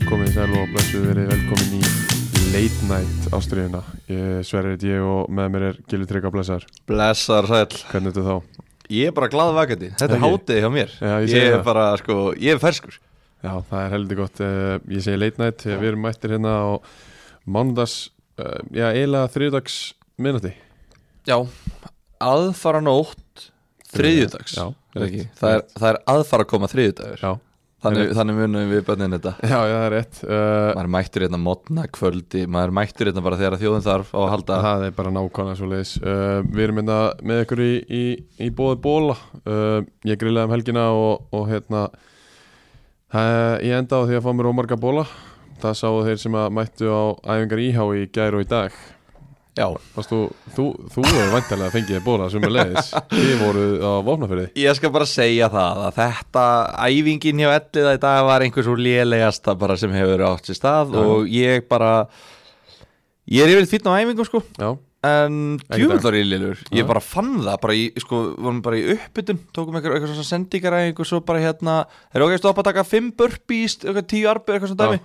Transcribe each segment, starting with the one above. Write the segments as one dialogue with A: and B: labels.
A: og blessuð verið velkomin í Late Night ástriðuna. Ég sverrið ég og með mér er Gilvi Trygg að blessaður.
B: Blessar sæl
A: Hvernig ertu þá?
B: Ég er bara glad vakandi Þetta er
A: Ekki?
B: hátíð hjá mér
A: Já, ég
B: Ég,
A: segi
B: er
A: það.
B: bara sko Ég er ferskur
A: Já, það er heldur gott. Eh, Ég segi Late Night, eh, við erum mættir hérna á mánudags, eh, já, eiginlega þriðdags minnati.
B: Já Aðfara nótt Þriðjudags
A: Já,
B: Er það ekki?
A: rétt,
B: það, er,
A: rétt.
B: það er aðfara að koma þriðjudagur
A: Já,
B: þannig,
A: rétt.
B: þannig munum við bönnin þetta
A: já, já, það er rétt. Uh,
B: Maður er mættur hérna mótna kvöldi Maður er mættur hérna bara þegar að þjóðin þarf á að halda
A: Það er bara nákvæmlega svo leiðis uh, Við erum hérna með ykkur í, í, í bóði bóla uh, Ég grillaði um helgina og, og hérna uh, Ég enda á því að fá mér ómarga bóla Það sáu þeir sem að mættu á æfingar íhá í gær og í dag
B: Já
A: Fast þú, þú, þú er væntalega að fengið bóla sem er leiðis Þið voruð á vopnafyrði
B: Ég skal bara segja það að þetta æfingin hjá elliða í dag var einhver svo lélegasta bara sem hefur átt sér stað
A: Já.
B: og ég bara ég er yfir fýtna á æfingum sko
A: Já,
B: En
A: Ekki í dag.
B: djúvöldar ég lélur
A: Já.
B: Ég bara fann það bara í, sko, vorum bara í uppbytun Tókum eitthvað, eitthvað svona sendingar Eitthvað svo bara hérna Þeir eru okkar stopp að taka fimm burpees Eitthvað tíu arbið, eitthvað svona
A: Já.
B: dæmi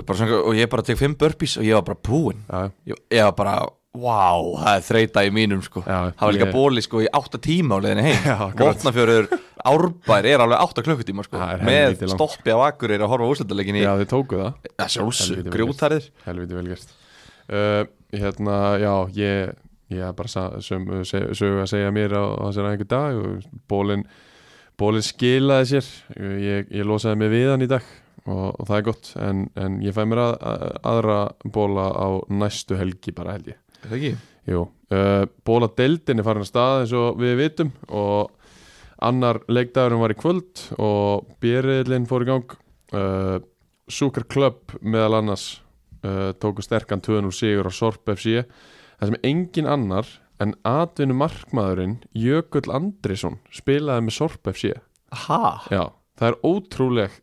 B: og, bara svona, og ég bara tek fimm burpees og ég var bara búinn
A: já,
B: Ég, ég var bara, wow, það er þreita í mínum sko
A: Já,
B: Það var líka
A: ég-
B: bóli sko í átta tíma á leiðinni
A: Já,
B: heim
A: akkurat.
B: Votnafjörður árbær er alveg átta klukkutíma sko
A: Það er
B: Með
A: helvítið langt.
B: stoppi af akkur er að horfa úrslutalegin í
A: já, þið tókuð það Helvítið
B: Sjálfsög,
A: vel gert.
B: grjótarðir
A: Helviti vel gert uh, Hérna, já, ég ég er bara sa- sömu- se- sögu að segja mér á á þessari einhver dag og bólin, bólin skilaði sér ég, ég losaði mig við hann í dag og, og það er gott en, en ég fæ mér að, að, aðra bóla á næstu helgi bara held ég
B: Er það ekki?
A: Jú, uh, bóla deildin er farin að stað eins og við vitum og annar leikdagurum var í kvöld og björriðlinn fór í gang uh, Súkar Club meðal annars uh, tóku sterkan 2-0 sigur á Sorp FC það sem engin annar en atvinnu markmaðurinn Jökull Andrisson spilaði með Sorp FC
B: Ha?
A: Já, það er ótrúleg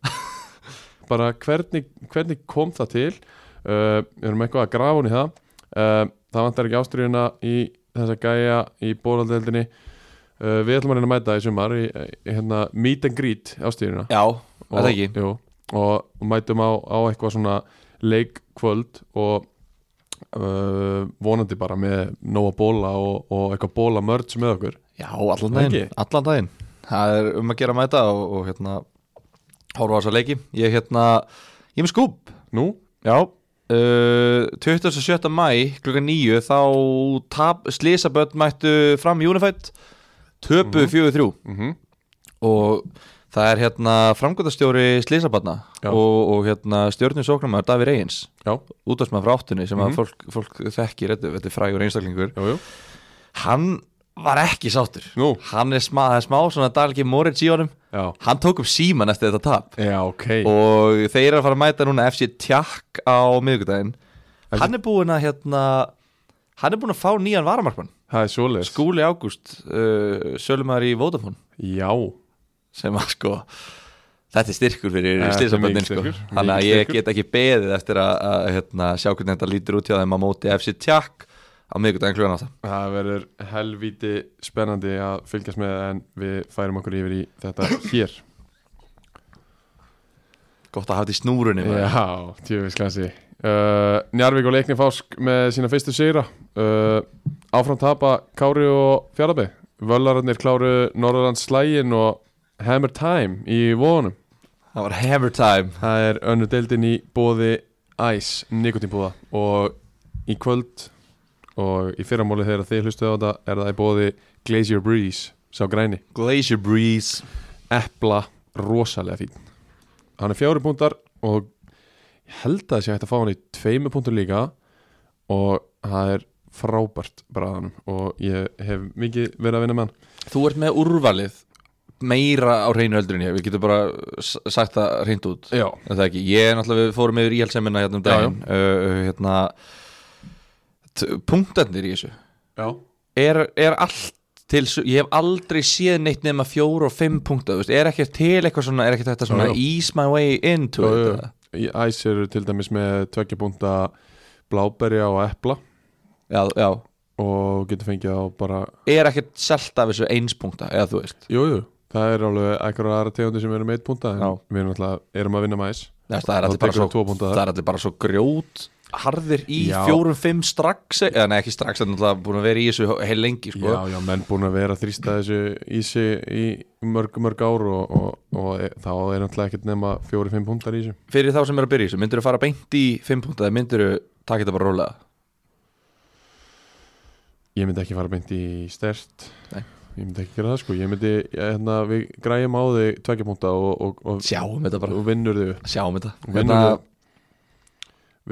A: bara hvernig, hvernig kom það til uh, við erum eitthvað að grafa hún í það uh, það vantar ekki ástriðuna í þessa gæja í bólaldeldinni uh, við ætlum að reyna að mæta í sumar í, í hérna meet and greet ástriðuna
B: Já, er það ekki?
A: jú, og mætum á, á eitthvað svona leikkvöld og uh, vonandi bara með nóga bóla og, og eitthvað bóla mörds með okkur
B: Já, allan
A: Það
B: daginn,
A: ekki?
B: allan daginn Það er um að gera mæta og, og hérna horfa á þessa leiki Ég hérna, ég er með Uh, skúb
A: Nú,
B: Já uh, 27. mæ, klukkan 9 þá tap, slísaböld mættu fram í Unified töpu 4-3
A: mm
B: og það er hérna framgöndastjóri slísabatna
A: Já.
B: og, og hérna stjórnum sóknarmæður Davíð Reyns
A: já,
B: útvarsmaður frá áttunni sem
A: Mhm.
B: að fólk, fólk þekkir þetta, þetta er frægur einstaklingur
A: jú, jú
B: hann var ekki sáttur
A: Nú.
B: hann er smá, það er smá svona Dalgi Moritz í honum
A: Já,
B: hann tók upp síman eftir þetta tap
A: já ok
B: og þeir eru að fara að mæta núna FC Tjakk á miðvikudaginn hann er búinn að hérna hann er búinn að fá nýjan varamarkmann
A: Það er svoleiðis
B: Skúli Ágúst uh, sölumar í Vodafone
A: Já,
B: sem að sko þetta er styrkur fyrir
A: Ja, þetta er
B: slísaböndin
A: mikill
B: sko.
A: styrkur,
B: þannig að
A: mikill
B: ég
A: styrkur.
B: get ekki beðið eftir að, að hérna, sjá hvernig þetta lítur út hjá þeim að móti FC Tjakk á miðvikudaginn klugan á það
A: það verður helvíti spennandi að fylgjast með en við færum okkur yfir í þetta hér
B: gott að hafa þetta í snúrunni maður.
A: Já, tjöfis klassi uh, Njarvík og Leikni Fásk með sína fyrstu sigra uh, Áfram tapa Kári og Fjallabbi Völararnir kláru Norðurlands slægin og Hammer Time í vonum
B: það var hammer time
A: Það er önnu deildin í bóði Æs, nikotínbúða og í kvöld og í fyrramóli þegar þið hlustuðu á þetta er það í bóði Glacier Breeze sá græni,
B: Glacier Breeze
A: epla rosalega fín hann er fjári púntar og ég held að það sé hægt að fá hann í tveimu púntur líka og það er frábært bara hann og ég hef mikið verið að vinna með hann
B: Þú ert með úrvalið meira á reynu öldurinn ég, við getum bara s- sagt það reynd út
A: Já,
B: Er það ekki, ég er náttúrulega, við fórum yfir íhaldsemina hérna um
A: Já, já.
B: daginn uh, hérna, t- punktarnir í þessu
A: já,
B: er, er allt til, s- ég hef aldrei séð neitt nema fjóra og fimm punktar, þú veist, er ekki til eitthvað svona, er ekki þetta svona
A: Já, já.
B: ease my way into
A: Jú, jú.
B: it eða?
A: í Æs eru til dæmis með tveggja púnta bláberja og epla
B: já, já,
A: og getur fengið á bara
B: er ekki selt af þessu eins punkta, eða þú veist
A: Jújú, jú, Það er alveg eitthvað aðra tegundir sem eru með eitt punta en
B: Já.
A: við erum alltaf, erum að vinna mæs
B: Þess, það, er
A: Þá
B: allir bara
A: tekur
B: svo,
A: við tvo punkta þar.
B: það er allir bara svo grjót harðir í
A: Já.
B: fjórum, fimm strax eða nei ekki strax, það er náttúrulega búin að vera í þessu heil lengi sko.
A: Já, já, menn búin að vera að þrýsta þessu í sig í mörg, mörg ár og, og, og e- þá er náttúrulega ekkert nema fjóri, fimm punktar í þessu
B: fyrir þá sem eru að byrja í þessu, myndirðu fara beint í fimm punta eða myndirðu taka þetta bara rólega
A: Ég myndi ekki fara beint í stert
B: Nei.
A: Ég myndi ekki gera það sko Ég myndi, ég- hérna, við græjum á þig tveggja punkta og, og, og,
B: sjáum þetta bara,
A: og vinnur þig upp.
B: sjáum þetta
A: Og vinnur
B: hérna,
A: þig upp.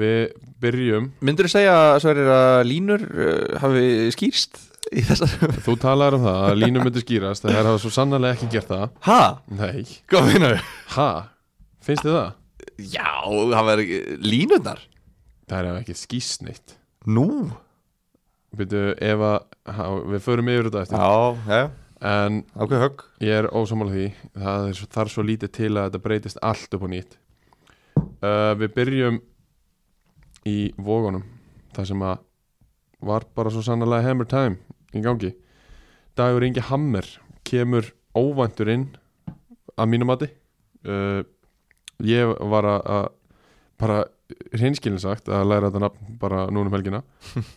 A: Við byrjum
B: myndirðu segja Sverrir, að línur uh, hafi skýrst í þessar
A: Þú talaðir um það að línum myndi skýrast Það er að svo sannarlega ekki gert það
B: ha,
A: Nei,
B: hvað finnur
A: ha, finnst þið það?
B: já, það verður línurnar
A: Það er ekki skýrsneitt
B: nú
A: Byrju, ef að, ha, við förum yfir þetta eftir
B: já, já,
A: En
B: ákveð högg
A: Ég er ósamála því Það er, svo- þarf svo lítið til að þetta breytist allt upp á nýtt uh, Við byrjum í vógunum Það sem að var bara svo sannarlega hammer time í gangi Dagur Ingi Hammer kemur óvæntur inn að mínum mati uh, Ég var að, að bara hreinskilin sagt að læra þetta nafn bara núna um helgina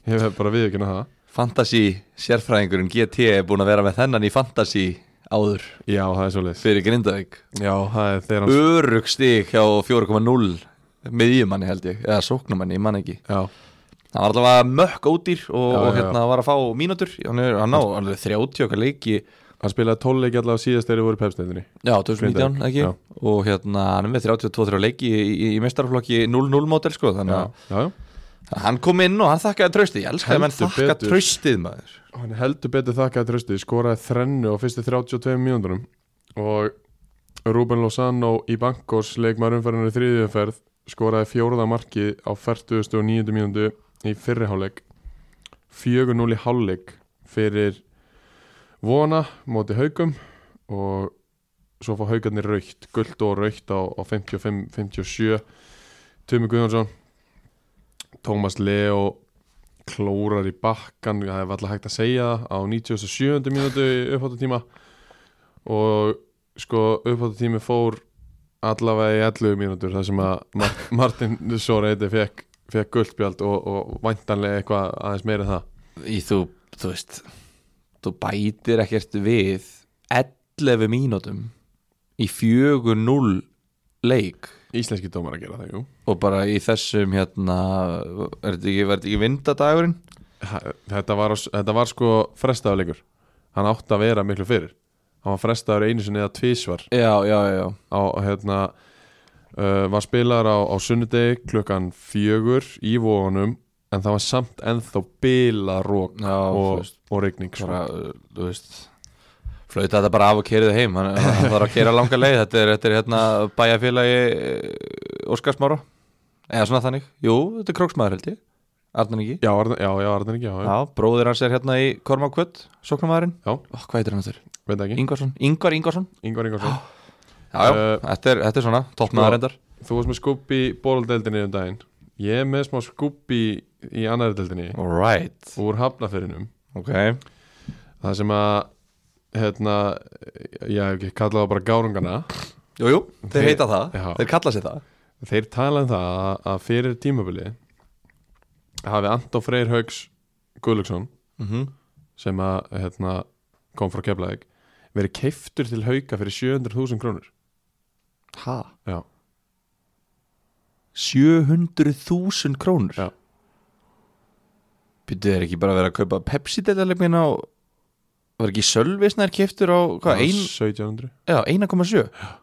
A: Ég hef bara viðurkynna það
B: Fantasí sérfræðingurinn GT er búin að vera með þennan í Fantasí áður
A: Já, það er svo leiðis
B: fyrir Grindavík
A: Já, það er þegar hans
B: örug stig hjá 4.0 miðjumanni held ég, eða sóknumanni, ég man ekki
A: Já,
B: hann var allavega mökk ódýr og,
A: Já,
B: og
A: já, já.
B: hérna var að fá mínútur hann, er, hann á alveg 30 okkar leiki
A: Hann spilaði 12 leiki allavega síðast þegar þið voru í pepsdeildinni
B: já, 2019
A: Grindavík,
B: ekki
A: já.
B: og hérna hann er með 32 leiki í, í, í mestarflokki 0-0 mótel sko, þannig
A: Já,
B: að
A: já, já.
B: hann kom inn og hann þakkaði tröstið, ég elska að menn
A: Heldur
B: þakka
A: betur.
B: tröstið maður
A: Hann heldur betur þakkaði tröstið, skoraði þrennu á fyrstu 32 mínúndunum og Ruben Lozano í bankos leikmaður umferðinu þriðjöferð skoraði fjórða markið á 49. mínúndu í fyrriháleik 4-0 í háleik fyrir Vona móti haugum og svo fá haugarnir raukt, guld og raukt á, á 55-57 Tumi Guðjónsson Tómas Leo klórar í bakkan það er alltaf hægt að segja það á 97. mínútu í uppháttutíma og sko uppháttutími fór allavega í 11 mínútur þar sem að Mar- Martin Soreiti fekk, fekk guldbjald og, og væntanlega eitthvað aðeins meira en það
B: í þú, þú veist þú bætir ekkert við 11 mínútum í 4-0 leik
A: Íslenski dómar að gera það, jú
B: og bara í þessum hérna er þetta ekki, var þetta ekki vindadagurinn?
A: Ha- þetta var, á s- þetta var sko frestaður leikur hann átti að vera miklu fyrir hann var frestaður einu sinni eða tvísvar
B: Já, já, já, já
A: á, hérna, uh, var spilaður á, á sunnudegi klukkan fjögur í vóðunum en það var samt ennþá bilarók
B: Já, þú
A: og,
B: veist,
A: og rigning sko.
B: bara, uh, þú veist flauta þetta bara af og kerið heim hann, hann þarf að kera langa leið þetta er, þetta er hérna bæjarfélagi eh, Óskarsmára eða svona þannig, jú, þetta er króksmaður held ég Arnan ekki,
A: já, Arnar- já, já, Arnar ekki, já, já.
B: já, bróðir hans er hérna í Kormákvöld, sóknarmaðurinn
A: Já.
B: Ó, hvað heitir hann þurr?
A: veit ekki,
B: Ingvarsson, Ingvar Ingvarsson
A: Ingvar Ingvarsson
B: Já, já,
A: Eh,
B: þetta, er, þetta er svona, toppmaður
A: sko-
B: reyndar
A: þú varst með skúb í bólaldeldinni um daginn ég er með smá skúb í, í annari deldinni
B: All right,
A: úr hafnafyrinum
B: ok
A: það sem að hérna, já, ég kalla það bara gárungana
B: Jú, jú, þeir
A: Þeir-
B: heita það,
A: Já.
B: þeir kalla sér það
A: Þeir tala um það að- að fyrir tímabili hafi Anton Freyr Haugs Guðlöksson
B: mm
A: Mhm. sem að hérna, kom frá Keflavík verið keiftur til hauka fyrir 700.000 krónur
B: Ha?
A: Já.
B: 700.000 krónur?
A: Já.
B: Býttu þeir ekki bara að vera að kaupa Pepsi-deildarleikmin á Var ekki Sölvisnær keftur á,
A: Það var
B: hvað, ein,
A: 1700
B: já, 1,7?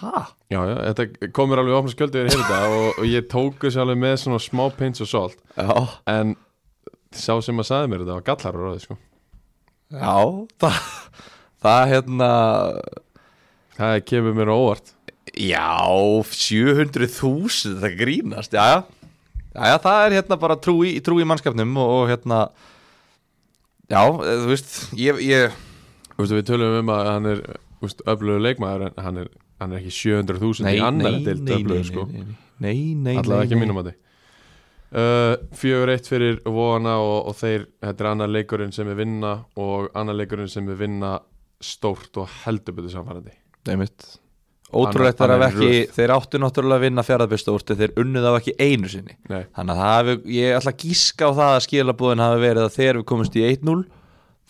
B: Ha?
A: Já, já, þetta komur alveg ofna skjöldu yfir þetta og, og ég tók þessu alveg með svona smá pinch og salt
B: Já,
A: en sá sem að sagði mér þetta var gallar og ráði sko
B: já, það, það hérna
A: Það kemur mér á óvart
B: Já, 700.000 það grínast, já, já já, það er hérna bara trú í, trú í mannskapnum og, og hérna já, eh, þú veist ég, ég,
A: Vistu, Við tölum um að hann er öflugur leikmaður en hann er, hann er ekki 700.000 í annar deild öflugur sko
B: nei, nei, nei,
A: allavega
B: nei,
A: ekki
B: nei.
A: mínum að þið Fjögur eitt fyrir Vona og, og þeir, þetta er annar leikurinn sem við vinna og annar leikurinn sem við vinna stórt og heldur betur samfærandi
B: Einmitt. Ótrúlegt er
A: Hann-
B: að
A: hann er
B: ekki,
A: röð.
B: þeir áttu náttúrulega að vinna fjaraðbyrstavorti, þeir unnuð af ekki einu sinni.
A: Nei,
B: Þannig að það hafi, ég ætla að gíska á það að skilabúðin hafi verið að þegar við komumst í 1-0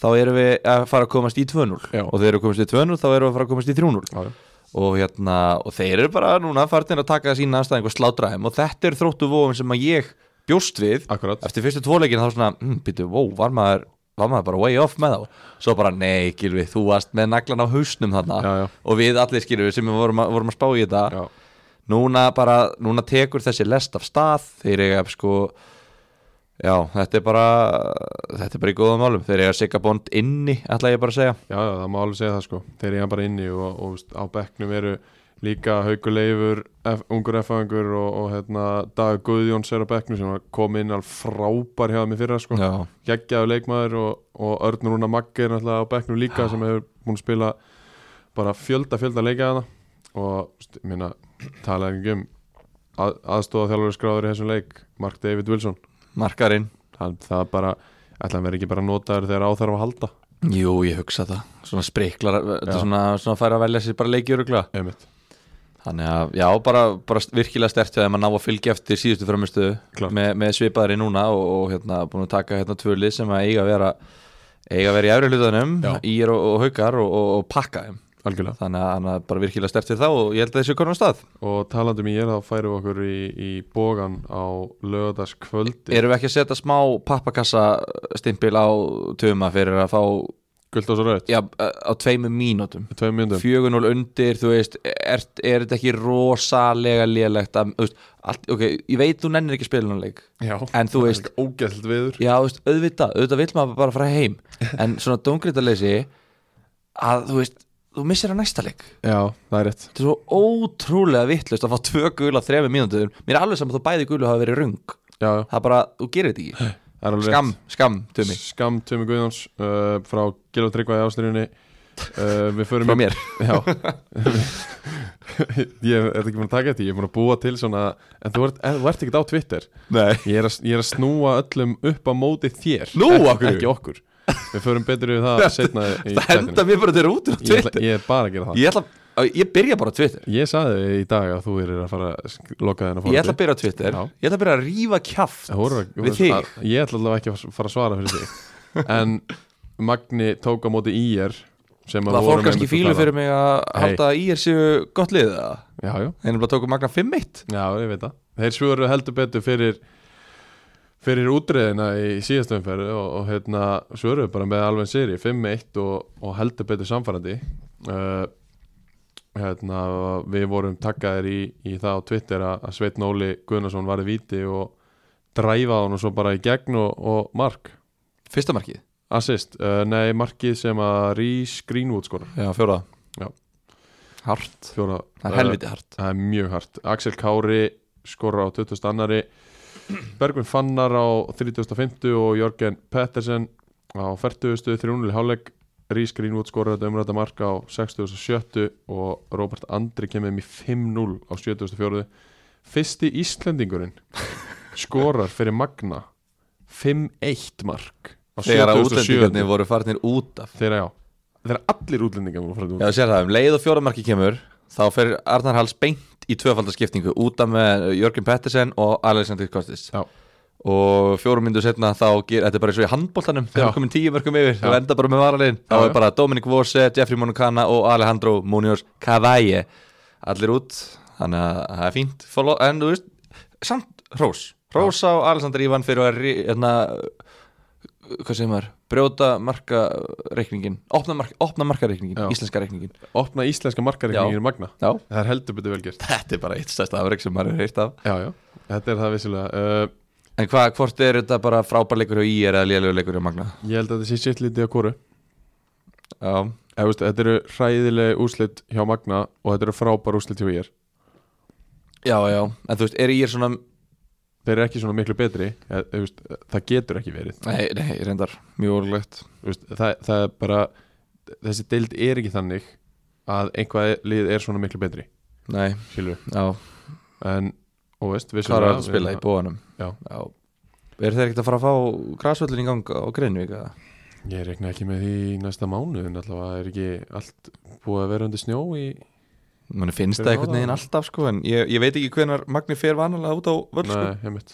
B: þá erum við að fara að komast í 2-0
A: Já.
B: og þegar við komumst í 2-0 þá erum við að fara að komast í 3-0
A: já, já.
B: og, hérna, og þeir eru bara núna fartin að taka sína anstæðing og slátra þeim og þetta er þróttu vóum sem að ég bjóst við
A: akkurat
B: eftir fyrstu tvoleikin þá svona hm, býtu, wow, var maður, var maður bara way off með þá svo bara, nei, Gilvi, þú varst með naglan á hausnum þarna
A: Já, já.
B: og við allir skilvi sem við vorum, að- vorum að spá í þetta
A: já.
B: núna bara, núna tekur þessi lest af stað, þeir eiga sko já, þetta er bara þetta er bara í góðum málum, þeir eiga Sigabond inni, ætla ég bara að segja
A: Já, já, það má alveg segja það sko Þeir eiga bara inni og, og veist, á bekknum eru líka haukuleifur, ungur F-angur og, og hérna, Dag Guðjóns er á bekknum sem var- kom inn alveg frábær hjá þeim í fyrra sko
B: já,
A: geggjaðu leikmaður og, og Örn Rúna Maggi er náttúrulega á bekknum líka sem hefur búin að spila bara fjölda, fjölda leikja hana og st- ég minna, talaði ekki um að, aðstofa þjálfur skráður í þessum leik Mark David Wilson
B: markarinn
A: það, það bara, ætla hann verið ekki bara notaður þegar á þarf að halda
B: jú, ég hugsa það, svona spriklar eh, þetta
A: Já.
B: er svona, svona færa að velja sér bara leikjöruglega
A: Einmitt.
B: þannig að, já, bara, bara virkilega stert þegar maður ná að fylgja eftir síðustu framistu
A: Klárt.
B: með, með svipaðri núna og, og hérna, búin að taka hérna tvölið sem að eiga að vera eiga að vera í efri hlutanum,
A: Já.
B: ír og, og haukar og, og, og pakka þeim
A: algjörlega
B: þannig að hann er bara virkilega stert fyrir þá og ég held að þessi konum stað
A: og talandum í ég þá færum við okkur í, í bógan á lögadagskvöldi
B: erum við ekki að setja smá pappakassa stimpil á tuma fyrir að fá
A: guld og svo raut,
B: já, á tveimu mínútum
A: tveim myndum
B: 4-0 undir, þú veist er, er þetta ekki rosalega lélegt að, þú veist, allt, ok, ég veit þú nennir ekki spilunarleik,
A: já,
B: en þú veist
A: ógæld viður
B: já, þú veist, auðvitað, auðvitað vill maður bara fara heim en svona dóngriðaleysi að þú veist, þú missir að næsta leik
A: já, það er rétt
B: þetta er svo ótrúlega vittlust að fá tvö gul á þremi mínútur mér er alveg saman þó bæði gulu hafa verið rung
A: já, já,
B: það er bara, þú gerir þetta ekki
A: það er alveg rétt
B: skam, skam, tumi,
A: Skam Tumi Guðjóns uh, frá Gil og Tryggva í ástriðinni uh, Við förum
B: frá mér
A: Já Ég er ekki búin að taka þetta, ég er búin að búa til svona En þú ert, en, þú ert ekkert á Twitter
B: Nei.
A: ég er, að, ég er að snúa öllum upp á móti þér
B: Nú,
A: Ekki-
B: af hverju?
A: Ekki okkur Við förum betur yfir það setna í
B: það henda
A: þættinum.
B: mér bara til rútur á
A: ég, ætla,
B: Twitter
A: ég er bara að gera það
B: ég ætla, að- ég byrja bara á Twitter
A: Ég sagði þér í dag að þú er að fara að sk- loka þennan
B: ég ætla að byrja á Twitter,
A: Já.
B: ég ætla að byrja að rífa kjaft
A: Hóra,
B: við þig
A: Ég ætla allavega ekki að fara að svara fyrir þig En Magni tók á móti IR sem að
B: það
A: voru
B: fór kannski
A: einmitt að
B: fílu
A: tala.
B: fyrir mig að
A: Hey.
B: halda að í er séu gott liðið þeir
A: Já, já,
B: nefnilega tóku magna 5-1
A: já, ég veit það Þeir svöru heldur betur fyrir fyrir útreðina í síðastu umferð og, og hérna svöruðu bara með alveg séri 5-1 og, og heldur betur samfærandi uh, hérna við vorum takkaðir í, í það á Twitter að, að Sveitn Óli Gunnarsson varði víti og dræfaði hann og svo bara í gegn og, og mark
B: fyrsta markið,
A: assist, uh, nei markið sem að Rhys Greenwood skorar
B: já fjóra
A: Já. Eh,
B: hart,
A: Fjóra, uh,
B: það er helviti hart
A: Það er mjög hart. Axel Kári skorra á 20. annari Bergvin Fannar á 35. og Jörgen Pettersen á 40. 300. hálfleik Rís Greenwood skorra þetta umræta marka á 67. og Robert Andri kemur um í 5-0 á 74. Fyrsti Íslendingurinn skorar fyrir Magna 5-1 mark á
B: þegar að
A: 77.
B: útlendingarnir voru farnir út af
A: Þegar já, þegar allir útlendingar voru fræðið
B: Já, sér það, um leið og fjóramarki kemur þá fer Arnar Hals beint í tvöfaldarskiptingu útaf með Jörgen Pettersen og Alexander Kostis
A: Já.
B: og fjórum myndu setna þá ger, þetta er bara eins og í handbóltanum þegar
A: Já.
B: við komum tíu mörgum yfir,
A: Já.
B: það enda bara með varalinn þá
A: Já, já.
B: er bara Dominic Vose, Jeffrey Moncana og Alejandro Munoz Cavalle allir út, þannig að það er fínt Follow- en þú veist, samt Rós Rós á Alexander Ivan fyrir að ri- hérna, hvað segir maður, brjóta markareikningin, opna, mark, opna markareikningin
A: Já.
B: íslenska reikningin
A: Opna íslenska markareikningin Magna
B: Já.
A: Það er heldur betur velgjert
B: Þetta er bara eitt stærsta afreg sem maður hefur heyrt af
A: Já, já, þetta er það vissilega uh,
B: En hvað, hvort er þetta bara frábær leikur hjá IR eða lélegur leikur hjá Magna?
A: Ég held að þetta sé sitt lítið á kóru
B: Já,
A: Eða, veist, Þetta eru hræðileg úslit hjá Magna og þetta eru frábær úslit hjá ég
B: já, já En þú veist, er IR svona
A: Þeir eru ekki svona miklu betri eða, eða, veist, Það getur ekki verið
B: Nei, nei, reyndar, mjög orðlegt
A: Þú veist, það, það er bara Þessi deild er ekki þannig að einhvað lið er svona miklu betri
B: Nei,
A: skilur við.
B: já,
A: en, og veist,
B: hvað er
A: vissulega-
B: að spila í bóanum?
A: Já.
B: já. Er þeir ekkert að fara að fá grasvöllin í gang á Greinvík? eða?
A: Ég reikna ekki með því í næsta mánu en allavega er ekki allt búið að vera undir snjó í
B: Mér finnst það
A: Fyrir
B: einhvern veginn
A: norðan.
B: alltaf sko en ég, ég veit ekki hvenar Magni fer vanalega út á völd sko.
A: Nei, heimitt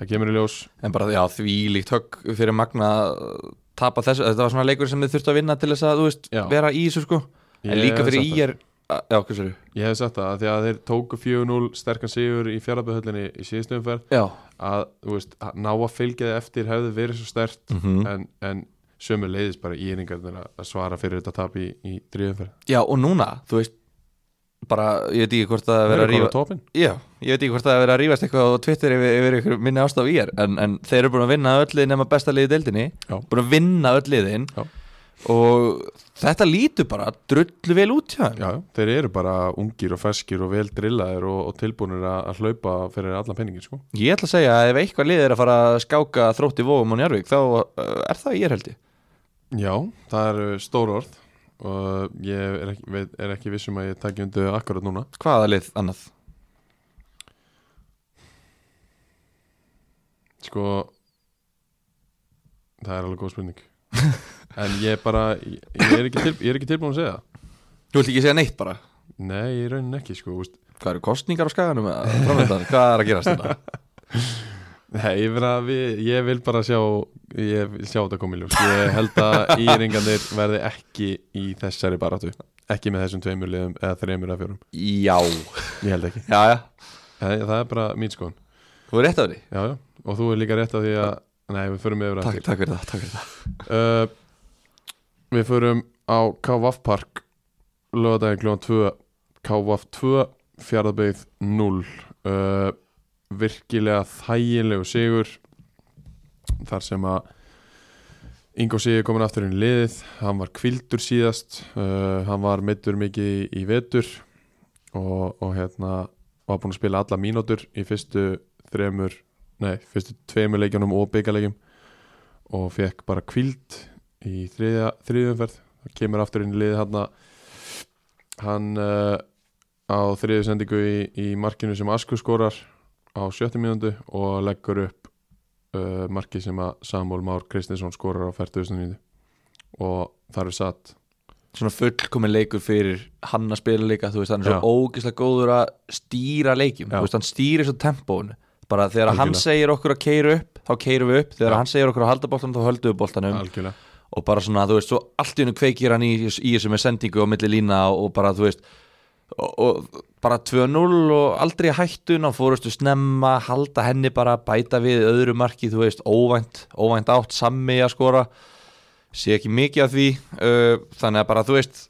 A: Það kemur í ljós
B: En bara já, því líkt högg fyrir Magna að tapa þessu, þetta var svona leikur sem þið þurftu að vinna til þess að, þú veist,
A: Já.
B: vera í þessu sko En
A: Ég
B: líka
A: hefði
B: fyrir
A: sagt
B: í er, já, hvað sér
A: það. Ég hef sagt það, af því að þeir tóku 4-0 sterkan sigur í fjárabæðhöllinni í síðustu umferð
B: Já,
A: að, þú veist, að ná að fylgja þið eftir hefði verið svo stert
B: Mhm.
A: en, en sömu leiðis bara í yringarnir að svara fyrir þetta tap í, í dríðumferð
B: já og núna, þú veist bara, ég veit ekki hvort að
A: Það
B: vera
A: er
B: að rífa
A: komið á topin
B: Já, ég veit ekki hvort það er að vera að rífast eitthvað og Twitter yfir, yfir ykkur minni ástaf í er en, en þeir eru búin að vinna öll liðin nema besta liði deildinni
A: Já.
B: búin að vinna öll liðin
A: Já.
B: og þetta lítur bara drullu vel út hjá þeim
A: Já, já, þeir eru bara ungir og ferskir og vel drillaðir og, og tilbúinir að, að hlaupa fyrir allan penningin sko.
B: Ég ætla að segja að ef eitthvað lið er að fara að skáka þrótt í vóum og njárvík þá uh, er það ég held ég
A: Já, það eru stór orð og ég er ekki, veit, er ekki vissum að ég taki undir akkurat núna
B: Hvaða lið annað?
A: sko, það er alveg góð spurning en ég bara ég, ég, er, ekki til, ég er ekki tilbúin að segja það.
B: Þú vilt ekki segja neitt bara
A: Nei, í raunin ekki sko, úst.
B: Hvað eru kostningar á skaganum eða framöndan? Hvað er að gerast hérna? þetta?
A: Nei, ég, vera, við, ég vil bara sjá ég vil sjá þetta komið ljós ég held að íringandir verði ekki í þessari baratu ekki með þessum tveimur liðum eða þreimur eða fjórum
B: Já,
A: ég held ekki,
B: já, já,
A: það, það er bara mín skoðun
B: þú er rétt af því
A: já, já, og þú er líka rétt á því að nei, við förum yfir
B: Takk, takk fyrir það, takk fyrir það
A: uh, Við förum á KVF Park lögadaginn kl. 2 KVF 2, fjárðabeyð 0 uh, virkilega þægilegu sigur þar sem að Ingo Sigur komin aftur inn í liðið hann var kvildur síðast uh, hann var meittur mikið í, í vetur og, og hérna var búinn að spila alla mínútur í fyrstu þremur, nei, fyrstu tveimur leikjunum og byggarleikjum og fekk bara kvild í þriðja, þriðjumferð það kemur aftur inn í liði hann hann uh, á þriðju sendingu í, í markinu sem Asku skorar á sjöttu mínúndu og leggur upp uh, marki sem að Samúl Már Kristinsson skorar á 40. mínúndu og þar er satt
B: Svona fullkomin leikur fyrir hann að spila líka Þú veist, hann er
A: Já.
B: svo ógislega góður að stýra leikjum
A: Já.
B: Þú veist, hann stýrir svo tempóinu Bara þegar hann
A: Algjörlega.
B: segir okkur að keiru upp, þá keirum við upp Þegar
A: Já.
B: hann segir okkur að halda boltanum, þá höldum við boltanum
A: algjörlega
B: og bara svona, þú veist, svo allt í hennu kveikir hann í, í þessu með sendingu og milli lína og, og bara, þú veist og, og bara 2-0 og aldrei hættun og fórustu snemma, halda henni bara bæta við öðru marki, þú veist óvænt, óvænt átt, sammi að skora sé ekki mikið af því uh, þannig að bara, þú veist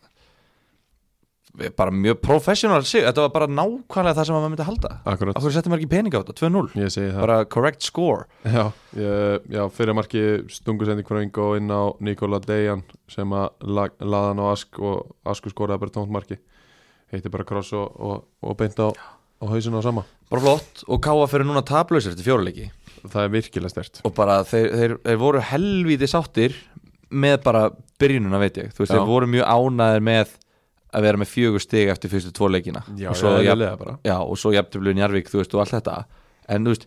B: við- bara mjög professional sig, þetta var bara nákvæmlega það sem maður myndi halda,
A: akkurat,
B: okkur settum maður ekki pening á þetta 2-0,
A: ég segi það
B: bara correct score
A: Já, ég, já fyrir marki stungusending frá Ingo inn á Nikola Dejan sem að lag, laða hann á Ask og Asku skoraði bara tónt marki heitir bara kross og, og, og beint á, á hausinu á sama
B: bara flott og káa fyrir núna tablausir til fjóruleiki
A: það er virkilega stert
B: og bara þeir, þeir, þeir voru helvíti sáttir með bara byrjununa veit ég þú veist,
A: Já.
B: þeir voru mjög ánæðir með að vera með fjögur stig eftir fyrstu tvo leikina
A: Já,
B: og svo,
A: já,
B: jafn,
A: eðlilega bara
B: já, og svo jafntöflu Njarvík, þú veist, og allt þetta en þú veist,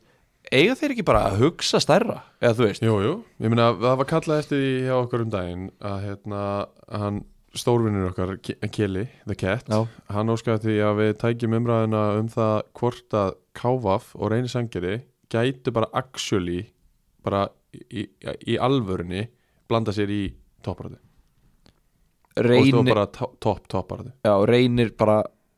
B: eiga þeir ekki bara að hugsa stærra, eða þú veist
A: Jú, jú, ég meina það var kallað eftir því hjá okkur um daginn að hérna hann stórvinnur okkar, Ki- Kelly, the cat
B: Já.
A: hann óskaði því að við tækjum umræðina um það hvort að Kávaf og Reyni Sangeri gætu bara actually bara í, í, í alvörunni blanda sér í topparöðu og stóð
B: reynir,
A: bara to- topp topparöðu
B: já, reynir bara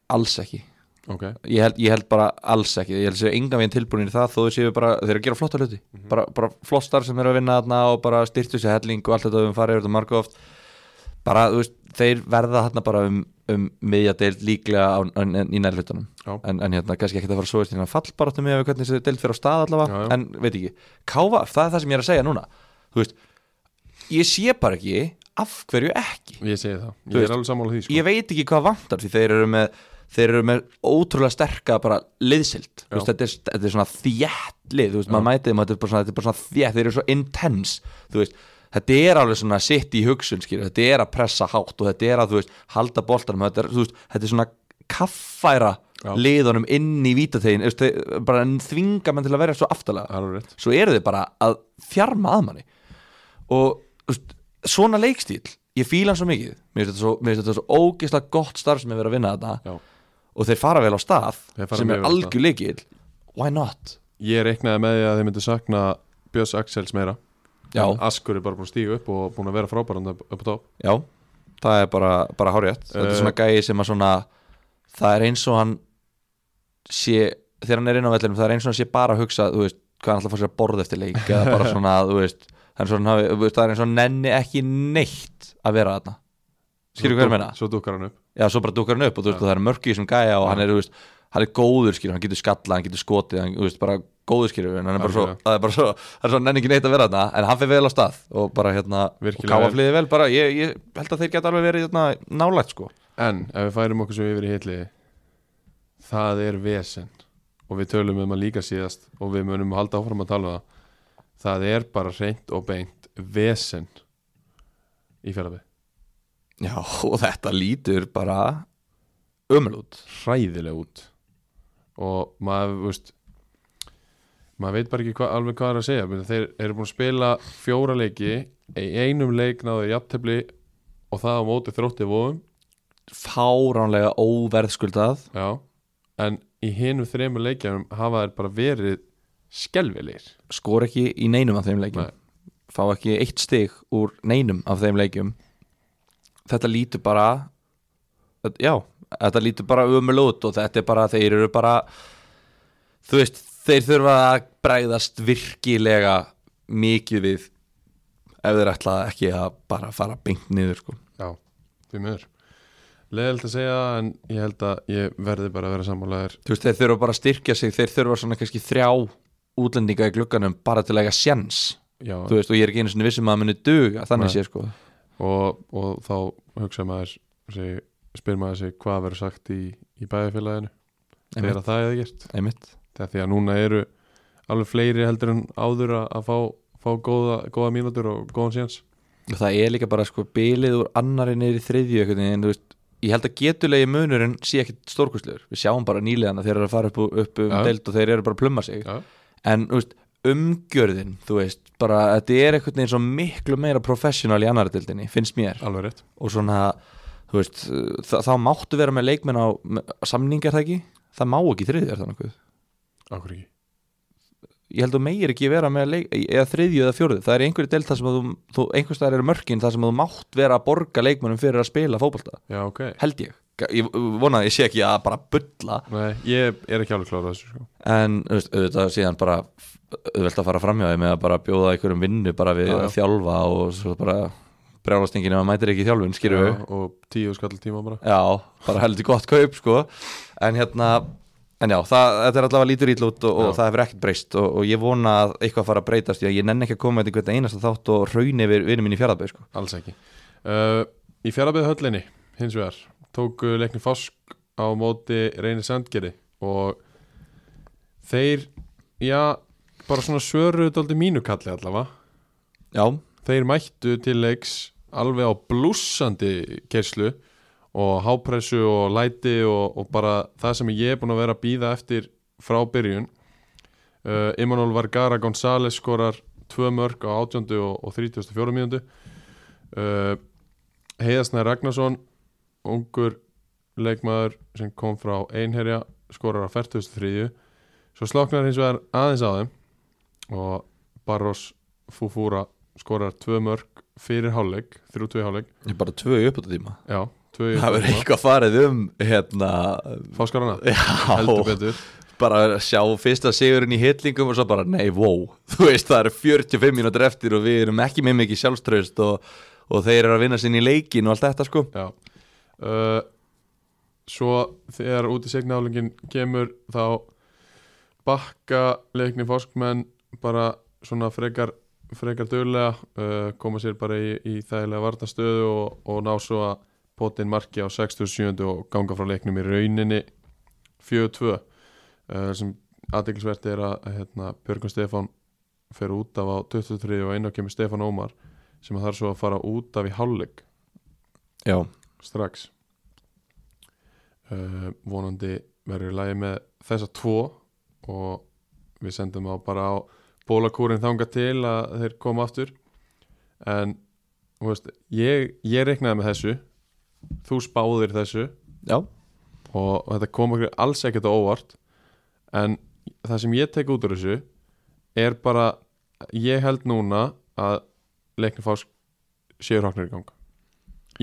B: alls ekki
A: ok,
B: ég held, ég held bara alls ekki ég held séu engan veginn tilbúinir í það þó þau séu bara, þeir eru að gera flotta hluti
A: Mhm.
B: bara, bara flott starf sem eru að vinna þarna og bara styrtu sér helling og allt þetta við höfum farið yfir þetta marga oft bara, þú veist, þeir verða þarna bara um, um miðjadeild líklega á, en, en, í nærlutunum
A: Já.
B: en, en hérna, kannski ekki að fara að svoist hérna fallbaráttum með hvernig þessi deild fyrir á stað allavega
A: Já, já.
B: en veit ekki, káfa, það er það sem ég er að segja núna þú veist, ég sé bara ekki af hverju ekki
A: ég segi það,
B: Þú
A: ég
B: veist,
A: er alveg sammála því sko.
B: ég veit ekki hvað vantar því þeir eru með, þeir eru með ótrúlega sterka bara liðsild
A: Já.
B: Þú veist, þetta, er, þetta er svona þjætt lið þú veist, maður mætið, maður, þetta, er bara svona, þetta er bara svona þjætt þeir eru svo intense þú veist, þetta er alveg svona sitt í hugsun skýr, þetta er að pressa hátt og þetta er að þú veist, halda boltanum þetta er, þú veist, þetta er svona kaffæra
A: Já.
B: liðunum inn í vítategin bara þvinga mann til að verja svo aftalega
A: alveg rétt
B: svo eru þið bara að fjarma að manni og þú veist, svona leikstíl, ég fíla hann svo mikið mér finnst þetta svo, mér finnst þetta svo ógeðslega gott starf sem er verið að vinna þetta
A: Já.
B: og þeir fara vel á stað
A: Þeir fara
B: sem
A: mjög
B: er
A: vel af
B: algjör leikil why not?
A: Ég reiknaði með því að þeir myndu sakna Björns Axels meira
B: Já,
A: En Askur er bara búin að stíga upp og búin að vera frábærand upp á topp
B: já, það er bara, bara hárétt þetta
A: Eh.
B: er svona gæi sem að svona það er eins og hann sé, þegar hann er inn á vellinum það er eins og hann sé bara að hugsa, þú veist hvað hann ætla að fá sér að borða eftir leik eða bara svona, þú veist, það er, svona, það er eins og hann nenni ekki neitt að vera þarna skilur hvað ég meina?
A: Svo dúkar hann upp
B: já, svo bara dúkar hann upp og þú veist, og það er mörk í þessum gæja og hann er, þú veist, hann er góður skilur, hann getur skallað, hann getur skotið, hann, þú veist, bara góður skilur, en hann er bara svo,
A: Algjörlega.
B: það er bara svo, það er svo nenni ekki neitt að vera þarna, en hann fyrir vel á stað og bara hérna,
A: Virkilega vel.
B: og káfa flyði vel, bara, ég, ég held að þeir geta alveg verið hérna, nálægt, sko.
A: En ef við færum okkur svo yfir í hitli Það er vesen Og við tölum um að líka síðast Og við munum halda áfram að tala um það Það er bara reynt og beint Vesen Í fjarlabið
B: Já, og þetta lítur bara ömulút.
A: hræðilega út og maður veist, maður veit bara ekki hva, alveg hvað er að segja Menni, þeir eru búin að spila fjóra leiki í einum leik náðu jafntefli og það á móti þrótti vóðum
B: Fáránlega óverðskuldað.
A: já, en í hinum þremur leikjum hafa þeir bara verið skelvilegir
B: skor ekki í neinum af þeim leikjum
A: Nei.
B: fá ekki eitt stig úr neinum af þeim leikjum þetta lítur bara þetta- já, þetta lítur bara ömulút og þetta er bara, þeir eru bara þú veist, þeir þurfa að bregðast virkilega mikið við ef þeir ætla ekki að bara fara beint niður sko.
A: já, því miður leðilt að segja en ég held að ég verði bara að vera sammálaðir
B: þú veist, þeir þurfa bara að styrkja sig þeir þurfa svona kannski þrjá útlendinga í glugganum bara til að eiga sjens
A: já,
B: þú veist, og ég er ekki einu sinni vissum að það muni duga
A: Nei.
B: þannig sé sko
A: og, og þá hugsa maður sig, spyr maður sig hvað verður sagt í, í bæðifélaginu
B: Einmitt.
A: þegar að það hefði gert
B: einmitt
A: það er því að núna eru alveg fleiri heldur en áður að, að fá, fá góða, góða mínútur og góðan séns
B: og það er líka bara sko bilið úr annari neyri þriðju einhvern veginn, þú veist ég held að getulegi munurinn sé ekkit stórkustlegur við sjáum bara nýleðana þeir eru að fara upp, upp um
A: Já.
B: deild og þeir eru bara að plumma sig
A: Já.
B: en þú veist, umgjörðin þú veist, bara þetta er einhvern veginn svo miklu meira professional í annari deildinni finnst mér
A: alveg rétt
B: og svona þú veist, þa þá máttu vera með leikmenn á með- samningar það ekki það má ekki í þriðju er það nokkuð
A: Akkur ekki
B: ég held að þú meir ekki vera með leik, eða þriðju eða fjórðu, það er einhverju del það sem að þú, þú einhvers staðar eru mörkin það sem að þú mátt vera að borga leikmönnum fyrir að spila fótbolta,
A: Já, ok
B: held ég ég vona að ég sé ekki að bara bulla
A: Nei, ég er ekki alveg klára þessu sko.
B: en þú veist, auðvitað síðan bara auðvitað að fara framhjáði með að bara bjóða einhverjum vinnu bara við
A: Já, já.
B: að þjálfa og svo bara brjálastingin ef að mætir ekki í þjálfun, skýrðu
A: Já, Og tíu skall tíma bara
B: Já, bara heldur gott kaup sko En hérna En já, það, þetta er allavega lítur ítl út og, og
A: Já.
B: það hefur ekkert breyst og, og ég vona að eitthvað fara að breytast því að ég nenni ekki að koma með einhvern einasta þátt og raun yfir vinnum mín í fjárðabæð sko.
A: Alls ekki uh, Í fjárabæðu höllinni, hins vegar Tóku leikni Fosk á móti Reyni Sandgeri Og þeir, já, bara svona svöruðu dóldi mínu kalli allavega
B: Já,
A: þeir mættu til leiks alveg á blúsandi kerslu og hápressu og læti og, og bara það sem ég er búin að vera að býða eftir frá byrjun uh, Imanol Vargara González skorar tvö mörg á 18. og, og 34. mínútu uh, Heiðasnæður Ragnarsson ungur leikmaður sem kom frá Einherja skorar á 43. Svo sloknar hins vegar aðeins á þeim og Barros Fufura skorar tvö mörg fyrir hálfleik, þrjú tvö hálfleik
B: ég er bara tvö í uppáttu tíma
A: já, tvö í
B: Það verður
A: uppbótartíma.
B: eitthvað farið um hérna,
A: Fáskarana, heldur
B: já,
A: betur
B: bara að sjá fyrsta sigurinn í hitlingum og svo bara nei, wow, þú veist það eru 45 mínútur eftir og við erum ekki með mikið sjálfströst og, og þeir eru að vinna sinni í leikin og allt þetta sko
A: já uh, svo þegar út í segnaálingin kemur þá bakka leikni fáskmenn bara svona frekar frekar dögulega uh, koma sér bara í, í þægilega vartastöðu og, og ná svo að potin marki á 67. og ganga frá leiknum í rauninni 4-2 uh, sem aðdeglisvert er að að, hérna, Björgun Stefán fer út af á 23 og einu og kemur Stefán Ómar sem þarf svo að fara út af í hálfleik
B: Já,
A: strax uh, vonandi verður lægi með þessa tvo og við sendum á bara á bólakúrin þanga til að þeir koma aftur en þú veist, ég, ég reiknaði með þessu þú spáðir þessu
B: Já,
A: og þetta kom okkur alls ekkert á óvart en það sem ég tek út úr þessu er bara ég held núna að leiknir fásk séu hróknir í gang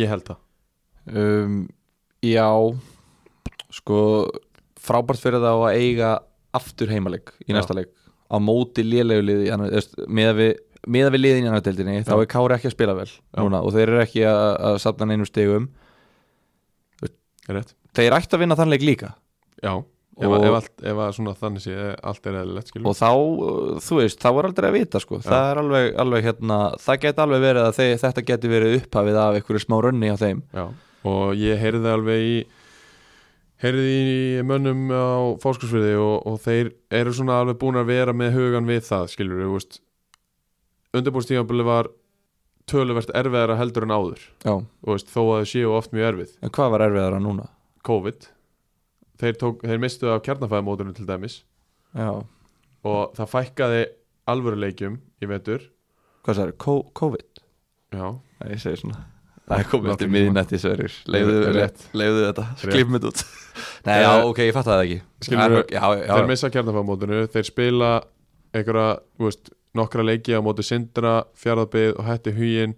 A: ég held það
B: um, já sko frábært fyrir þá að eiga aftur heimaleik í
A: Já.
B: næsta leik á móti lélegu liði með að við með að við liðin í annar deildinni þá
A: Já.
B: er Kári ekki að spila vel núna, og þeir eru ekki að, að safna neinum stegum
A: er rétt?
B: þeir ættu að vinna þann leik líka
A: Já, ef,
B: Og-
A: að, ef, allt, ef að svona þannig sé allt er eðlilegt skilur
B: og þá, uh, þú veist, þá er aldrei að vita sko. það er alveg, alveg hérna það geti alveg verið að þeir, þetta geti verið upphafið af einhverju smá rönni á þeim
A: Já, og ég heyrði alveg í heyrði í mönnum á fáskursfriði og, og þeir eru svona alveg búin að vera með hugan við það, skilur við, veist undirbúrstíðanbúli var töluvert erfiðara heldur en áður
B: já.
A: þú veist, þó að þau séu oft mjög erfið
B: en hvað var erfiðara núna?
A: COVID, þeir, tók, þeir mistu af kjarnafæðamóturinn til dæmis
B: Já.
A: og það fækkaði alvöruleikjum í vetur
B: hvað það er, COVID?
A: Já,
B: Nei, ég segi svona Það er komið
A: Láttu
B: eftir
A: ekki
B: miðnætti sverir Leifðu,
A: Rétt.
B: leifðu þetta, skrifum þetta út Nei,
A: Eh,
B: já, ok, ég fatt það ekki
A: skilurðu,
B: Já, já, já,
A: þeir missa kjarnafæðamótinu þeir spila einhverja þú veist, nokkra leiki á móti sindra fjárðabið og hætti hugin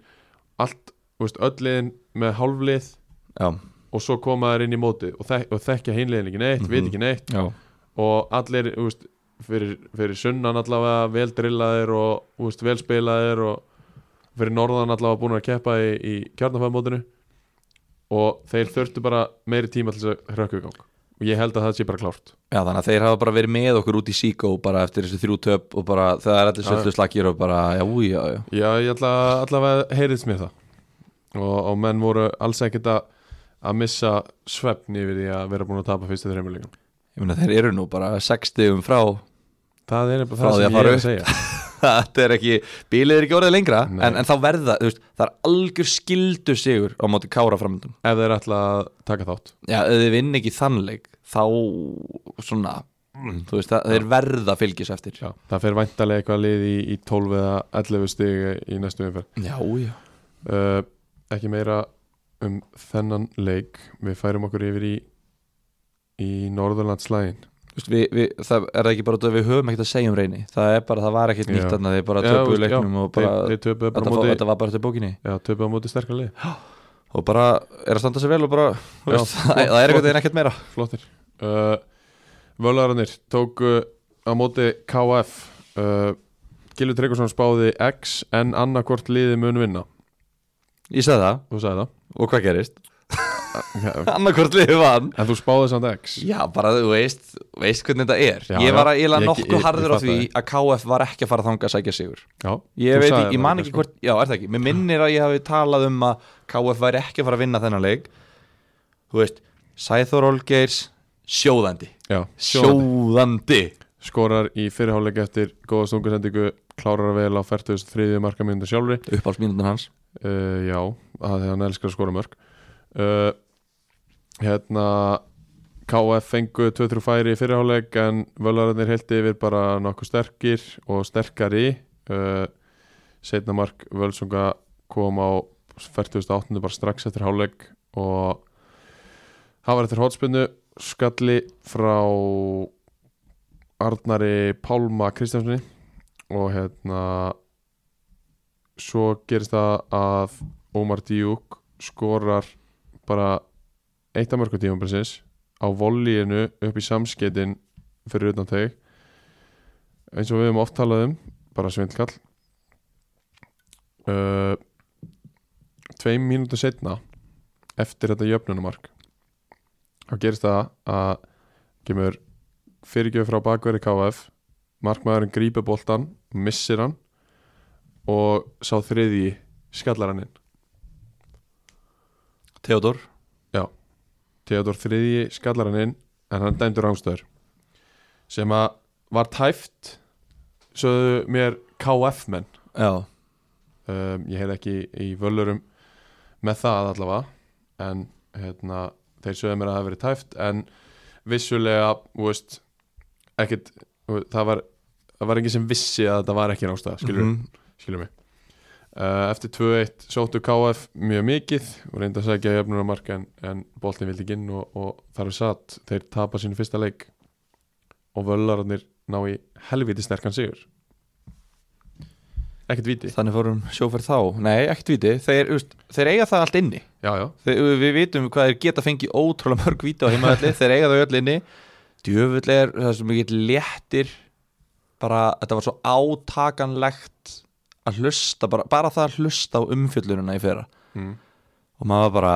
A: allt, þú veist, öll liðin með hálflið
B: já,
A: og svo koma þeir inn í móti og, þek og þekkja hinliðin ekki neitt,
B: Mhm.
A: veit ekki neitt
B: já.
A: og allir, þú veist, fyrir, fyrir sunnan allavega vel drillaðir og þú veist, vel spilaðir og fyrir norðan allavega búin að keppa í, í kjarnafæðamótinu og þeir þurftu bara meiri tíma til þess að hrökku í gang og ég held að það sé bara klárt
B: já, þannig að þeir hafa bara verið með okkur út í síkó bara eftir þessu þrjú töp og bara það er allir
A: Já, já.
B: söldu slakir og bara, já, já, já
A: Já, ég ætla allavega heyriðs mér það og, og menn voru alls ekkert að að missa svefn yfir því að vera búin að tapa fyrstu þreymur líka
B: Ég meina, þeir eru nú bara sex stigum frá
A: Það er bara
B: Frá
A: það
B: því
A: sem
B: að
A: ég er
B: fara
A: að
B: upp.
A: segja
B: Þetta er ekki, bílið er ekki orðið lengra
A: Nei.
B: en, en þá verða, þú veist, það er algjör skildu sigur á móti kára framöndum
A: ef þeir ætla að taka þátt
B: Já, ef þið vinn ekki þannleik þá svona þú veist, það, þeir verða að fylgis eftir
A: Já, það fer væntalega eitthvað lið í, í 12 eða 11 stig í næstu umferð
B: já, já.
A: uh, Ekki meira um þennan leik við færum okkur yfir í í Norðurlandslægin
B: Þú Veist, við, við, það er ekki bara út af að við höfum ekkert að segja um reyni það er bara, það var ekkert nýtt
A: Já.
B: þarna þeir bara
A: Já, þú
B: töpuðu
A: veist, já,
B: leiknum og bara,
A: þeir, þeir töpuðu bara
B: þetta,
A: á
B: móti...
A: móti,
B: þetta var bara til bókinni
A: já, töpuðu á móti sterkar lið
B: og bara er að standa sér vel og bara þú
A: Já,
B: veist,
A: flott,
B: það er
A: flott.
B: ekkert ekkert meira
A: flottir uh, Völararnir tóku á móti KF uh, Gilvi Tryggvason spáði X en annarkvort liði mun vinna
B: ég sagði það,
A: þú sagði
B: og hvað gerist?
A: það
B: annarkvort liðið vann
A: en þú spáði samt X
B: já, bara þú veist, veist hvernig þetta er
A: Já,
B: ég
A: já.
B: var að eiginlega
A: Ég- ég-
B: nokkuð
A: ég
B: harður á
A: fatta
B: því
A: það.
B: að KF var ekki að fara þanga að sækja sigur
A: já,
B: Ég
A: þú
B: veit
A: sagðir
B: ekki, ég
A: það
B: man
A: líka,
B: ekki
A: sko.
B: hvort Já, er það ekki, mér minnir að ég hafi talað um að KF væri ekki að fara að vinna þennan leik Þú veist, Sæþór Olgeirs Sjóðandi
A: já, sjóðandi.
B: Sjóðandi
A: skorar í fyrirháleik eftir góða stungusendingu klárar að vel á 43. markamínundu sjálfri
B: Uppálsmínundin hans
A: uh, já, að því hann elskar að skora mörg uh, hérna KF fengu 2-3 færi í fyrirháleik en völararnir held yfir bara nokkuð sterkir og sterkari uh, setna mark Völsunga kom á 48. bara strax eftir háleik og það var eftir hótspinnu skalli frá Arnari Pálma Kristjánssoni og hérna svo gerist það að Ómar Díuk skorar bara eitt af mörgum tímabilsins á vollíinu upp í samskeitin fyrir utan teg eins og við höfum oft talað um bara svindlkall uh, tveim mínútu setna eftir þetta jöfnunumark þá gerist það að kemur fyrirgjöf frá bakveri KF markmaðurinn grípa boltan missir hann og sá þriðji skallar hann inn
B: Theodor
A: Theodor þriðji skallar hann inn en hann dæmdur rángstöður sem að var tæft sögðu mér KF menn
B: Já,
A: um, ég heyrði ekki í völurum með það allavega en hérna, þeir sögðu mér að það hafi verið tæft en vissulega þú veist, ekkit, það var það var engin sem vissi að þetta var ekki rángstöða skilur,
B: Mhm.
A: skilur mig Uh, eftir 2-1 sóttu KF mjög mikið og reynda að segja jöfnunarmark en, en boltin vildi ekki inn og, og þar er satt þeir tapa sínu fyrsta leik og völlararnir ná í helviti sterkan sigur ekkert viti
B: Þannig fórum sjóferð þá Nei, ekkert viti, þeir, þú veist, þeir eiga það allt inni
A: já já,
B: þeir, Við vitum hvað þeir geta fengið ótrúlega mörg víti á heimavalli Þeir eiga þau öll inni Djöfull er það sem mikill léttir Bara, þetta var svo átakanlegt Að hlusta, bara, bara það að hlusta á umfjöllununa í fyrra
A: mm.
B: Og maður var bara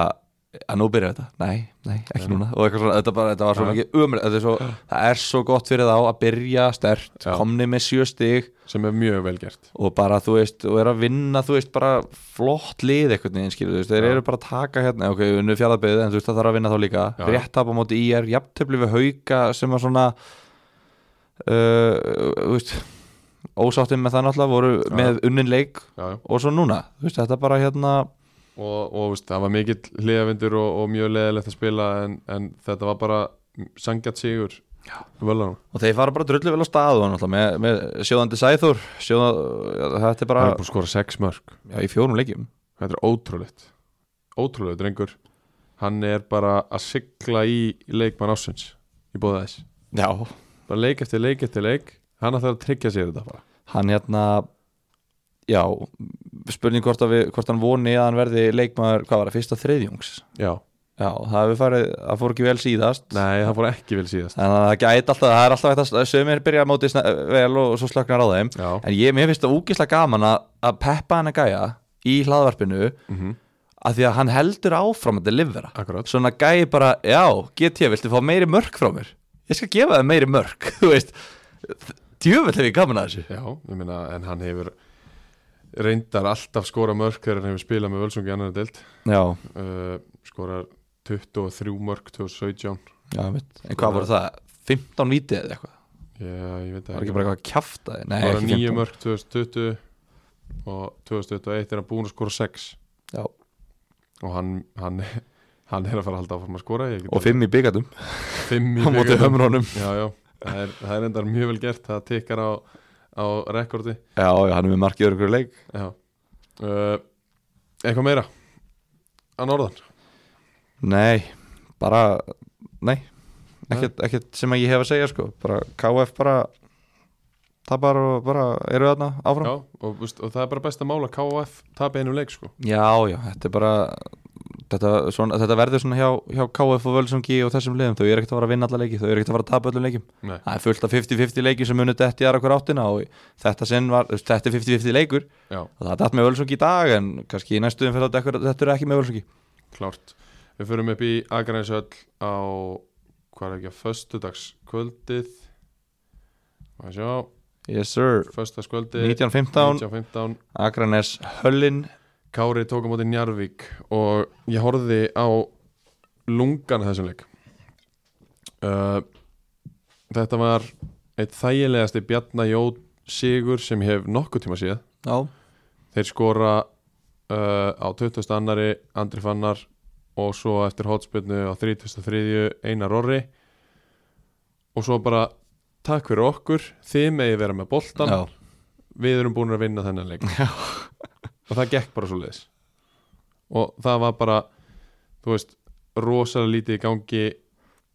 B: að nú byrja þetta, nei, nei, ekki
A: Nei.
B: núna og eitthvað svona, þetta, bara, þetta var svo
A: Já.
B: mikið umrið þetta er svo, það er svo gott fyrir þá að byrja stert,
A: Já.
B: komni með sjö stig
A: sem er mjög vel gert
B: og bara þú veist, og er að vinna þú veist, bara flott lið eitthvað neginn skilur, þú veist, þeir
A: Já.
B: eru bara að taka hérna ok, við unnu fjallabeyð, en þú veist, það þarf að vinna þá líka
A: Já.
B: rétt tap á móti IR, jafntöfli við hauka sem var svona uh, þú veist ósáttum með það náttúrulega, voru
A: Já.
B: með unnin leik
A: já, já.
B: og svo núna, þú veist, þetta bara hérna
A: og, og veist, það var mikill hliðavindur og, og mjög leðilegt að spila en, en þetta var bara sangjart sigur völlararnir
B: og þeir fara bara drullu vel á stað og náttúrulega með, með sjóðandi sæþór sjóða, já, þetta er
A: það
B: bara
A: er búin að skora 6 mörg
B: já, í fjórum leikjum
A: Þetta er ótrúlegt Ótrúlegt drengur Hann er bara að sigla í leikmann ásins Í bóða þess
B: já,
A: Bara leik eftir leik eftir leik Hann ætlar að tryggja sér þetta bara
B: hann hérna já, spurning hvort, að við, hvort hann voni að hann verði leikmaður, hvað var það, fyrsta þriðjungs
A: Já,
B: já, það hefur farið, það fór ekki vel síðast
A: nei, það fór ekki vel síðast
B: þannig að það gæti alltaf, það er alltaf hægt að sömur byrja að móti sna- vel og svo slöknar á þeim
A: Já,
B: en ég, mér finnst það úkislega gaman að, að peppa hann að gæja í hlaðvarpinu
A: mm
B: að því að hann heldur áfram að delivera
A: akkurat
B: svona gæi bara, já, get ég, viltu fá meiri mörk frá mér? Ég skal gefa það meiri mörk, þú veist djöfell hef ég gaman að þessu
A: Já, ég meina, en hann hefur Reyndar alltaf skora mörg Þegar hann hefur spilað með völsungi annar deild
B: já,
A: uh, Skorar 23 mörg 2017
B: já, mitt en hvað voru það, 15 vítið eða eitthvað
A: Já, ég veit það
B: var ekki bara eitthvað að kjafta þið, nei,
A: Bara
B: ekki
A: 9
B: 15
A: mörg 2020 Og 2021 er hann búin að skora 6
B: já,
A: og hann, hann, hann er að fara að halda áfram að skora ég get
B: og 5 í byggandum,
A: alveg- fimm í
B: á móti
A: bikarnum.
B: hömrónum
A: já, já, það er, það er endar mjög vel gert það tikkar á, á rekordi
B: já, já, hann er með markið örgur leik
A: já. Uh, eitthvað meira að norðan
B: nei, bara, nei ekkert, ekkert sem að ég hef að segja sko, bara KF bara tapar og bara eru þarna áfram
A: já, og, veist, og það er bara best að mála KF tapa einum leik sko
B: Já, já, þetta er bara þetta, svona, þetta verður svona hjá, hjá KF og Völsungi og þessum liðum, þau eru ekkert að fara að vinna alla leiki, þau eru ekkert að fara að tapa öllum leikim
A: Nei.
B: það er fullt af 50-50 leiki sem munið detti aðra hver áttina og í þetta sinn var, þú veist, þetta er 50-50 leikur
A: já,
B: og það datt með Völsungi í dag en kannski í næstuðum fyrir þetta eitthvað- þetta er ekki með Völsungi
A: klárt við förum upp í Akranesöll á hvað er ekki að föstudagskvöldið að sjá,
B: Yes sir,
A: föstudagskvöldið
B: 1915,
A: 19.15
B: Akranes Höllin
A: Kári tók á móti Njarvík og ég horfði á lungan af þessum leik uh, Þetta var eitt þægilegasti Bjarnajóð sigur sem ég hef nokkuð tíma séð
B: Já,
A: Þeir skora uh, á 20. annari Andri Fannar og svo eftir hotspilnu á 33. Einar Orri og svo bara takk fyrir okkur þið megi vera með boltan
B: já,
A: við erum búin að vinna þennan leik og það gekk bara svo leiðis og það var bara þú veist, rosalega lítið í gangi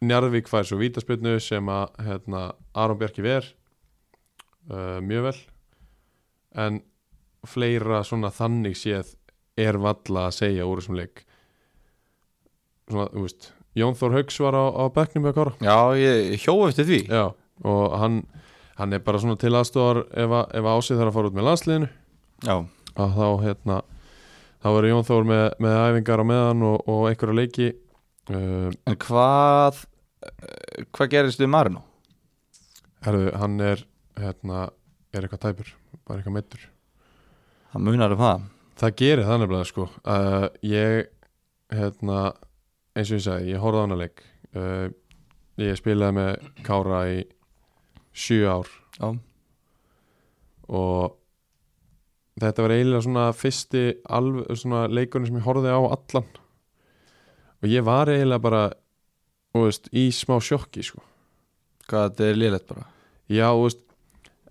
A: Njarðvík fær svo vítaspilnu sem að hérna, Aron Bjarki ver uh, mjög vel en fleira svona þannig séð er valla að segja úr þessum leik svona, þú veist Jón Þór Hauks var á, á bekknum hjá Kára
B: já ég, ég hjóa eftir því
A: Já, og hann, hann er bara svona til aðstofar ef, að, ef að ásið þarf að fara út með landsliðinu
B: Já,
A: að þá hérna þá verður Jón Þór með, með æfingar á meðan og, og einhverja leiki uh,
B: en hvað eh, hvað gerist við Marino?
A: herðu, hann er hérna, er eitthvað tæpur bara eitthvað meittur
B: Það munar um það
A: það gerir það nefnilega sko uh, ég, hérna eins og ég sagði, ég horfði á hana leik uh, ég spilaði með Kára í sjö ár
B: Já,
A: og þetta var eiginlega svona fyrsti alv, svona leikurinn sem ég horfði á allan og ég var eiginlega bara þú veist, í smá sjokki sko.
B: hvað þetta er lélegt bara
A: já, þú veist,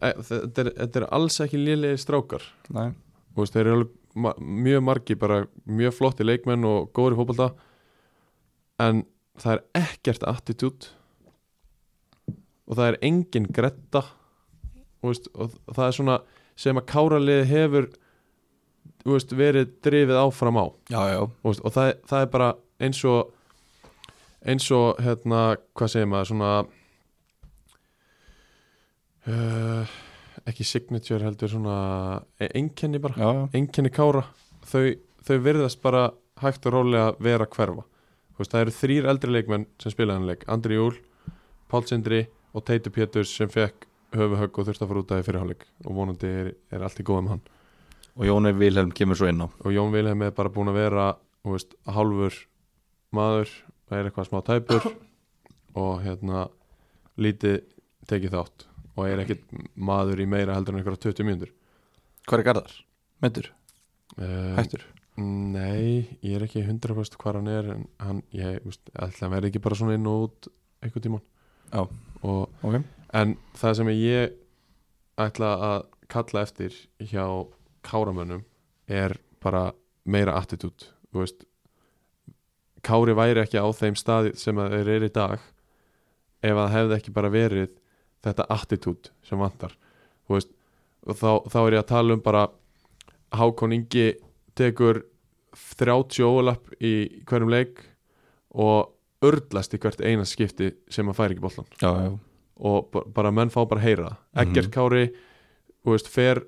A: e- þetta er, þetta er alls ekki lélegir strákar
B: Nei
A: Þú veist, þeir eru alveg ma mjög margi bara mjög flotti leikmenn og góður í fótbolta en það er ekkert attitút og það er engin gretta og, veist, og það er svona sem að káralið hefur þú veist, verið drifið áfram á
B: já, já,
A: Þú veist, og það, það er bara eins og eins og hérna, hvað segir maður svona uh, ekki signature heldur svona e-, einkenni bara,
B: já, já.
A: einkenni kára þau, þau virðast bara hægt og rólega vera að hverfa Þú veist, það eru þrýr eldri leikmenn sem spila hann leik Andri Júl, Pál Sindri og Teitur Péturs sem fekk höfuhögg og þurfti að fara út af því fyrirháleik og vonandi er, er allt í góð um hann
B: og Jóni Vilhelm kemur svo inn á
A: og Jón Vilhelm er bara búin að vera þú veist, hálfur maður og er eitthvað smá tæpur og hérna lítið tekið þátt og er ekkit maður í meira heldur en einhverja 20 mínútur
B: Hvar er Garðar? Myndur?
A: um,
B: Hættur?
A: Nei, ég er ekki 100% hvar hann er en hann, ég, þú veist, ætla hann verði ekki bara svona inn og út einhvern tímann
B: Já.
A: og
B: Ok
A: En það sem ég ætla að kalla eftir hjá káramönnum er bara meira attitút veist, Kári væri ekki á þeim staði sem að þeir eru í dag ef að það hefði ekki bara verið þetta attitút sem vantar Þú veist, og þá, þá er ég að tala um bara Hákon Ingi tekur 30 ólapp í hverjum leik og urðlast í hvert eina skipti sem að færi ekki bollan
B: Já, já,
A: og ba- bara menn fá bara að heyra það Eggert
B: Mhm.
A: Kári, þú veist, fer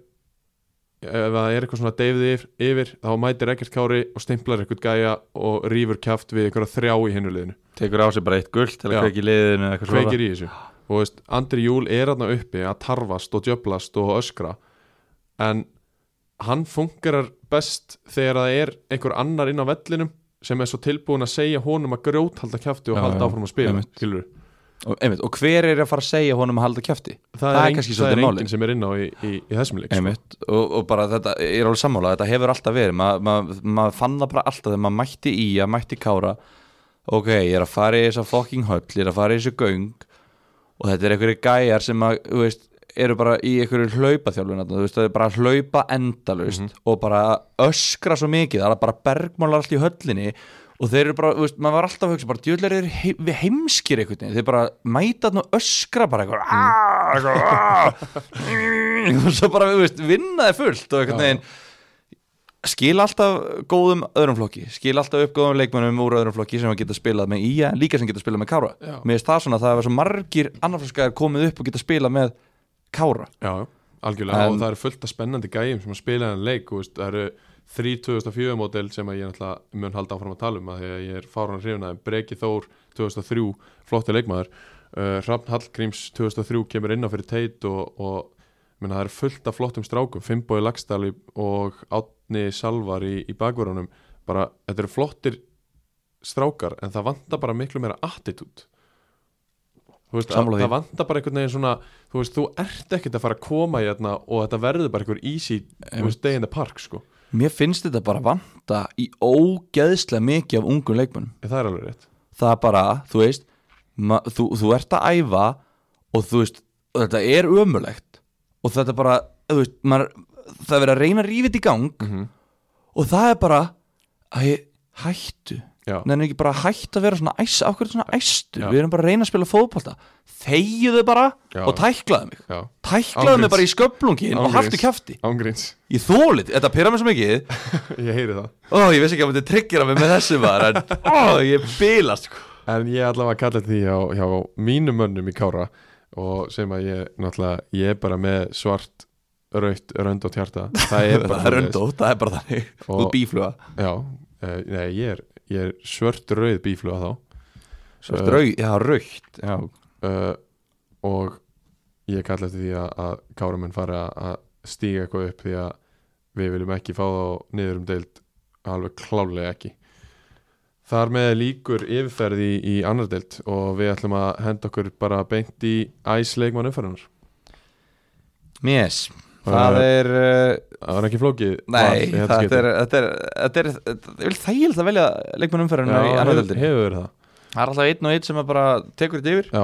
A: ef það er eitthvað svona deyfið yfir, yfir þá mætir Eggert Kári og stimplar eitthvað gæja og rýfur kjaft við eitthvað þrjá í hinu liðinu,
B: tekur á sig bara eitt guld til að
A: Já.
B: kveiki í liðinu eða eitthvað
A: kveikir í þessu og þú veist, Andri Júl er aðna uppi að tarfast og djöblast og öskra en hann fungerar best þegar það er einhver annar inn á vellinum sem er svo tilbúin að segja honum að grjót halda kjafti og
B: Já,
A: halda
B: já,
A: áfram að spila,
B: einmitt.
A: skilur
B: Og, einmitt, og hver er að fara að segja honum að halda kjæfti?
A: það,
B: er
A: er, ein, það er
B: kannski svolítið
A: enginn
B: málið.
A: sem er inn á í, í, í þessum leik sko.
B: Einmitt, og, og bara þetta, ég er alveg sammála þetta hefur alltaf verið, Ma- maður ma, ma fann það bara alltaf þegar maður mætti í að mætti kára ok, ég er að fara í þessa fucking höll, ég er að fara í þessu göng og þetta er einhverju gæjar sem að, þú veist, eru bara í einhverju hlaupaþjálfun, þarna, þú veist, það er bara að hlaupa endalaust og bara öskra svo mikið, það er bara bergmálar allt í höllinni og þeir eru bara, þú veist, maður var alltaf að hugsa bara, djöðlega eru he við heimskir einhvern veginn, þeir bara mæta þarna og öskra bara eitthvað, "Ah", aaaah, eitthvað, aaaah og svo bara, þú veist, vinnaði fullt og einhvern
A: Já, já.
B: veginn skil alltaf góðum öðrum flokki skil alltaf upp góðum leikmönnum úr öðrum flokki sem að geta spilað með IA, líka sem geta spilað með Kára
A: Já.
B: mér finnst það svona að það var svo margir annarflokkaðar komið upp og geta spilað með Kára
A: Já, já, algjörlega
B: En-
A: og það eru fullt af spennandi gæjum sem að spila hann leik þú veist, það eru 3-2004 módel sem að ég náttúrulega mun halda áfram að tala um að því að ég er fáran hrifnaði Breki Þór 2003, flotti leikmaður uh, Hrafn Hallgríms 2003 kemur inn á fyrir teit og, og menna, það eru fullt af flottum strákum Fimboi Lagstali og Átni Salvar í, í bakvörunum bara, þetta eru flottir strákar en það vantar bara miklu meira attitút þú veist, að,
B: Sammála því.
A: það vantar bara einhvern veginn svona þú veist, þú ert ekkert að fara að koma hérna og þetta verður bara einhver easy þú veist, day in the park, sko
B: mér finnst þetta bara vanta í ógeðslega mikið af ungum leikmönnum
A: en það er alveg rétt
B: það er bara, þú veist ma, þú, þú ert að æfa og þú veist, þetta er ömulegt og þetta bara, þú veist maður, það er verið að reyna að rífið í gang
A: -hmm.
B: og það er bara að ég hættu
A: Já.
B: nefnir ekki bara að hættu að vera svona æs, af hverju ertu svona æstu,
A: Já.
B: við erum bara að reyna að spila fótbolta þegiðu bara
A: Já.
B: og tæklaðu mig
A: Já,
B: tæklaðu
A: Ángríns.
B: mig bara í sköflungin og
A: Ángríns.
B: haltu kjafti
A: ángríns,
B: ég þólit, þetta pyrra mig svo mikið
A: ég heyri það
B: ó, ég veist ekki að þetta tryggjara mig með þessu var en ó, ég bilast
A: En ég allavega kalla því hjá, hjá mínum mönnum í Kára og sem að ég, náttúrulega, ég er bara með svart, raut, rönd og tjarta Það er bara
B: það er
A: svoleiðis.
B: undótt, það er bara þannig
A: Og-
B: þú ert bífluga,
A: Já, uh, nei, ég er, ég er svört rauð bífluga þá Eh.
B: svo er rauð, já, raukt já,
A: uh, og ég kalla eftir því að, að káramenn fara að stíga eitthvað upp því að við viljum ekki fá þá niður um deild alveg klálega ekki Þar með líkur yfirferði í, í annar deild og við ætlum að henda okkur bara beint í æsleikmann umferðunar
B: mjess það
A: Eh,
B: er uh,
A: Það var ekki flókið val
B: Nei,
A: í þetta
B: þetta
A: skipti.
B: er, þetta er, þetta er, þetta er, er þægilegt að velja leikmenn
A: Já,
B: umferðinu í
A: hefur,
B: annar
A: hefur
B: dildinni
A: verið það
B: Það er alltaf einn og einn sem er bara tekur þetta yfir
A: Já,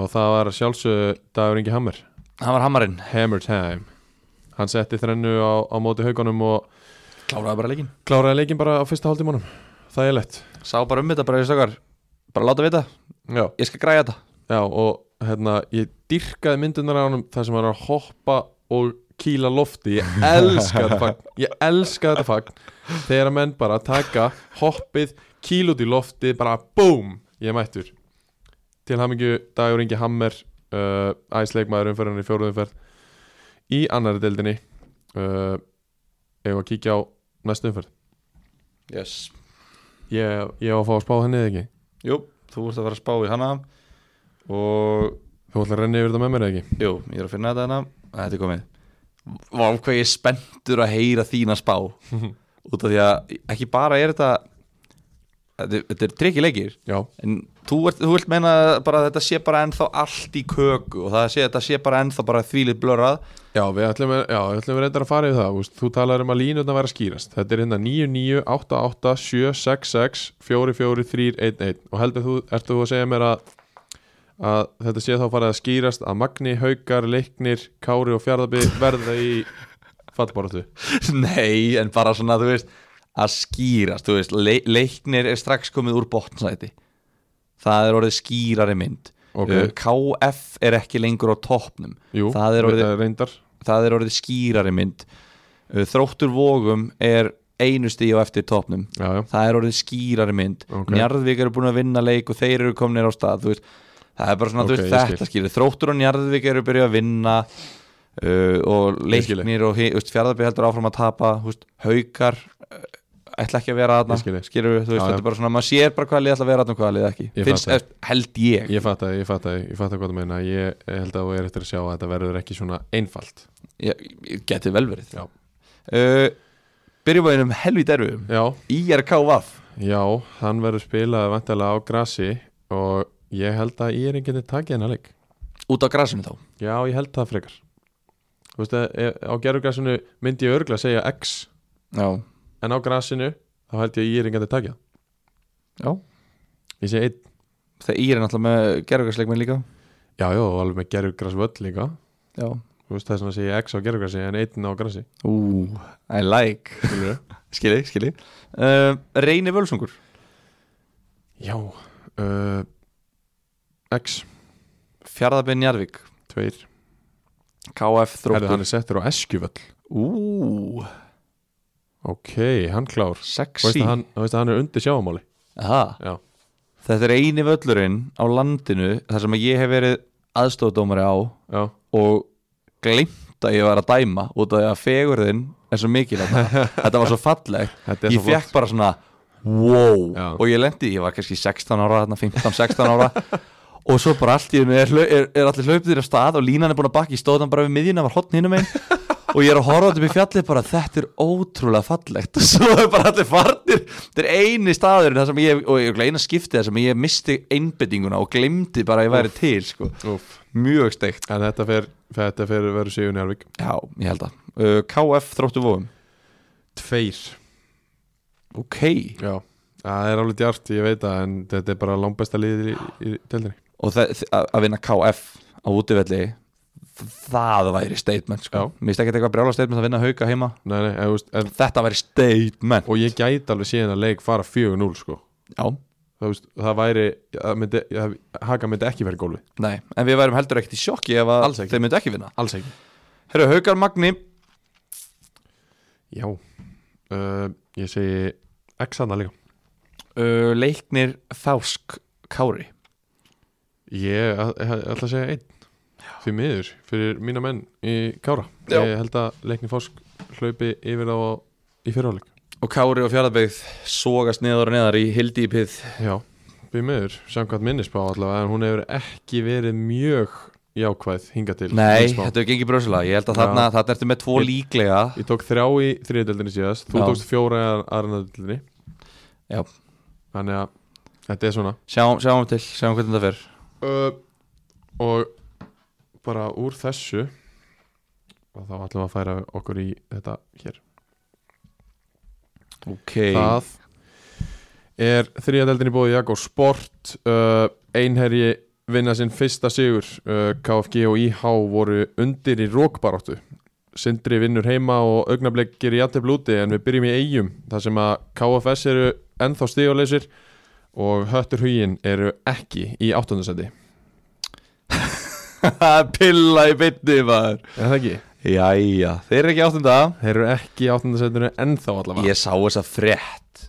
A: og það var sjálfsög Dagur Ingi Hammer
B: Hann var hamarinn
A: Hammer time Hann setti þrennu á, á móti haugunum og
B: Kláraði bara leikin
A: Kláraði leikin bara á fyrsta hálftímanum Það er lett
B: Sá bara um þetta bara í stakar Bara láta vita,
A: Já,
B: ég skal græja þetta
A: já og hérna ég dyrkaði myndunar á hann þar sem hann er að hoppa og kýla lofti Ég elska þetta fagn Ég elska þetta fagn Þegar að menn bara taka hoppið kýl út í lofti bara búm Ég er mættur Til hamingju Dagur Ingi Hammer uh, Æsleikmaður umferðan í fjóruðumferð Í annari deildinni uh, Ef að kíkja á næstu umferð
B: Yes
A: Ég, ég á að fá að spá henni eða ekki
B: Jú, þú ert að fara að spá í hana Og,
A: Þú ætlar að renna yfir þetta með mér eða ekki
B: jú, ég er að finna þetta hana Þetta er komið Vá, hvað ég er spenntur að heyra þína spá Út af því að ekki bara er þetta Þetta er, þetta er tryggi leikir
A: Já,
B: En þú, ert, þú vilt meina bara að þetta sé bara ennþá allt í köku og það sé, þetta sé bara ennþá bara þvílið blörrað
A: já við ætlum, já, við ætlum reyndar að fara yfir það úst. Þú talar um að línutna vera skýrast Þetta er hérna 99, 88, 7, 6, 6 4, 4, 3, 1, 1 Og heldur þú, ertu þú að segja mér að að þetta sé þá farið að skýrast að Magni, Haukar, Leiknir, Kári og Fjardaby verða í fallborðu
B: Nei, en bara svona, þú veist að skýrast, þú veist, le leiknir er strax komið úr botnsæti það er orðið skýrari mynd
A: Ok.
B: Uh, KF er ekki lengur á toppnum
A: Eh, Jú,
B: það er orðið,
A: þetta reyndar
B: það er orðið skýrari mynd uh, þróttur vogum er einu stíð á eftir toppnum
A: Já, já,
B: það er orðið skýrari mynd
A: Ok.
B: Njarðvík eru búin að vinna leik og þeir eru komnir á stað þú veist, það er bara svona,
A: Ok,
B: þú veist,
A: ég skil.
B: þetta skýrur þróttur og Njarðvík eru byrjuð að vinna uh, og
A: Ég skil.
B: leiknir og hi- þú veist, fjárðabbi heldur áfram að tapa þú veist, haukar uh, ætla ekki að vera aðna
A: Ég skil þig.
B: skýrur við, þú
A: Já,
B: veist,
A: já.
B: þetta er bara svona maður sér bara hvaða lið ætla að vera aðna og hvaða lið ekki
A: Ég
B: Finnst,
A: fatta.
B: eh, held ég,
A: ég fatt að, ég fatt að, ég fatt að hvað þú meina Ég held að þú er eftir að sjá að þetta verður ekki svona einfalt
B: ég, ég geti vel verið
A: Já.
B: uh, byrjum við um helvít erfum
A: Já,
B: IRKVF
A: Já, hann verður spilað vantilega á grasi og ég held að ég er einhvern veginn takið hennar leik
B: út á grasinu þá
A: Já, ég held það frekar Þú veist að eh, á gerðugrasinu myndi ég örgla að segja X
B: já,
A: en á grasinu þá held ég að ég er einhvern veginn takið
B: já.
A: Ég segi einn,
B: þegar IR er náttúrulega með gerðugarsleikminn líka
A: já, já, og alveg með gerðugras völl líka
B: já
A: Þú veist það er svona að segja X á gerðugrasi en einn á grasi
B: Ú, I like
A: skilurðu?
B: Skilji, skilji uh, Reyni Völsungur
A: Já uh, X,
B: Fjarðabinn Jarvik
A: tveir
B: KF
A: Herðu,
B: Þróttur
A: hann er settur á eskjuvöll
B: Ú,
A: Ok, hann klár Þú veist
B: sexy
A: að hann, þú veist að hann er undir sjáamáli
B: Aha.
A: Já,
B: Þetta er eini völlurinn á landinu þar sem ég hef verið aðstofdómari á
A: já
B: og glimt að ég var að dæma út af því að fegurðin er svo mikil þarna. Þetta var svo fallegt
A: Þetta er
B: Ég
A: svo flott.
B: fekk bara svona wow
A: Já.
B: og ég lendi, ég var kannski 16 ára þarna, 15-16 ára og svo bara allt í hennu er, hlau- er, er allir hlaupið þér af stað og línan er búin að bakki stóðan bara við miðjuna var hotn hinum einn og ég er að horfa út upp í fjallið bara þetta er ótrúlega fallegt og svo er bara allir farnir þetta er eini staður sem ég, og ég er eina skiptið þar sem ég misti einbendinguna og glemdi bara að ég væri til sko.
A: Úf.
B: mjög steikt
A: En þetta fer, þetta fer verður Sigur Njárvík
B: Já, ég held að uh, KF þróttu vóum
A: Tveir
B: Ok
A: Já, það er alveg djart, ég veit það En þetta er bara langbesta liðið í, í tildinni
B: Og það- þ- að að vinna KF á útivelli þ- Það væri statement sko
A: Já.
B: Mér finnst ekki eitthvað brjála statement að vinna hauka heima
A: Nei, nei, en, þú veist, en,
B: Þetta væri statement
A: Og ég gæti alveg síðan að leik fara 4-0 sko.
B: Já,
A: það, veist, það væri það myndi, það, Haka myndi ekki verið gólfi
B: nei En við værum heldur ekkert í sjokki ef að
A: Alls ekki.
B: þeir myndu ekki vinna
A: Alls ekki
B: Herru, haukar Magni
A: Já, uh, ég segi X hana líka
B: uh, Leiknir Fásk Kári
A: Ég æ- æ- ætla að segja einn Því miður, fyrir mína menn í Kára
B: Já.
A: Ég held að leikni fórsk hlaupi yfir á í fyrirháleik
B: Og Kári og Fjardabyggð sogast neðar og neðar í hildýpið
A: Já, því miður, samkvæmt minnisbá allavega en hún hefur ekki verið mjög jákvæð hinga til
B: Nei,
A: minnisspá.
B: þetta er gengið brjósulega Ég held að
A: Já.
B: þarna, þarna ertu með tvo
A: Ég-
B: líklega
A: Ég tók þrjá í þriðdeldinni síðast, þú
B: Já.
A: tókst fjóra í aðranadildinni
B: Já.
A: Þannig að þetta er svona
B: Sjáum, sjáum til, sjáum hvernig þetta fer
A: uh, Og bara úr þessu og þá ætlum við að færa okkur í þetta hér
B: Ok
A: Það er þriðadeldin í bóði Jakko Sport uh, Einherji vinna sinn fyrsta sigur uh, KFG og IH voru undir í rókbaráttu Sindri vinnur heima og augnablik gerir játefl úti en við byrjum í eigum þar sem að KFS eru ennþá stíguleysir og höttur hugin eru ekki í áttundasendi
B: Pilla í bytni maður
A: Er það ekki?
B: Jæja, þeir eru ekki áttunda
A: Þeir eru ekki í áttundasendinu ennþá allavega
B: Ég sá þessa frétt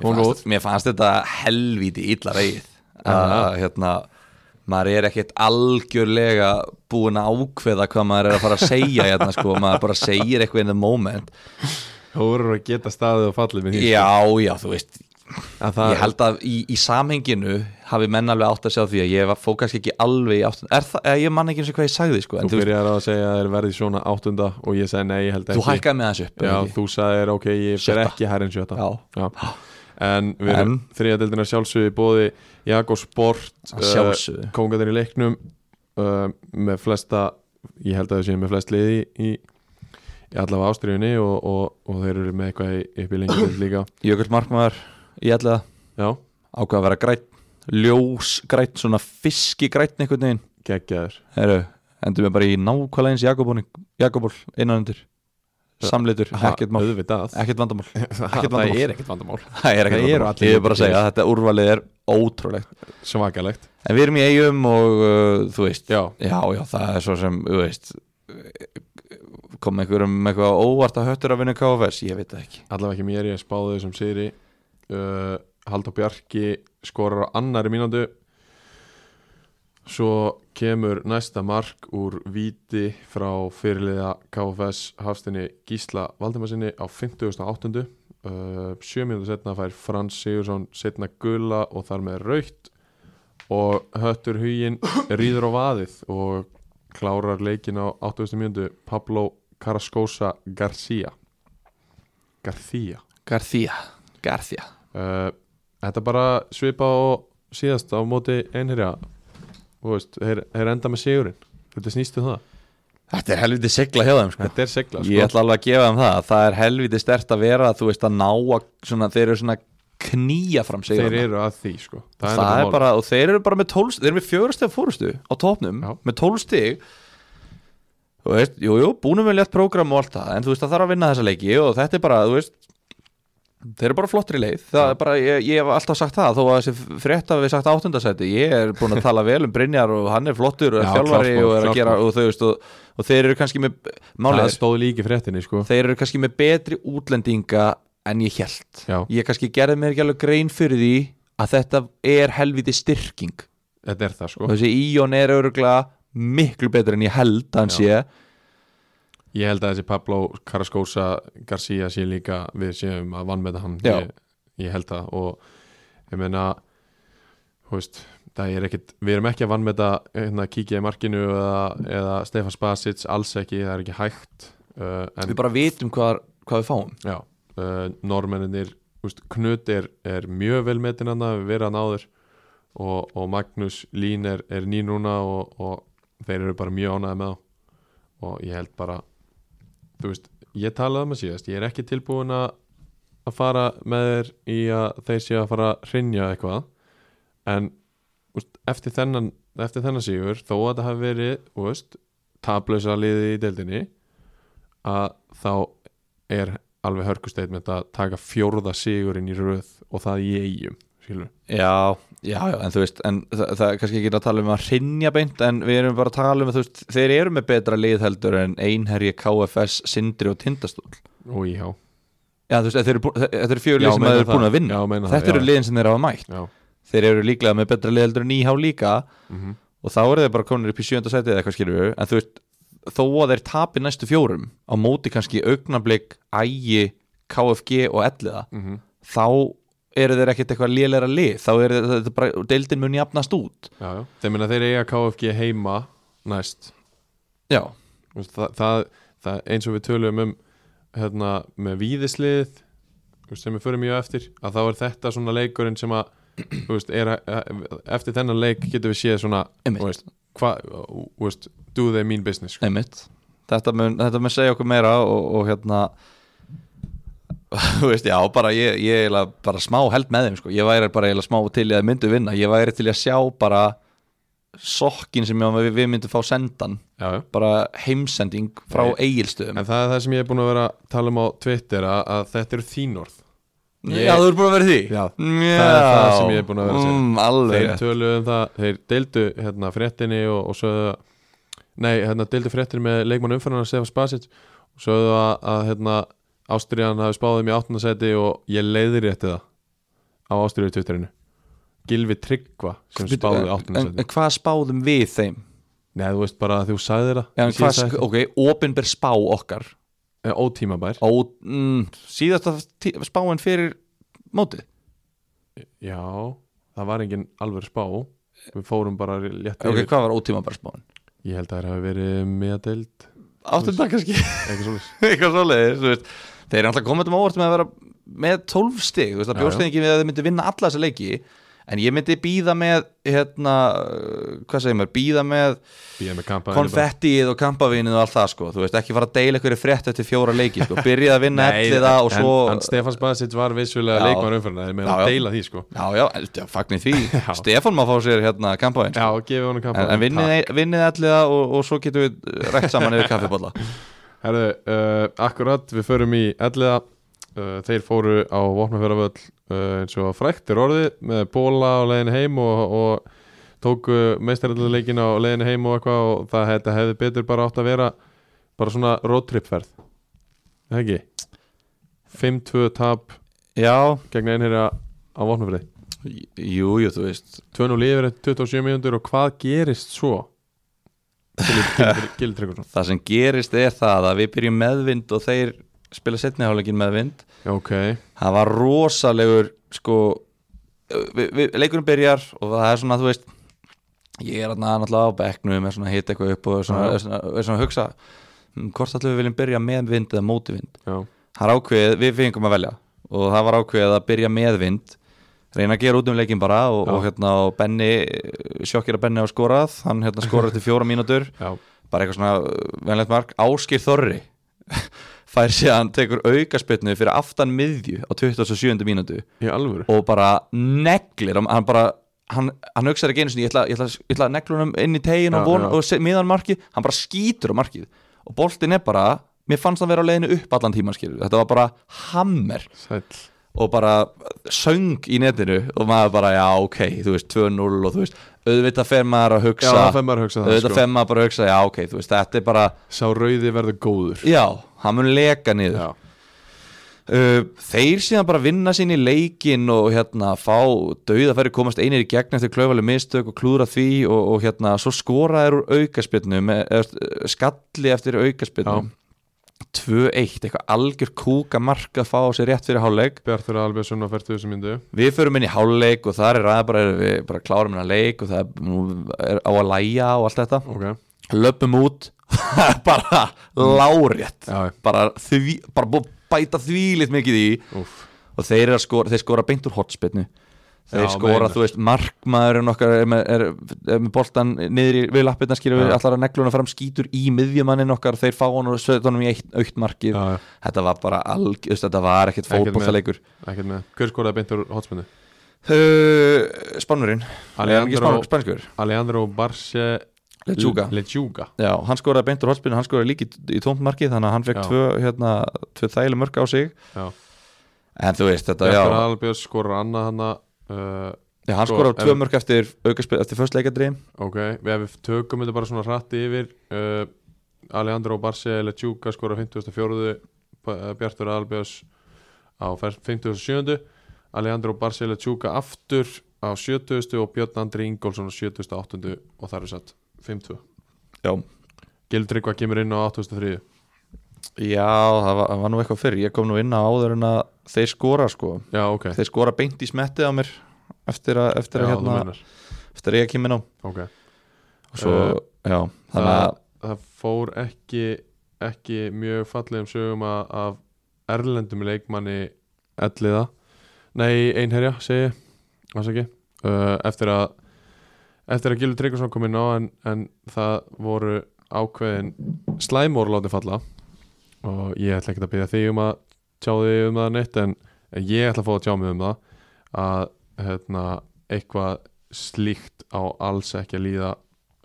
A: Hún
B: Mér fannst, mér fannst þetta helvíti illa reið að hérna maður er ekkert algjörlega búin að ákveða hvað maður er að fara að segja hérna sko, maður bara segir eitthvað in the moment
A: Þú voru að geta staðið og fallið með því
B: já, já, þú veist
A: Að það-
B: ég held að í, í samhenginu hafi menn alveg átt að sjá því að ég var- fór kannski ekki alveg í áttan, er það, eða ég man ekki eins og hvað ég sagði sko, en
A: Þú
B: þú, veist,
A: byrjar á að segja að þeir verði svona áttunda og ég segi nei, ég held ekki
B: þú hækkaði með þessu upp
A: Já,
B: en ekki?
A: þú sagði þér ok, ég fer
B: Sjötta.
A: ekki hærinn sjötta
B: já,
A: En við erum
B: En?
A: þriða deildina sjálfsögði bóði Jakob Sport
B: Að sjálfsögðu.
A: Kongadir í leiknum uh, með flesta ég held að þau séu með flest liði í, í allavega ástriðunni og, og, og þeir eru með eitthvað í- upp í lengi deild líka
B: Jökull Markmaður í allega
A: Já,
B: ákvað að vera grætt ljósgrætt, svona fiskigrætt einhvern veginn,
A: geggjaður
B: herru endur við bara í nákvæmlega eins Jakobóni Jakoból innanundir samlitur, ekkert mál,
A: Auðvitað
B: ekkert vandamál
A: Það
B: vandamál.
A: er ekkert vandamál
B: það er ekkert
A: Það eru
B: vandamál,
A: allir
B: ég er bara að
A: gerir.
B: segja að þetta úrvalið er ótrúlegt
A: Svakalegt
B: en við erum í eigum og uh, þú veist
A: Já,
B: já, já, það er svo sem, þú veist kom einhverjum með eitthvað óvart að höttur að vinna KFS, ég veit það ekki
A: allavega ekki mér, ég spáði þessum sigri uh, Haldur Bjarki skorar á annari mínútu svo kemur næsta mark úr víti frá fyrirliða KFS hafstinni Gísla Valdimarsinni á 58. Uh, sjö mínútu setna fær Frans Sigursson setna gula og þar með raukt og höttur hugin rýður á vaðið og klárar leikin á 80. mínútu Pablo Carrascosa Garcia Garcia
B: Garthía, Garthía
A: uh, Þetta er bara svipa á síðast á móti einherja Þú veist, þeir, þeir enda með sigurinn Þetta snýstu það
B: Þetta er helviti sigla hjá þeim sko.
A: Þetta er segla sko.
B: Ég ætla alveg að gefa þeim það að Það er helviti stert að vera að þú veist að ná að svona, Þeir eru svona að knýja fram sig
A: Þeir eru að því sko.
B: það,
A: nefnilega
B: er
A: málið.
B: bara, og þeir eru bara með tólst Þeir eru með fjórasteg fórustu á topnum
A: Já.
B: Með tólstig Þú veist, jú, jú, búnum við létt prógram og allt það En þú veist, það þarf að vinna þessa leiki Og þetta er bara, þú veist Þeir eru bara flottri leið Það er bara, ég, ég hef alltaf sagt það Þó að þessi frétt að við sagt áttundasæti Ég er búin að tala vel um Brynjar og hann er flottur Og er
A: Já,
B: þjálfari
A: klárt mál,
B: og er
A: klárt
B: að gera
A: mál.
B: og, þú veist, og, og þeir eru kannski með Málið
A: Það
B: er
A: stóð líki fréttinni sko.
B: þeir eru kannski með betri útlendinga en ég held
A: Já.
B: ég kannski gerði mér ekki alveg grein fyrir því að þetta er helviti styrking
A: Þetta er það sko.
B: og þessi Íon er öruglega miklu betur en ég held að hann sé
A: Ég held að þessi Pablo Carrascosa Garcia sé líka við séum að vannmeta hann
B: Já.
A: ég, ég held það og ég meina þú veist, það er ekkit, við erum ekki að vannmeta hérna, kíkja í markinu eða, eða Stefan Spasic, alls ekki, það er ekki hægt uh, en
B: við bara vitum hvað, hvað við fáum
A: já, uh, normenninir veist, Knut er, er mjög vel metin hann við verið hann áður og, og Magnús Lín er, er ný núna og, og þeir eru bara mjög ánæði með þá og ég held bara þú veist, ég talaði um það síðast ég er ekki tilbúin að að fara með þeir í að þeir séu að fara að hrynja eitthvað en þú veist, eftir þennan eftir þennan sigur, þó að það hafi verið þú veist, tablausa liðið í deildinni að þá er alveg hörkustatement að taka fjórða sigurinn í röð og það í eigum skilur.
B: já, já, já, en þú veist en það, það er kannski ekki að tala um að hrinja beint en við erum bara að tala um að þú veist þeir eru með betra lið heldur en einherji KFS, Sindri og Tindastól
A: og íhá
B: já, þú veist, þeir eru, bú- þetta eru
A: Já,
B: fjögur lið sem
A: meina
B: þeir eru
A: það.
B: búin að vinna
A: Já, meina það,
B: þetta eru
A: já.
B: liðin sem þeir hafa mætt
A: já,
B: þeir eru líklega með betra lið heldur en íhá líka
A: Mhm.
B: og þá eru þeir bara komin upp í sjönda sæti eða eitthvað skilur við en þú veist, þó að þeir tapi næstu fjórum á móti kannski augnablik, ægi KFG og elliða
A: Mhm.
B: þá eru þeir ekkert eitthvað lélæra lið þá eru þeir, þetta er bara, deildin mun jafnast út
A: já, já. þeir minna þeir eiga KFG heima næst
B: já,
A: Þú veist, það, það, það, eins og við töluðum um hérna, með víðislið sem við förum mjög eftir að þá er þetta svona leikurinn sem að, þú veist, er að að- eftir þennan leik getum við séð svona
B: Einmitt.
A: þú veist, hvað, þú veist, do they mean business sko.
B: einmitt þetta mun, þetta mun segja okkur meira og, og hérna þú veist, já, bara ég, ég eiginlega bara smá held með þeim, sko, ég væri bara eiginlega smá til í að þeir myndu vinna, ég væri til í að sjá bara sokkin sem ég- við, við myndum fá sendan já, já. bara heimsending frá
A: Nei.
B: eigilstöðum
A: En það er það sem ég er búin að vera að tala um á Twitter að, að þetta eru þín orð
B: Já, þú ert búin að vera í því
A: Já.
B: Já.
A: Það er það sem ég er búin að vera að segja.
B: mm, Alveg
A: Þeir
B: rétt.
A: töluðu um það, þeir deildu hérna fréttinni og, og sögðu að- Nei, hérna deildu fréttinni með leikmann umfyrunar Stefán Spasic og sögðu að, að hérna Ástriðan hafi spáðum í 8. seti og ég leiðir rétti það á Ástriðu Twitterinu Gilvi Tryggva sem
B: Bíddu,
A: spáði í
B: en,
A: 8.
B: en,
A: seti
B: en hvað spáðum við þeim?
A: Nei, þú veist bara að þú sagðir það
B: Já, en
A: Ég
B: hvað, sko-
A: sagði
B: sk- ok, opinber spá okkar
A: það. Eh, Ótímabær
B: Ó, mm, Síðasta tí- spáin fyrir mótið
A: Já, það var engin alveg spá Við fórum bara létt
B: Ok,
A: yfir
B: hvað var ótíma bara spáin?
A: Ég held að það hafi verið meðdeild
B: Áttunda kannski
A: Eitthvað svolítið
B: eitthvað svoleiðis þú veist. þeir eru alltaf komið um óvart með að vera með 12 stig, þú veist, það
A: Já,
B: bjóst
A: já.
B: þeir ekki við að þeir myndi vinna alla þessa leiki en ég myndi býða með hérna, uh, hvað segir maður, býða með
A: Býða með kampaðinu
B: konfettið og kampavinnið og allt það sko, þú veist, ekki fara að deila ykkur frétt eftir fjóra leiki, sko, byrja að vinna ellið það og svo,
A: en, en Stefán Spasic var vissulega
B: Já.
A: leikmaður umfyrirna Ég meina
B: Já, já.
A: að deila því sko
B: já, já, já fagnir því Stefán má fá sér hérna kampavinn
A: Já, gefið honum
B: en,
A: kampaðinu
B: en vinnið, e- vinnið ellið það og, og svo getum við uh, rætt saman yfir kaffiballa
A: Herðu, uh, akkurat, við förum í elliða uh, Þeir fóru á Vopnafjörðavöll uh, eins og frækt er orðið með bóla á leiðinu heim og, og tóku meistaralluleikin á leiðinu heim og eitthvað og það þetta hefði betur bara átt að vera bara svona roadtripferð Það ekki 5-2 tap
B: já,
A: gegn einherja á Vopnafjörði
B: jú, jú, þú veist
A: 2-0 yfir eftir 27 mínútur og hvað gerist svo? Gildi Tryggvarsson
B: það sem gerist er það að við byrjum meðvind og þeir spila setni hálfleikin meðvind
A: Ok,
B: það var rosalegur sko, við, við, leikurinn byrjar og það er svona, þú veist ég er þarna náttúrulega á bekknum er svona að hita eitthvað upp og er svona,
A: Já.
B: er svona, er svona að hugsa "Hmm, hvort allir við viljum byrja meðvind eða mótivind
A: já,
B: það er ákveðið, við fengum að velja og það var ákveðið að byrja meðvind reyna að gera út um leikin bara og,
A: Já.
B: og hérna og Benni, sjokkir að Benni á skorað hann hérna skorað til fjóra mínútur
A: já,
B: bara eitthvað svona venlegt mark Áskir Þorri fær síðan tekur aukaspilnu fyrir aftan miðju á 27. mínútu
A: í alvöru
B: og bara neglir hann- hann bara hann, hann auksar ekki einu sinni, ég ætla, ég ætla, ég ætla að negla hann inn í tegin og,
A: Já,
B: von,
A: já.
B: og se- miðan markið, hann bara skýtur á markið og boltin er bara, mér fannst hann vera á leiðinu upp allan tíman skilur, þetta var bara hammer
A: Sæll
B: og bara söng í netinu og maður bara, já ok, þú veist 2-0 og þú veist, auðvitað fer maður að
A: Já,
B: hugsa
A: það fær maður að hugsa það
B: auðvitað
A: sko.
B: fer maður bara að hugsa, já ok, þú veist, þetta er bara
A: Sá rauði verður góður
B: Já, hann mun leka niður
A: Já,
B: uh, Þeir síðan bara vinna sín í leikin og hérna fá dauðafæri komast einir í gegn eftir klaufaleg mistök og klúðra því og, og hérna svo skora þeir úr aukaspilnum eða uh, skalli eftir aukaspilnum 2-1, eitthvað algjör kúka mark að fá á sig rétt fyrir hálfleik
A: Bjartur Albjörnsson á 40. myndu
B: Við förum inn í hálfleik og þar er aðeins bara, við bara klárum hennar leik og það er, nú er á að læja og allt þetta
A: Ok,
B: Löpum út, bara lárétt
A: já,
B: bara, því, bara búið að bæta þvílitt mikið í
A: úff
B: og þeir, eru að skora, þeir skora beint úr hotspinnu þeir
A: Já,
B: skora,
A: meinar.
B: þú veist, markmaðurinn okkar er með, er, er með boltan niður í, við lappirna skilur við
A: Já.
B: allar að negluna fram skítur í miðjumanninn okkar þeir fá hann og sögðu honum í eitt, aukt markið
A: Já, já,
B: þetta var bara alg, þú veist, þetta var ekkert
A: Ekkert
B: fótbolltaleikur
A: ekkert með Hver skoraði beint úr hotspinnu?
B: uh, Spannurinn, er hann ekki
A: Alejandro,
B: span, spanskur
A: Alejandro Barce
B: Lechuga
A: Lechuga
B: Já, hann skoraði beint úr hotspinnu, hann skoraði líki í tómt markið þannig að hann fekk
A: Já.
B: tvö, hérna, tvö þægileg mörg á sig
A: Já.
B: En þú veist, þetta,
A: Bjartur
B: já,
A: Albjörns skorar annað hana uh,
B: Já, hann
A: Sko,
B: skorar
A: ef-
B: tvö mörg eftir aukaspil, eftir först leikadri
A: Ok, við, ef við tökum þetta bara svona hratt yfir uh, Alejandro Barce Lechuga skorar 54. B- eh, Bjartur Albjörns á fer- 57. Alejandro Barce Lechuga aftur á 70. og Björn Andri Ingolson á 78. og það eru satt 50.
B: Já,
A: Gildrykva kemur inn á 83.
B: það var, það var nú eitthvað fyrr Ég kom nú inn á áður en að þeir skora sko
A: Já, ok.
B: Þeir skora beint í smettið á mér Eftir að, eftir
A: Já,
B: að,
A: þú
B: hérna,
A: meinar.
B: eftir að ég kemur inn á
A: Ok.
B: Og Svo,
A: Eh,
B: já, þannig að
A: það fór ekki, ekki mjög fallegum sögum að, af erlendum leikmanni elliða, nei einherja segi, það ekki uh, eftir að eftir að Gilur Tryggvason kom inn á en, en það voru ákveðin slæmór látið falla og ég ætla ekki að byrja þig um að tjá þig um það neitt en, en ég ætla að fá að tjá mig um það að hérna, eitthvað slíkt á alls ekki að líða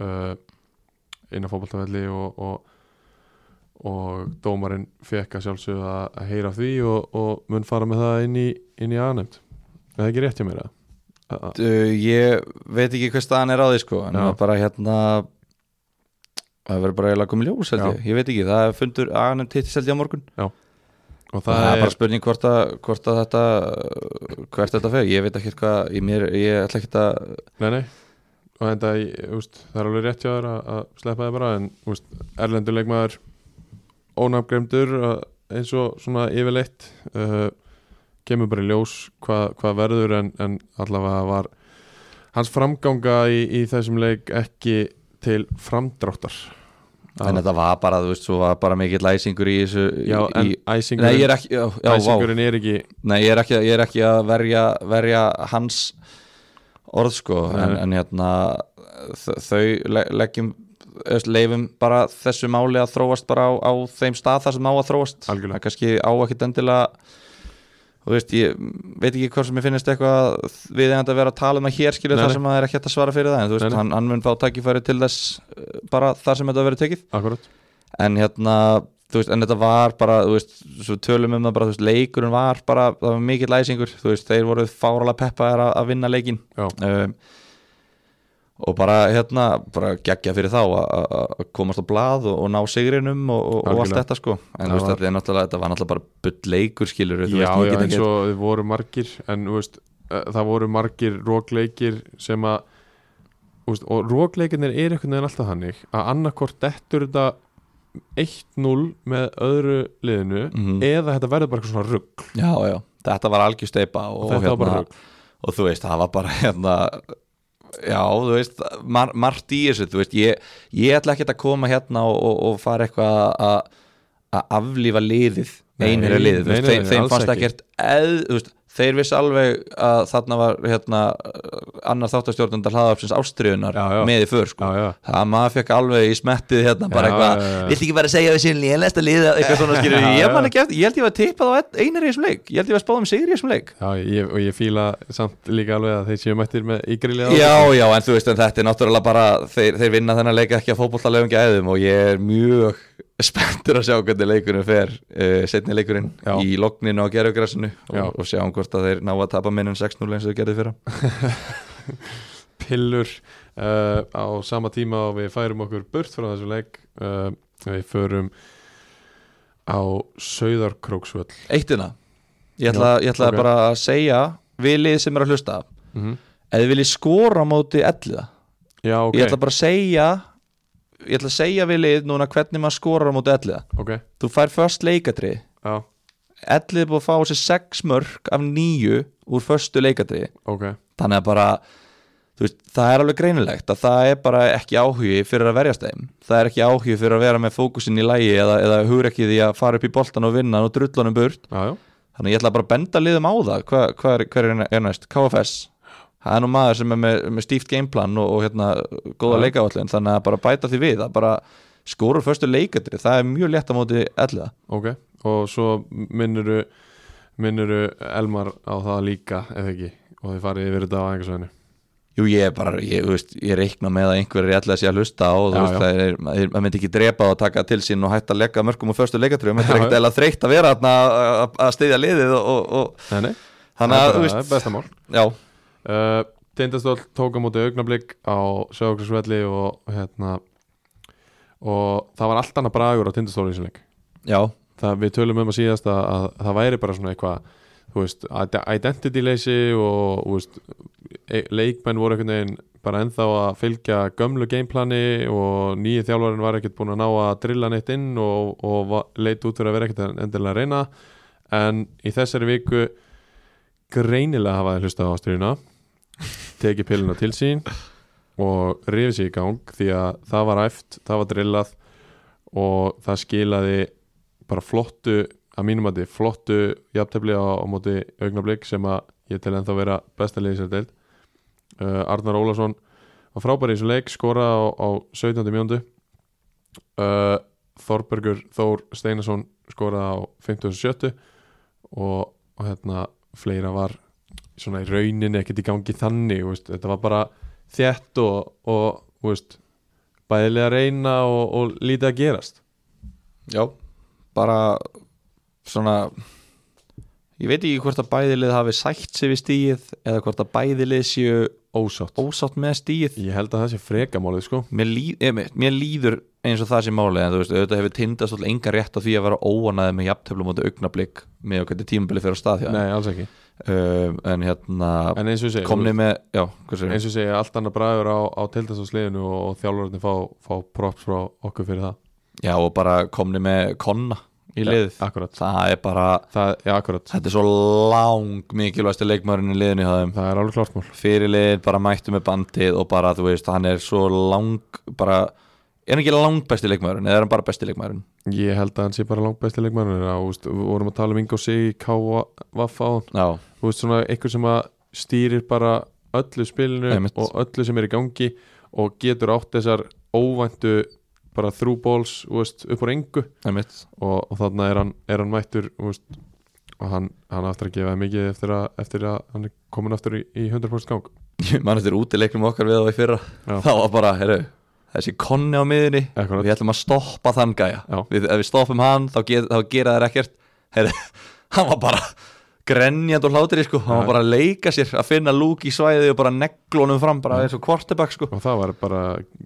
A: uh, inn á fótboltafelli og, og, og dómarinn fekk að sjálfsögðu að að heyra af því og, og mun fara með það inn í, inn í aðnefnd er það ekki rétt hjá mér að
B: Uh, ég veit ekki hvað staðan er á því sko en
A: Já.
B: það er bara hérna það verður bara eiginlega komið ljós held ég, ég veit ekki, það er fundur aðanum tittis held ég á morgun
A: og
B: það, er bara spurning hvort að, hvort að þetta uh, hvert þetta fer, ég veit ekki hvað ég, mér, ég ætla ekki að
A: Nei, nei og þetta, ég- úst, það er alveg rétt hjá þér að, að sleppa þér bara en úst, erlendur leikmaður ónafngremdur eins og svona yfirleitt uh, kemur bara í ljós hvað, hvað verður en, en allavega var hans framganga í, í þessum leik ekki til framdráttar
B: en þetta var bara, þú veist, svo var bara mikill læsingur í þessu í-
A: Já, en
B: í, nei,
A: æsingurinn,
B: ég er ekki, já, já, vá,
A: æsingurinn er ekki
B: Nei, ég er ekki, ég er ekki að verja, verja hans orð sko
A: Nei.
B: en, en hérna þ- þau le leggjum eða, leifum bara þessu máli að þróast bara á, á þeim stað þar sem á að þróast
A: Algjörlega.
B: Það kannski á ekkit endilega þú veist, ég veit ekki hvort sem ég finnist eitthvað við erum að vera að tala um að hér skilur
A: Nei,
B: þar
A: nei.
B: sem maður er ekki hægt að svara fyrir það en þú veist,
A: Nei, nei.
B: hann, hann mun fá tækifæri til þess eh, bara þar sem þetta verið tekið
A: akkurat
B: en hérna þú veist, en þetta var bara, þú veist, svo tölum um það bara, þú veist, leikurinn var bara, það var mikill læsingur, þú veist, þeir voru fárala peppaðar að, að vinna leikin
A: Já.
B: um, og bara, hérna, bara geggja fyrir þá að- að að komast á blað og, og ná sigrinum og, og, og allt
A: Algjörlega.
B: þetta, sko en
A: Það
B: þú veist,
A: var-
B: þetta er náttúrulega, þetta var náttúrulega bara bull leikur, skilur, þú
A: Já,
B: veist, ég
A: já,
B: get
A: eins
B: ekki
A: og þið voru margir en þú veist, eh, það voru margir rókleikir sem að þú veist, og rókleikinir er einhvern veginn alltaf þannig að annarkort dettur þetta 1-0 með öðru liðinu
B: Mhm.
A: eða þetta verður bara eitthvað svona rugg
B: já, já, þetta var algjör steipa og, hérna-
A: þetta var bara rugg
B: og þú veist, það var bara hérna, já, þú veist mar margt í þessu, þú veist ég, ég ætla ekkert að koma hérna og, og, og fara eitthvað að að aflífa liðið,
A: Nei,
B: einherja liðið þú
A: nei,
B: veist,
A: nei,
B: þeim,
A: nei,
B: þeim
A: alls
B: fannst
A: ekki.
B: ekkert eð, þú veist, þeir vissi alveg að þarna var hérna annar þáttastjórnundar hlaðafsins ástriðunar
A: Já, já.
B: með í för, sko
A: Já, já,
B: það maður fekk alveg í smettið hérna
A: Já,
B: bara eitthvað,
A: já, já.
B: viltu ekki bara segja að við séum lélæsta liðið eitthvað svona skilur,
A: Já,
B: ég man
A: já.
B: ekki eftir, ég held ég var tippað á einar í þessum leik, ég held ég var spáð um sigri í þessum leik
A: já ég, og ég fíla samt líka alveg að þeir séu mættir með ygrili
B: Já, já, en þú veist, en þetta er náttúrulega bara þeir, þeir vinna þennan leik ekki að fótbollalegum gæðum og ég er mjög spenntur að sjá hvernig leikurinn fer uh, setni leikurinn
A: Já.
B: í logninu á gerðugrassinu
A: Já.
B: og, og sjáum hvort að þeir ná að tapa minnum 6-0 eins og þeir gerðu fyrra
A: pillur uh, á sama tíma og við færum okkur burt frá þessu leik uh, við förum á Sauðarkróksvöll
B: Eittina, ég ætla,
A: Já,
B: ég ætla
A: ok.
B: bara að segja við lið sem er að hlusta
A: mm -hmm.
B: eða þið viljið skora á móti elliða
A: Já, ok,
B: ég ætla bara að segja ég ætla að segja við lið núna hvernig maður skorar á móti elliða
A: ok
B: þú fær först leikatrið
A: Já,
B: Ellið er búið að fá sér 6 mörg af 9 úr förstu leikadegi
A: ok
B: þannig að bara þú veist, það er alveg greinilegt að það er bara ekki áhugi fyrir að verjast þeim það er ekki áhugi fyrir að vera með fókusin í lægi eða, eða hugur ekki því að fara upp í boltan og vinna hann og drulla hann um burt
A: Já, já,
B: þannig að ég ætla bara að benda liðum á það hvað hva er, hver er, næ- er næst? KFS það er nú maður sem er með, með stíft gameplan og, og hérna góða
A: Já.
B: leikavallin þannig að bara bæta því við að bara skóra úr förstu leikadegi það er mjög létt á móti elliða
A: ok Og svo minnuru minnuru Elmar á það líka eða ekki og þið farið yfir þetta á aðeinsvæðinu
B: Jú, ég er bara, ég, þú veist, ég reikna með að einhverjir er alltaf að sé að hlusta
A: Já,
B: og þú veist,
A: já.
B: það er, maður maður myndi ekki drepa og taka til sín og hætta að leggja mörgum og förstu leikatrjum, þetta er ekkert eða þreytt að vera þarna að- að- að styðja liðið og, og,
A: Nei, nei,
B: og þannig að,
A: það er bara- það
B: þú
A: er
B: veist,
A: besta mál
B: já,
A: uh, Tindastóll tók á móti augnablík á Sjákvæsvelli og hérna og það var allt annað bragur á Tindastóll í sinni
B: já,
A: það, Við tölum um að síðast að, að það væri bara svona eitthvað þú veist, ide- identity leysi og þú veist, e- leikmenn voru einhvern veginn bara ennþá að fylgja gömlu gameplani og nýju þjálfarinn var ekkert búin að ná að drilla neitt inn og, og va- leit út fyrir að vera ekkert endilega að reyna en í þessari viku greinilega hafa þeir hlustað á ástriðuna tekið pilluna til sín og rifið sér í gang því að það var æft, það var drillað og það skilaði bara flottu, að mínum að þið flottu jafntefli á, á móti augnablík sem að ég tel ennþá vera besta liðið sér deild uh, Arnar Ólason var frábæri í þessu leik, skora á, á 17. mjóndu uh, Þorbergur Þór Steinason skoraði á 57. og, og hérna fleira var svona í rauninni ekkert í gangi þannig, þú veist, þetta var bara þétt og, og þú veist, bæðilega reyna og, og lítið að gerast
B: Já, bara svona ég veit ekki hvort að bæðilið hafi sætt sig við stíið eða hvort að bæðilið séu
A: ósátt
B: ósátt með stíið
A: Ég held að það sé frekamálið sko
B: mér, líð, eh, mér- mér líður eins og það sem máli en þú veist, auðvitað hefur tindast alltaf engan rétt á því að vera óanaði með jafntöflum út augnablik með okkur tímabili fyrir á stað hjá þeim.
A: Nei, alls ekki
B: um, en hérna
A: En eins og segja,
B: komni með, já, hvað segir
A: eins og segja allt annað bræður á, á tildastáðsliðinu og, og þjálfurarnir fá, fá props frá okkur fyrir það
B: já og bara komni með konna í lið,
A: ja, Akkurat,
B: það er bara
A: það, ja, akkurat.
B: þetta er svo lang mikilvægsti leikmærin í liðinu hjá þeim
A: það er alveg klart mál
B: fyrirliðin bara mættu með bandið og bara þú veist, hann er svo lang bara, er hann ekki lang besti leikmæðurinn eða er hann bara besti leikmæðurinn
A: Ég held að hann sé bara langt besti leikmannur Við vorum að tala um Ingo Sig, K.V.A.F. á hann
B: já,
A: Þú veist svona einhver sem að stýrir bara öllu spilinu
B: Einmitt.
A: og öllu sem er í gangi og getur átt þessar óvæntu bara þrú balls þú veist, upp úr engu
B: einmitt
A: og, og þannig er hann, er hann mættur þú veist, og hann, hann á eftir að gefa mikið eftir að, eftir að hann er komin aftur í, í 100% gang
B: ég man eftir útileiknum okkar við á í fyrra
A: Já.
B: þá var bara, herru, þessi konni á miðunni
A: Akkurat.
B: við ætlum að stoppa þann gæja
A: Já.
B: við, ef við stoppum hann, þá, get, þá gera þær ekkert herru, hann var bara grenjand og hlátri sko, hann
A: Já.
B: var bara að leika sér að finna lúk í svæði og bara neglunum fram bara eins og kvartebak sko
A: og það var bara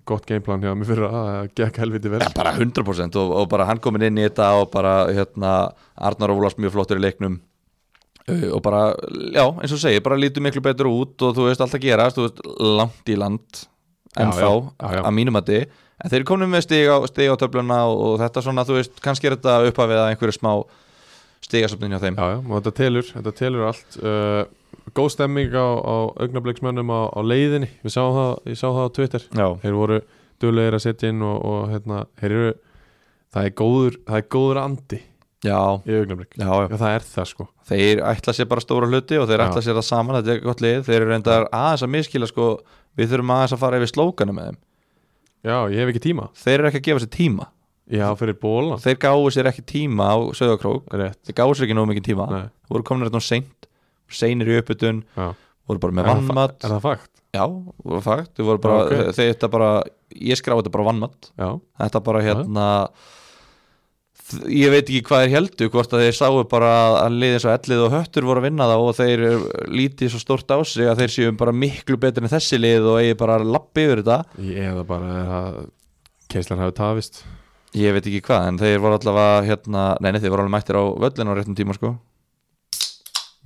A: gott gameplan hjá mig fyrir að það gekk helviti vel
B: Já, bara 100% og, og bara hann komin inn í þetta og bara hérna Arnar Ólafs mjög flottur í leiknum uh, og bara, já, eins og segi, bara lítur miklu betur út og þú veist allt að gerast, þú veist, langt í land
A: Já,
B: ennþá,
A: já, já, já.
B: að mínum að þið en þeir eru komin með stig á, stig á töfluna og, og þetta svona, þú veist, kannski er þetta upphafið að einhverju smá stigasöfnin hjá þeim
A: Já, já, og þetta telur, þetta telur allt uh, Góð stemming á, á augnabliksmönnum á, á leiðinni Við sáum það, ég sá það á Twitter
B: já,
A: Þeir voru duglegir að setja inn og, og hérna, þeir eru það er, góður, það er góður andi
B: já,
A: í augnablik
B: já, já.
A: Já, það er það sko
B: þeir ætla sér bara stóra hluti og þeir
A: Já.
B: ætla sér það saman, þetta er gott lið þeir eru reyndar aðeins að miskila sko, við þurfum aðeins að fara yfir slókanu með þeim
A: Já, ég hef ekki tíma
B: þeir eru ekki að gefa sér tíma
A: Já, fyrir bólan
B: þeir gáðu sér ekki tíma á Söðakrók
A: Rétt,
B: þeir gáðu sér ekki nógu mikið tíma
A: nei
B: voru komin rétt nú seint, seinir í upputun
A: já.
B: voru bara með
A: Er það fa-
B: vannmatt
A: Er það fakt?
B: já, voru fakt, þau voru bara
A: Já, ok.
B: okay. þeir þetta bara, ég skráði þetta bara vannmatt
A: Já,
B: þetta bara hérna þ- ég veit ekki hvað þeir heldu hvort að þeir sáu bara að liðið svo ellið og höttur voru að vinna það og þeir lítið svo stort á sig að þeir séu bara miklu betur en þessi lið og eigi bara lappi yfir þetta
A: ég eða bara er að keislan hafi tafist
B: Ég veit ekki hvað, en þeir voru allavega hérna, nei, nei, þeir voru alveg mættir á völlin á réttum tíma, sko.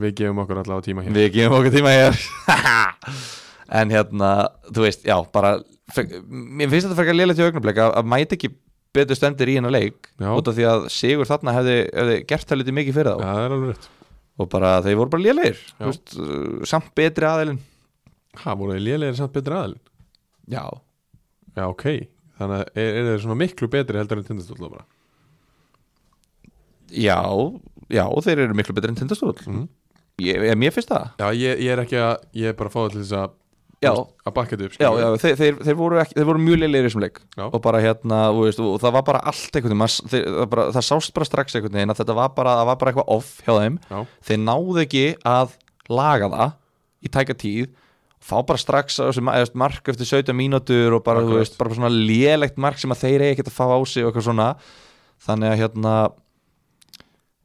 A: Við gefum okkur allavega tíma hér
B: Við gefum okkur tíma hér. en hérna, þú veist, já, bara, fek- mér finnst þetta frekar lélega til augnablik að, að mæta ekki betur stendir í hennar leik,
A: Já.
B: út af því að Sigur þarna hefði, hefði gert það lítið mikið fyrir
A: Já,
B: þá.
A: það er alveg rétt
B: Og bara, þeir voru bara lélegir,
A: Já.
B: þú veist, uh, samt betri aðeilin.
A: Það voru þið lélegir samt betri aðal
B: Já.
A: Já, ok, þannig að er, er þeir svona miklu betri heldur en tindastóla bara
B: Já, já, þeir eru miklu betri en tindastúl.
A: Mhm.
B: Ég, ég, mér finnst það.
A: Já, ég, ég er ekki að, ég er bara að fá það til þess að
B: Já.
A: þú veist, að bakka þetta upp
B: Já,
A: skilur
B: já,
A: við.
B: þeir, þeir, þeir, voru ekki, þeir voru mjög leilegir í þessum leik
A: Já.
B: og bara hérna, þú veist, og það var bara allt einhvern veginn, maður- þeir- það, bara, það sást bara strax einhvern veginn að þetta var bara, það var bara eitthvað off hjá þeim,
A: Já.
B: þeir náðu ekki að laga það í tæka tíð fá bara strax á þessu ma- eða, mark eftir 17 mínútur og bara, þú
A: Akkurat.
B: veist, bara svona lélegt mark sem að þeir eigi ekkert að fá á sig og eitthvað svona þannig að hérna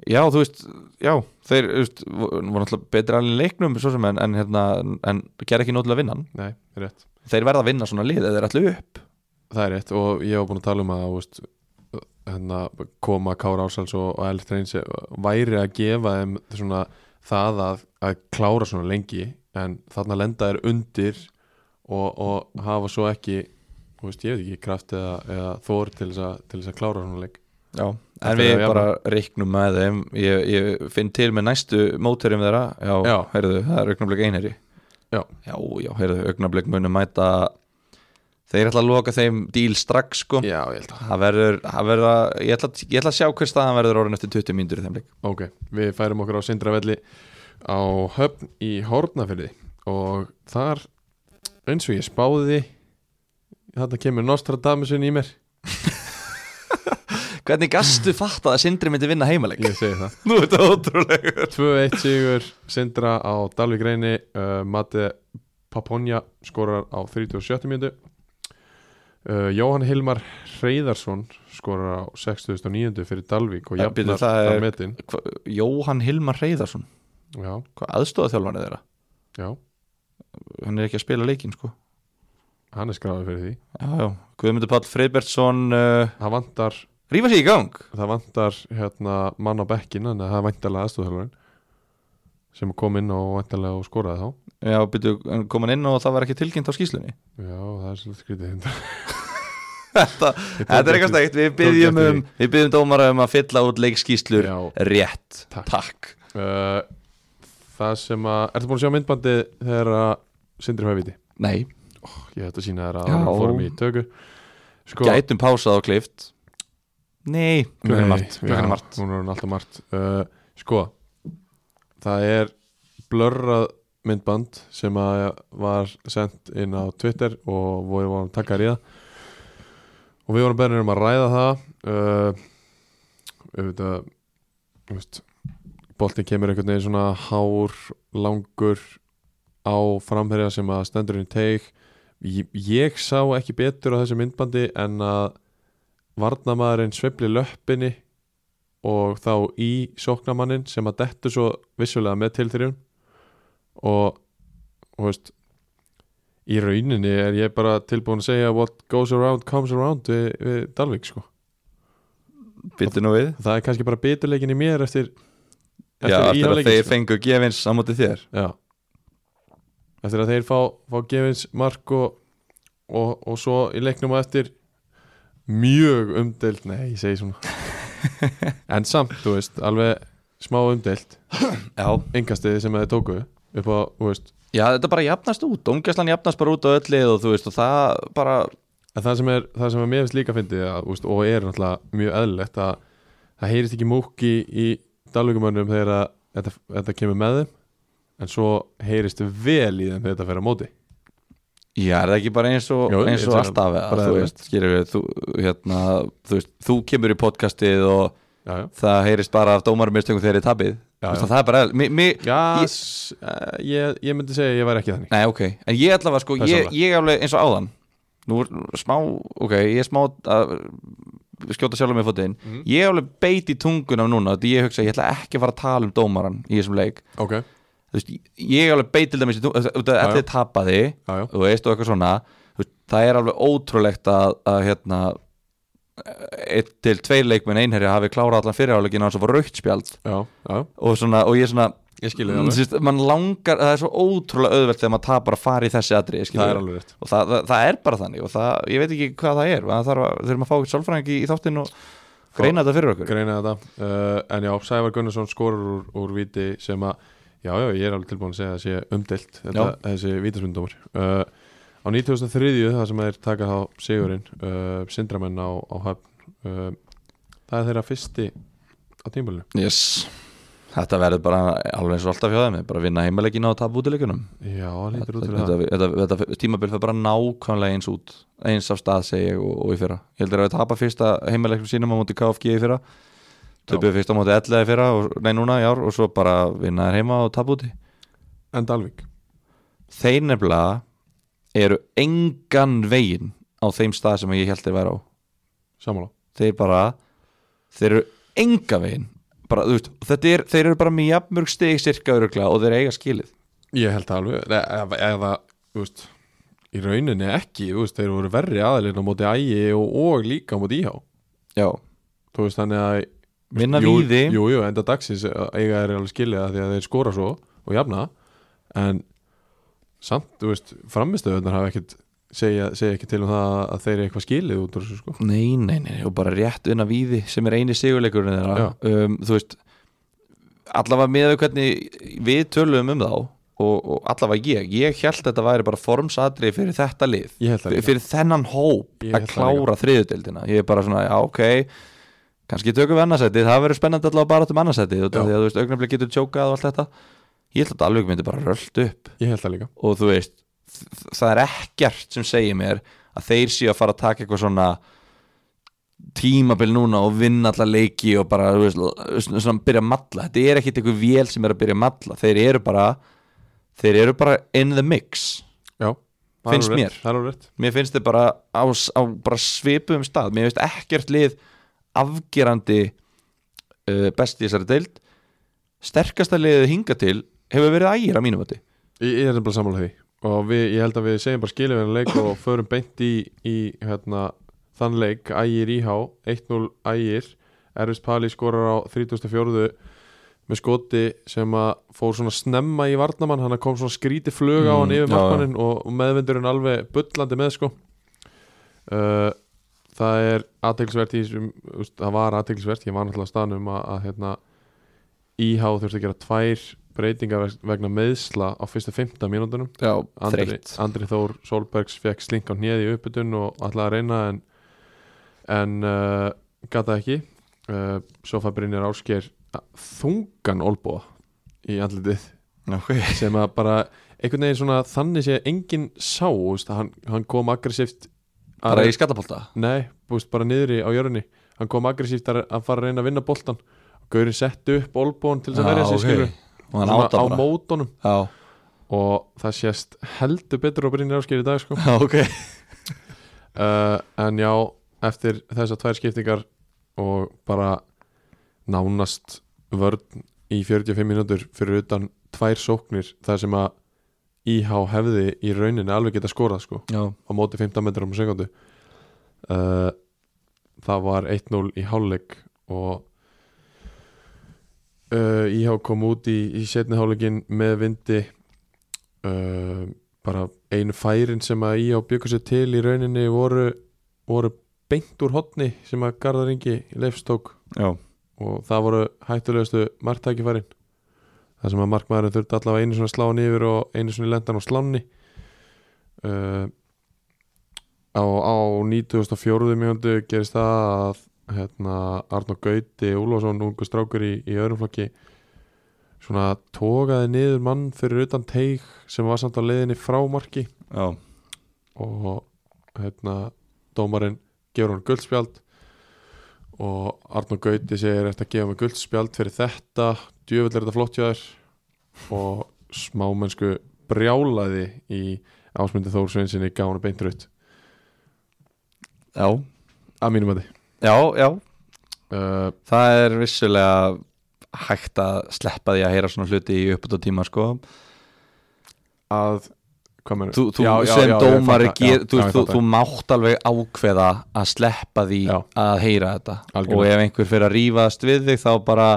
B: já, þú veist, já þeir, þú veist, voru voru náttúrulega betri alveg leiknum, svo sem en, en hérna en gerði ekki nótilega vinnan
A: Nei, rétt
B: þeir verða að vinna svona lið eða þeir ætlu upp
A: Það er rétt og ég var búin að tala um að þú veist, hérna, koma Kára Ársals og, og Elf Treins væri að gefa þeim svona það að, að klára svona lengi en þarna lenda þeir undir og, og hafa svo ekki þú veist, ég veit ekki, kraft eða, eða þór til þess, að, til þess að klára svona leik
B: já,
A: Þetta
B: en við
A: er jafna.
B: bara reiknum með þeim ég, ég finn til með næstu mótherjum þeirra já,
A: Já.
B: heyrðu, það er augnablik einherji
A: Já.
B: já, já, heyrðu, augnablik munum mæta þeir ætla að loka þeim díl strax sko
A: Já, ég held að
B: það verður, það verða ég ætla, ég ætla að sjá hver staðan verður orðin eftir 20 mínútur í þeim leik
A: Ok, við færum okkur á Sindravelli á höfn í Hortnafyrði og þar eins og ég spáði þarna kemur Nostradamusin í mér
B: hvernig gastu fatt að Sindri myndi vinna heimaleik
A: ég segi það
B: nú er þetta ótrúlegur
A: 2-1 sigur Sindra á Dalvik reyni uh, Mate Paponja skorar á 37. mjöndu Uh, Jóhann Hilmar Hreyðarsson skorar á 69. fyrir Dalvík og
B: Ja, býtu,
A: jafnar
B: það er-
A: þar metin
B: Hva, Jóhann Hilmar Reyðarsson
A: Já,
B: Hvað aðstóða þjálfarnið þeirra?
A: já,
B: Hann er ekki að spila leikinn sko
A: hann er skráður fyrir því
B: Já, já, Guðmundur Páll Freybertsson uh,
A: Það vantar,
B: Rífa sér í gang
A: það vantar hérna, mann á bekkin en það er væntalega aðstofþjálfurinn sem kom inn og væntalega og skoraði þá
B: Já, byrju, kom hann inn og það var ekki tilkynnt á skýslunni
A: Já, það er svolítið skrítið hérna.
B: Þetta, þetta er eitthvað stækt, við byggjum
A: tók eftir
B: um Við byggjum dómara um að fylla út leikskýslur
A: Já,
B: Rétt,
A: Takk.
B: takk.
A: uh, Það sem að, ertu búin að sjá myndbandi þegar að Sindri Fæviti
B: Nei,
A: Ég ætti að sína þér að
B: Já.
A: hann fórum í tökur sko,
B: gætum pásað og klift Nei, klukkan er margt, klukkan
A: já,
B: er margt.
A: Hún er orðin alltaf margt uh, Sko, það er blörrað myndband sem að var sendt inn á Twitter og við vorum að taka í það og við vorum beðnir um að ræða það uh, auðvitað þú veist, boltinn kemur einhvern veginn svona hár langur á framherja sem að stendur inn í teig ég, ég sá ekki betur á þessu myndbandi en að varnamaðurinn sveifli löppinni og þá í sóknamannin sem að dettu svo vissulega með tilþrjum og og veist í rauninni er ég bara tilbúin að segja what goes around comes around við, við Dalvik sko
B: Byttu nú við
A: það er kannski bara biturleikin í mér eftir
B: Já, eftir að
A: íháleikinn,
B: þeir
A: sko.
B: fengu gefins á móti þér
A: Já Eftir að þeir fá, fá gefins mark og, og, og svo í leiknum að eftir mjög umdelt Nei, ég segi svona En samt, þú veist, alveg smá umdelt
B: Já,
A: Engastiði sem þeir tóku upp á, þú veist
B: Já, þetta bara jafnast út, ómgæslan jafnast bara út á öll lið og þú veist og það bara
A: En það sem er, það sem er mér finnst líka fyndið að, þú veist, og er náttúrulega mjög eðlilegt að það heyrist ekki múki í dalvíkumönnum þegar að þetta, þetta kemur með þeim en svo heyrist vel í þeim þegar þetta fer á móti
B: Já, er það ekki bara eins og,
A: Jú,
B: eins
A: ég
B: og
A: tel að-
B: alltaf eða,
A: bara
B: þú
A: eðlilegt.
B: veist, skýrur við þú, hérna, þú veist, þú kemur í podcastið og
A: Já, já
B: það heyrist bara af dómarum mistökum þegar þið tapið
A: Já,
B: Þú veist,
A: já.
B: að það er bara, eðl- mi, mi,
A: Já,
B: Ég-
A: ég, Eh, ég, ég myndi segja að ég væri ekki þannig
B: nei ok en ég allavega sko, ég,
A: Persónulega.
B: ég alveg eins og áðan nú er smá, ok, ég er smá að skjóta sjálfum með fótinn
A: Mhm.
B: ég alveg beit í tungunum núna því ég hugsa, ég ætla ekki að fara að tala um dómaran í þessum leik
A: Ok,
B: þú veist, ég alveg beit til dæmis í tungunum, þetta
A: Já, já.
B: er tapaði
A: já, já,
B: þú veist og eitthvað svona þú veist, það er alveg ótrúlegt að, að hérna e- eitt til tveir leikmenn einherja hafi klárað allan fyrirhálegin hans og fór raukt spjald
A: já, já
B: og, svona, og ég er svona
A: Ég skil
B: mm, síst, man langar, það er svo ótrúlega auðvelt þegar maður tapar að fara í þessi atri
A: Það er alveg rétt
B: og það, það, það er bara þannig og það, ég veit ekki hvað það er það þarf að, þurfum að fá eitthvað sálfræðing í, í þáttinn og greina þetta fyrir okkur
A: Greina þetta, uh, en já, Sævar Gunnarsson skorur úr, úr viti sem að Já, já, ég er alveg tilbúin að segja að það sé umdelt þetta,
B: Já.
A: þessi vítasmyndumar uh, Á 2003, það sem þeir taka þá Sigurinn, uh, Sindramenn á, á höfn uh, Það er þeirra fyrsti á tímbalinu
B: yes. þetta verður bara alveg eins og alltaf hjá þeim þeir bara vinna heimilegina og tapa útilegunum
A: Já, það lítur út
B: þetta,
A: fyrir það
B: þetta, þetta, þetta tímabil fyrir bara nákvæmlega eins út eins af stað segi ég og, og í fyrra ég heldur að við tapa fyrsta heimilegnum sínum á móti KFG í fyrra töpuðu fyrst á móti 11 í fyrra og, nei núna í ár og svo bara vinnaður heima og tapa úti
A: En Dalvik,
B: þeir nefnilega eru engan vegin á þeim stað sem ég held þeir væri á
A: sammála
B: þeir bara þeir eru engan vegin bara, þú veist, þetta er, þeir eru bara með jafnmörg stig cirka öruglega og þeir eiga skilið
A: Ég held það alveg Nei, eða, eða þú veist, í rauninni ekki þú veist, þeir voru verri aðilinn á móti ægi og, og líka á móti íhá
B: já,
A: þú veist þannig að
B: minna
A: jú,
B: víði
A: jú, jú, enda dagsins eiga er alveg skilja því að þeir skora svo og jafna en samt, þú veist, framistöðunar hafa ekkert segja, segja ekki til um það að þeir eru eitthvað skilið út úr þessu sko
B: Nei, nei, nei, og bara rétt unna víði sem er eini sigurleikurinn þeirra um, þú veist allavega með hvernig við tölum um þá og, og allavega ég ég held að þetta væri bara formsatrið fyrir þetta lið
A: Ég held það líka.
B: fyrir þennan hóp
A: Ég
B: að
A: held það
B: klára þriðudeldina ég er bara svona, já, ok kannski tökum við annarsætið, það verður spennandi allavega bara átt um annarsætið, út af
A: Já.
B: því að þú veist, augnablik getur tjókað og allt þetta ég held að alveg myndi bara röllt upp
A: ég held það líka
B: og þú veist þ- það er ekkert sem segir mér að þeir séu að fara að taka eitthvað svona tímabil núna og vinna alla leiki og bara þú veist, l- svona svona byrja að matla þetta er ekkert eitthvað vél sem er að byrja að matla þeir eru bara þeir eru bara in the mix
A: já, Það er
B: Finnst
A: alveg
B: mér.
A: rétt, Það er alveg rétt
B: mér finnst þið bara á, á bara svipum stað mér finnst ekkert lið afgerandi uh, best í þessari deild sterkasta liðið hinga til hefur verið ægir að mínum vati
A: Ég, ég er bara samanlega því og við, ég held að við segjum bara skiljum hennar leik og förum beint í, í hérna, þann leik, ægir íhá 1-0 ægir Erfis Pali skorar á 34. með skoti sem að fór svona snemma í varnamann hann kom svona skríti flug á
B: Mm,
A: hann yfir
B: já,
A: markmannin og meðvindurinn alveg bullandi með sko uh, það er aðteglisvert í þessum, úst, það var aðteglisvert ég var náttúrulega á staðnum að, að hérna, IH þurfti að gera tvær breytingar veg- vegna meðsla á fyrsta 15 mínútunum
B: já,
A: Andri,
B: þreytt
A: Andri Þór Solbergs fekk slink á hnéð í uppbytun og ætlaði að reyna en, en uh, gata ekki uh, svo fær Brynjar Ásker þungan olbúa í andlitið
B: okay.
A: sem að bara einhvern veginn svona þannig sé enginn sá þú veist, að hann, hann kom aggressíft að-
B: bara í skattapolta
A: Nei, búist bara niðri á jörunni Hann kom aggressíft að, að fara að reyna að vinna boltan Gaurin setti upp olbón til þess að verja sig skilur
B: og hann
A: Svona
B: áta
A: á
B: bara
A: mótonum
B: já,
A: Og það sést heldur betur á Brynjar Ásker í dag sko.
B: já, ok
A: uh, En já, eftir þessar tvær skiptingar Og bara nánast vörn í 45 mínútur Fyrir utan tvær sóknir þar sem að IH hefði í rauninni alveg geta skorað sko
B: já,
A: á móti 15 metrum á sekundu uh, það var 1-0 í hálfleik og uh, Íhá kom út í, í setni hálfleikin með vindi uh, bara einu færin sem að Íhá byggur sér til í rauninni voru, voru beint úr hotni sem að Garðar Ingi leifstók
B: já.
A: og það voru hættulegustu marktækifærin það sem að markmaðurinn þurfti allavega einu svona sláni yfir og einu svona lendan á sláni uh, á, á 94. mjöndu gerist það að hérna, Arnó Gauti Úlfarsson, ungu strákur í, í öðrumflokki svona tókaði niður mann fyrir utan teig sem var samt á leiðinni frá marki
B: já.
A: og hérna dómarinn gefur hann guldspjald og Arnur Gauti segir eftir að gefa mig guldspjald fyrir þetta djöfull er þetta flott hjá þér og smámennsku brjálaði í ásmundi Þór Sveinsinni gána beint raut
B: já,
A: að mínum að
B: já, já
A: uh,
B: það er vissulega hægt að sleppa því að heyra svona hluti í uppbúta tíma sko
A: að hvað mennur
B: þú, þú sem dómari ger, þú, þú, þú mátt alveg ákveða að sleppa því
A: Já.
B: að heyra þetta
A: Algjörlega.
B: og ef einhver fyrir að rífast við þig þá bara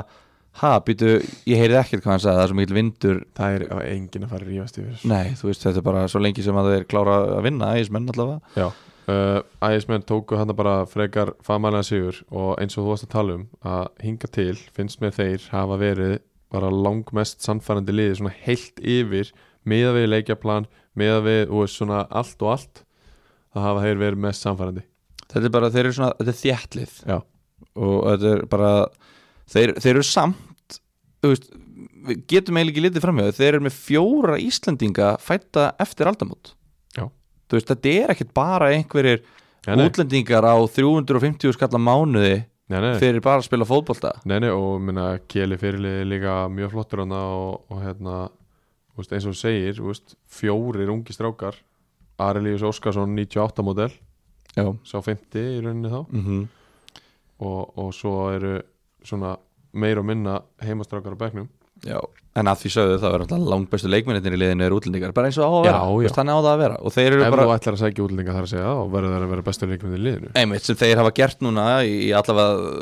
B: ha, býtu, ég heyrði ekkert hvað hann sagði það er svo mikil vindur,
A: það er á enginn að fara að rífast yfir þessu.
B: nei, þú veist þetta er bara svo lengi sem að þeir klára að vinna, ægismenn allavega
A: uh, ægismenn tóku hann bara frekar famalega sigur og eins og þú varst að tala um að hinga til finnst mér þeir hafa verið bara langmest sannfærandi liði svona heilt yfir meða við leikjaplan, meða við og svona allt og allt það hafa þeir verið mest sannfærandi
B: þetta er bara, þeir eru svona, þetta er þjætlið
A: Já.
B: og þetta er bara þeir, þeir eru samt þú veist, við getum eiginlega ekki litið framhjóðu þeir eru með fjóra Íslendinga fætta eftir aldamót
A: Já.
B: þú veist, þetta er ekkert bara einhverjir
A: Nei, nei,
B: útlendingar á 350 skalla mánuði
A: nei, nei,
B: fyrir bara að spila fótbolta
A: nei, nei og minna, Keli fyrirliði líka mjög flottur hana og, og hérna þú veist, eins og þú segir, þú veist, fjórir ungi strákar Ari Lífus Óskarsson 98 model,
B: já,
A: sá 50 í rauninni þá
B: mm -hmm.
A: og, og svo eru svona meir og minna heimastrákar á bekknum
B: já. en að því sögðu það verður alltaf langbestu leikmennir í liðinu er útlendingar, bara eins og það á að vera
A: Já,
B: Þú
A: já.
B: veist, þannig á það að vera og þeir
A: Ef
B: eru bara
A: þú ætlar að sækja útlendinga þar að segja það og verður það að vera bestur leikmynd í liðinu
B: einmitt sem þeir hafa gert núna í allavega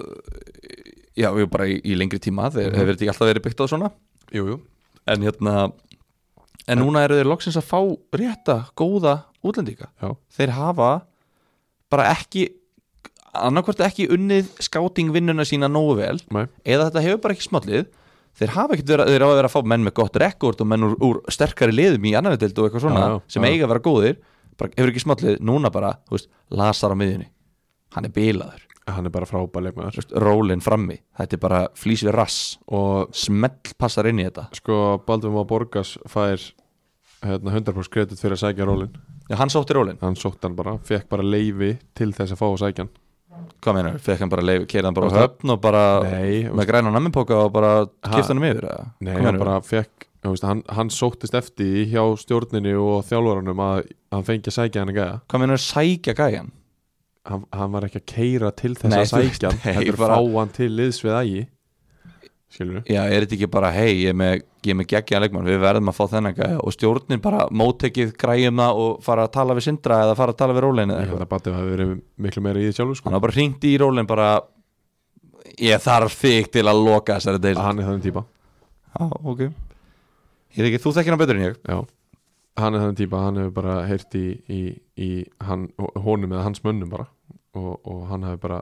B: já, jú, bara í, í lengri tíma þeir
A: Mhm.
B: hefur þetta ekki alltaf verið byggt á svona
A: Jú, jú
B: en hérna en núna eru þeir loksins að fá rétta, góða útlendinga
A: Já.
B: þeir hafa bara ekki annarkvort ekki unnið skátingvinnuna sína nógu vel
A: Nei,
B: eða þetta hefur bara ekki smallið þeir hafa ekkert verið, þeir hafa verið að fá menn með gott rekord og menn úr, úr sterkari liðum í annar deild og eitthvað svona
A: Já, já,
B: sem
A: já.
B: eiga að vera góðir bara, hefur ekki smallið, núna bara, þú veist, lasar á miðjunni hann er bilaður,
A: hann er bara frábær leikmyndar
B: rólinn frammi þetta er bara flýs við rass
A: Og
B: smell passar inn í þetta
A: sko Baldur Má Borgas fær hérna, 100% kredit fyrir að sækja rólinn
B: Já, hann sótti rólinn,
A: Hann sótt hann bara, fekk bara leifi til þess að fá að sækja hann
B: hvað meina, fekk hann bara leif, keirði hann bara á
A: Þú veist
B: höfn og bara
A: Nei,
B: með græna namnipóka og bara
A: Ha?
B: kipta hann um yfir eða?
A: nei
B: Hvað
A: hann
B: meinarðu?
A: bara fekk já, veist, hann, hann sóttist eftir í hjá stjórninu og þjálfaranum að hann fengi að sækja hann að gæja
B: Hvað meina að sækja gæjan?
A: hann, hann var ekki að keira til þess
B: Nei,
A: að
B: þú veist,
A: sækja hann
B: nei,
A: heldur
B: bara-
A: fá hann til liðs við ægi skilur við
B: Já, er þetta ekki bara, hei, ég er með, ég er með geggjaðan leikmann, við verðum að fá þennan gæja og stjórnin bara móttekið græjum það og fara að tala við Sindra eða fara að tala við Rólein eða
A: ég held
B: eitthvað.
A: að Batið hafi verið miklu meira í því sjálfur sko.
B: Hann var bara hringt í Rólein bara, ég þarf þig til að loka þessari deil.
A: hann er þannig típa
B: Já, ok. Ég þekki, þú þekkir hann betur en ég.
A: já. hann er þannig típa, hann hefur bara heyrt í, í, í hann, honum eða hans mönnum bara og, og hann hefur bara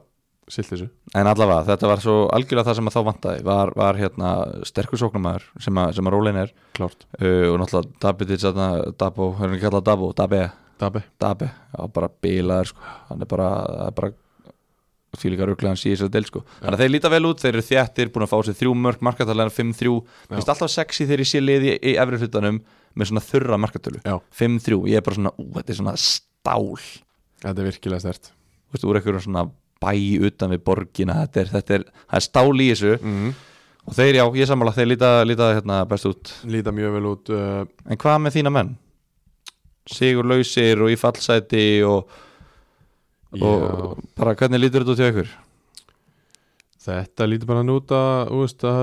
A: silt þessu
B: En allavega, þetta var svo algjörlega það sem að þá vantaði, var, var hérna sterkur sóknumæður sem að, sem að Rólein er
A: klárt,
B: uh, og náttúrulega Dabi til þarna, Dabo, hérna kallað Dabo, Dabe,
A: Dabi
B: Dabe, já, bara bilaður sko, hann er bara, það er bara fílíka rugglega hann sé þess að del sko þannig að þeir líta vel út, þeir eru þjættir, búin að fá sér þrjú mörg markatölu, fimm þrjú,
A: Já.
B: finnst alltaf sexy þegar ég sé liði í efri hlutanum með svona þurra markatölu,
A: Já.
B: fimm þrjú, ég er bara svona, ú, þetta er svona stál þú
A: þetta er virkilega stert
B: veist, úr einhverjum svona bæ utan við borgina, þetta er, þetta er, það er stál í þessu
A: mm.
B: og þeir, já, ég sammála, þeir líta, líta hérna best út,
A: líta mjög vel út uh,
B: en hvað með þína menn? Sigur lausir og í fallsæti og
A: já.
B: og bara hvernig lítur þetta út hjá ykkur
A: Þetta lítur bara hann út að, þú veist, að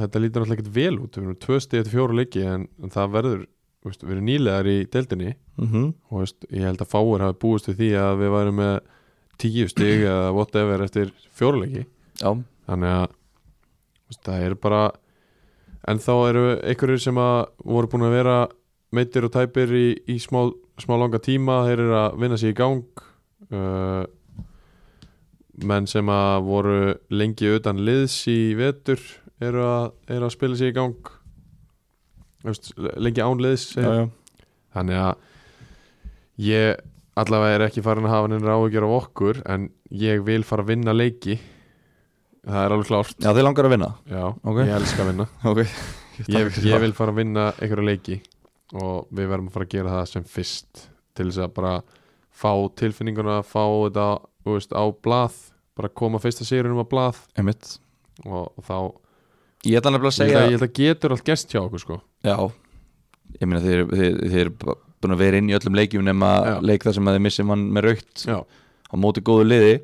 A: þetta lítur alltaf ekkert vel út við erum tvö stið eftir fjóra leiki en, en það verður, þú veist, við erum nýlegar í deildinni
B: mm -hmm.
A: og þú veist, ég held að fáir hafi búist við því að við værum með tíu stig eða whatever eftir fjóra leiki
B: já,
A: þannig að þú veist, það er bara en þá eru einhverjir sem að voru búin að vera meittir og tæpir í, í smá, smá langa tíma þeir eru að vinna sér í gang uh, menn sem að voru lengi utan liðs í vetur eru að, eru að spila sér í gang Þú veist, lengi án liðs
B: já, já.
A: þannig að ég allavega er ekki farin að hafa henni ráðugjör af okkur en ég vil fara að vinna leiki það er alveg klárt
B: já, þið langar að vinna
A: Já,
B: Ok.
A: ég elska að vinna
B: okay.
A: ég, ég vil fara að vinna einhverja leiki og við verðum að fara að gera það sem fyrst til þess að bara fá tilfinninguna, fá þetta þú veist, á blað, bara koma fyrsta sérunum á blað
B: Einmitt.
A: og þá,
B: ég ætla
A: ég held
B: nefnilega að segja
A: að, ég held að getur allt gest hjá okkur sko
B: já, ég meina þeir, þeir, þeir eru bara búin að vera inn í öllum leikjum nema
A: Já.
B: leik þar sem að þeir missi mann með raukt
A: Já,
B: á móti góðu liði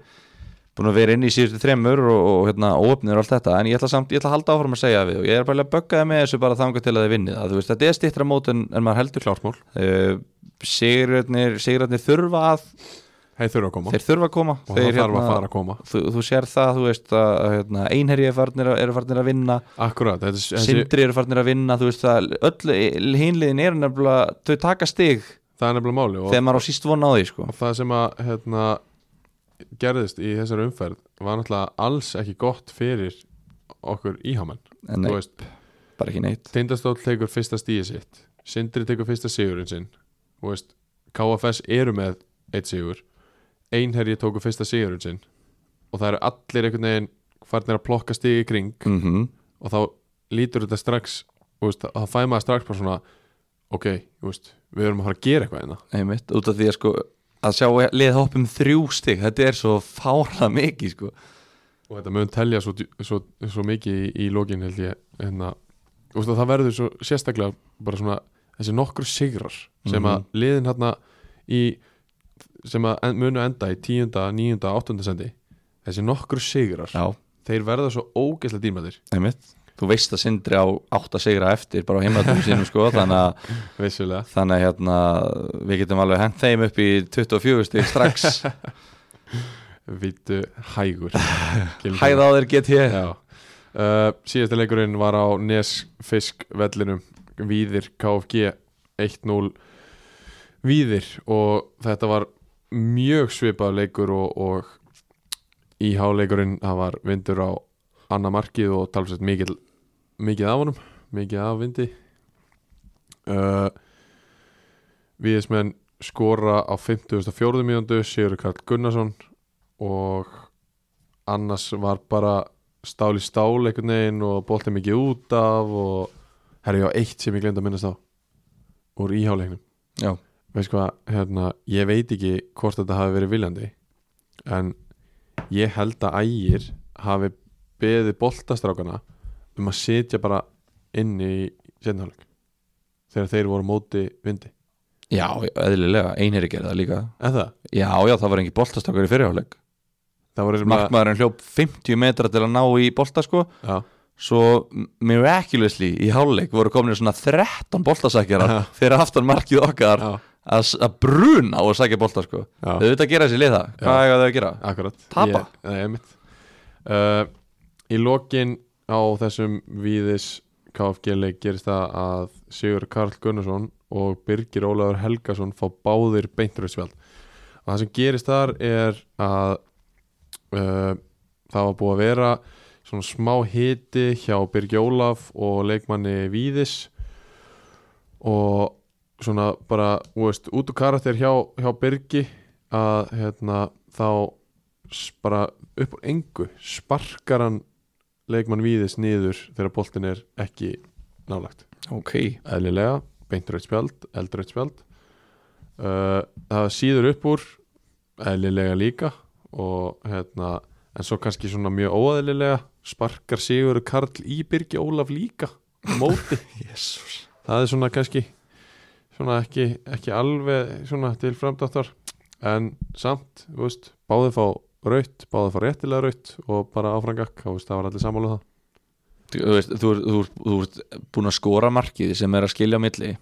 B: búin að vera inn í síðustu þremur og, og hérna óöfnir og allt þetta en ég ætla samt, ég ætla að halda áfram að segja við og ég er bara að bögga það með þessu bara þangað til að þið vinnið að þú veist, þetta er stýttra mót en, en maður heldur
A: klártmál,
B: uh, sigurarnir, sigurarnir þurfa að
A: hei þurfa að koma
B: þeir þurfa að koma
A: og
B: þeir, hérna,
A: það þarf að fara að koma
B: þú, þú sér það, þú veist að að, hérna, einherji er farnir að- eru farnir að vinna
A: Akkurat, þetta er þessi-
B: sindri eru farnir að vinna þú veist að öll hinliðin eru nefnilega þau taka stig
A: það er nefnilega máli og
B: þegar maður á síst vona á því sko.
A: og það sem að hérna, gerðist í þessari umferð var náttúrulega alls ekki gott fyrir okkur íhamenn þú
B: en nei,
A: veist,
B: bara ekki neitt
A: Tindastóll tekur fyrsta stíði sitt Sindri tekur fyrsta sigurinn sinn Þú veist, KFS eru með eitt sigur, einherji tóku fyrsta sigurinn sinn og það eru allir einhvern veginn farnir að plokka stíði í kring
B: mm
A: og þá lítur þetta strax þú veist, þá fæ maður strax bara svona ok, þú veist, við erum að fara að gera eitthvað hérna
B: einmitt, út af því að sko að sjá lið hoppum þrjú stig þetta er svo fára mikið sko.
A: og þetta mun telja svo, djú- svo, svo mikið í, í lokin held ég hérna, úst, það verður svo sérstaklega bara svona þessi nokkru sigrar sem að
B: Mhm.
A: liðin hérna í sem að en, munu enda í tíunda, níunda, áttunda sendi þessi nokkru sigrar
B: já,
A: þeir verða svo ógeðslega dýrmæðir
B: einmitt þú veist að sindri á átt að sigra eftir bara á heimatum sínum sko, þannig að
A: vissulega
B: þannig að hérna, við getum alveg hent þeim upp í 24 stig strax
A: vítu hægur Gylfi.
B: hæða á þeir GT
A: Já uh, Síðasta leikurinn var á Nesfisk vellinum Víðir KFG 1-0 Víðir og þetta var mjög svipað leikur og, og íháleikurinn það var vindur á annað markið og talsett mikið, mikið af honum mikið af vindi uh, Víðismenn skora á 54. mínúndu Sigur Karl Gunnarsson og annars var bara stál í stál einhvern veginn og boltið mikið út af og herri já, eitt sem ég glemt að minnast á úr íháleiknum
B: Já.
A: veist hvað, hérna, ég veit ekki hvort þetta hafi verið viljandi en ég held að ægir hafi beðið boltastrákana um að sitja bara inni í, setniháleik þegar þeir voru á móti vindi
B: Já, eðlilega, einherri gerði það líka
A: en það,
B: Já, já, það var engin boltastakar í fyrirháleik
A: það voru
B: Markmaðurinn hljóp 50 metra til að ná í bolta sko
A: já,
B: Svo miraculously í háleik voru komin svona 13 boltasakjarar
A: Já.
B: fyrir aftan markið okkar
A: já,
B: að, að bruna á að sakja bolta sko
A: já,
B: Þau veit að gera þessi lið það, hvað er það að gera?
A: akkurat
B: Tapa.
A: Ég- Nei, einmitt uh, Í lokin á þessum víðis KFG-leik gerist það að Sigur Karl Gunnarsson og Birgir Ólafur Helgason fá báðir beintröðsvjald og það sem gerist þar er að uh, það var búið að vera svona smá hiti hjá Birgi Ólaf og leikmanni Víðis og svona bara þú veist, út úr karakter hjá, hjá Birgi að hérna, þá s- bara upp úr engu sparkar hann leikmann Víðis niður þegar boltin er ekki nálagt
B: Ok,
A: eðlilega, beintröitt spjald eldröitt spjald uh, það síður upp úr eðlilega líka og hérna, en svo kannski svona mjög óeðlilega sparkar Sigur Karl Íbyrgi Ólaf líka á móti,
B: jésus
A: það er svona kannski svona ekki, ekki alveg svona til framdáttar en samt, þú veist, báði fá raut, báði fá réttilega raut og bara áfrangak, þú veist, það var allir sammála um það
B: Þú veist, þú ert- þú ert- þú ert búin að skora markið sem er að skilja á milli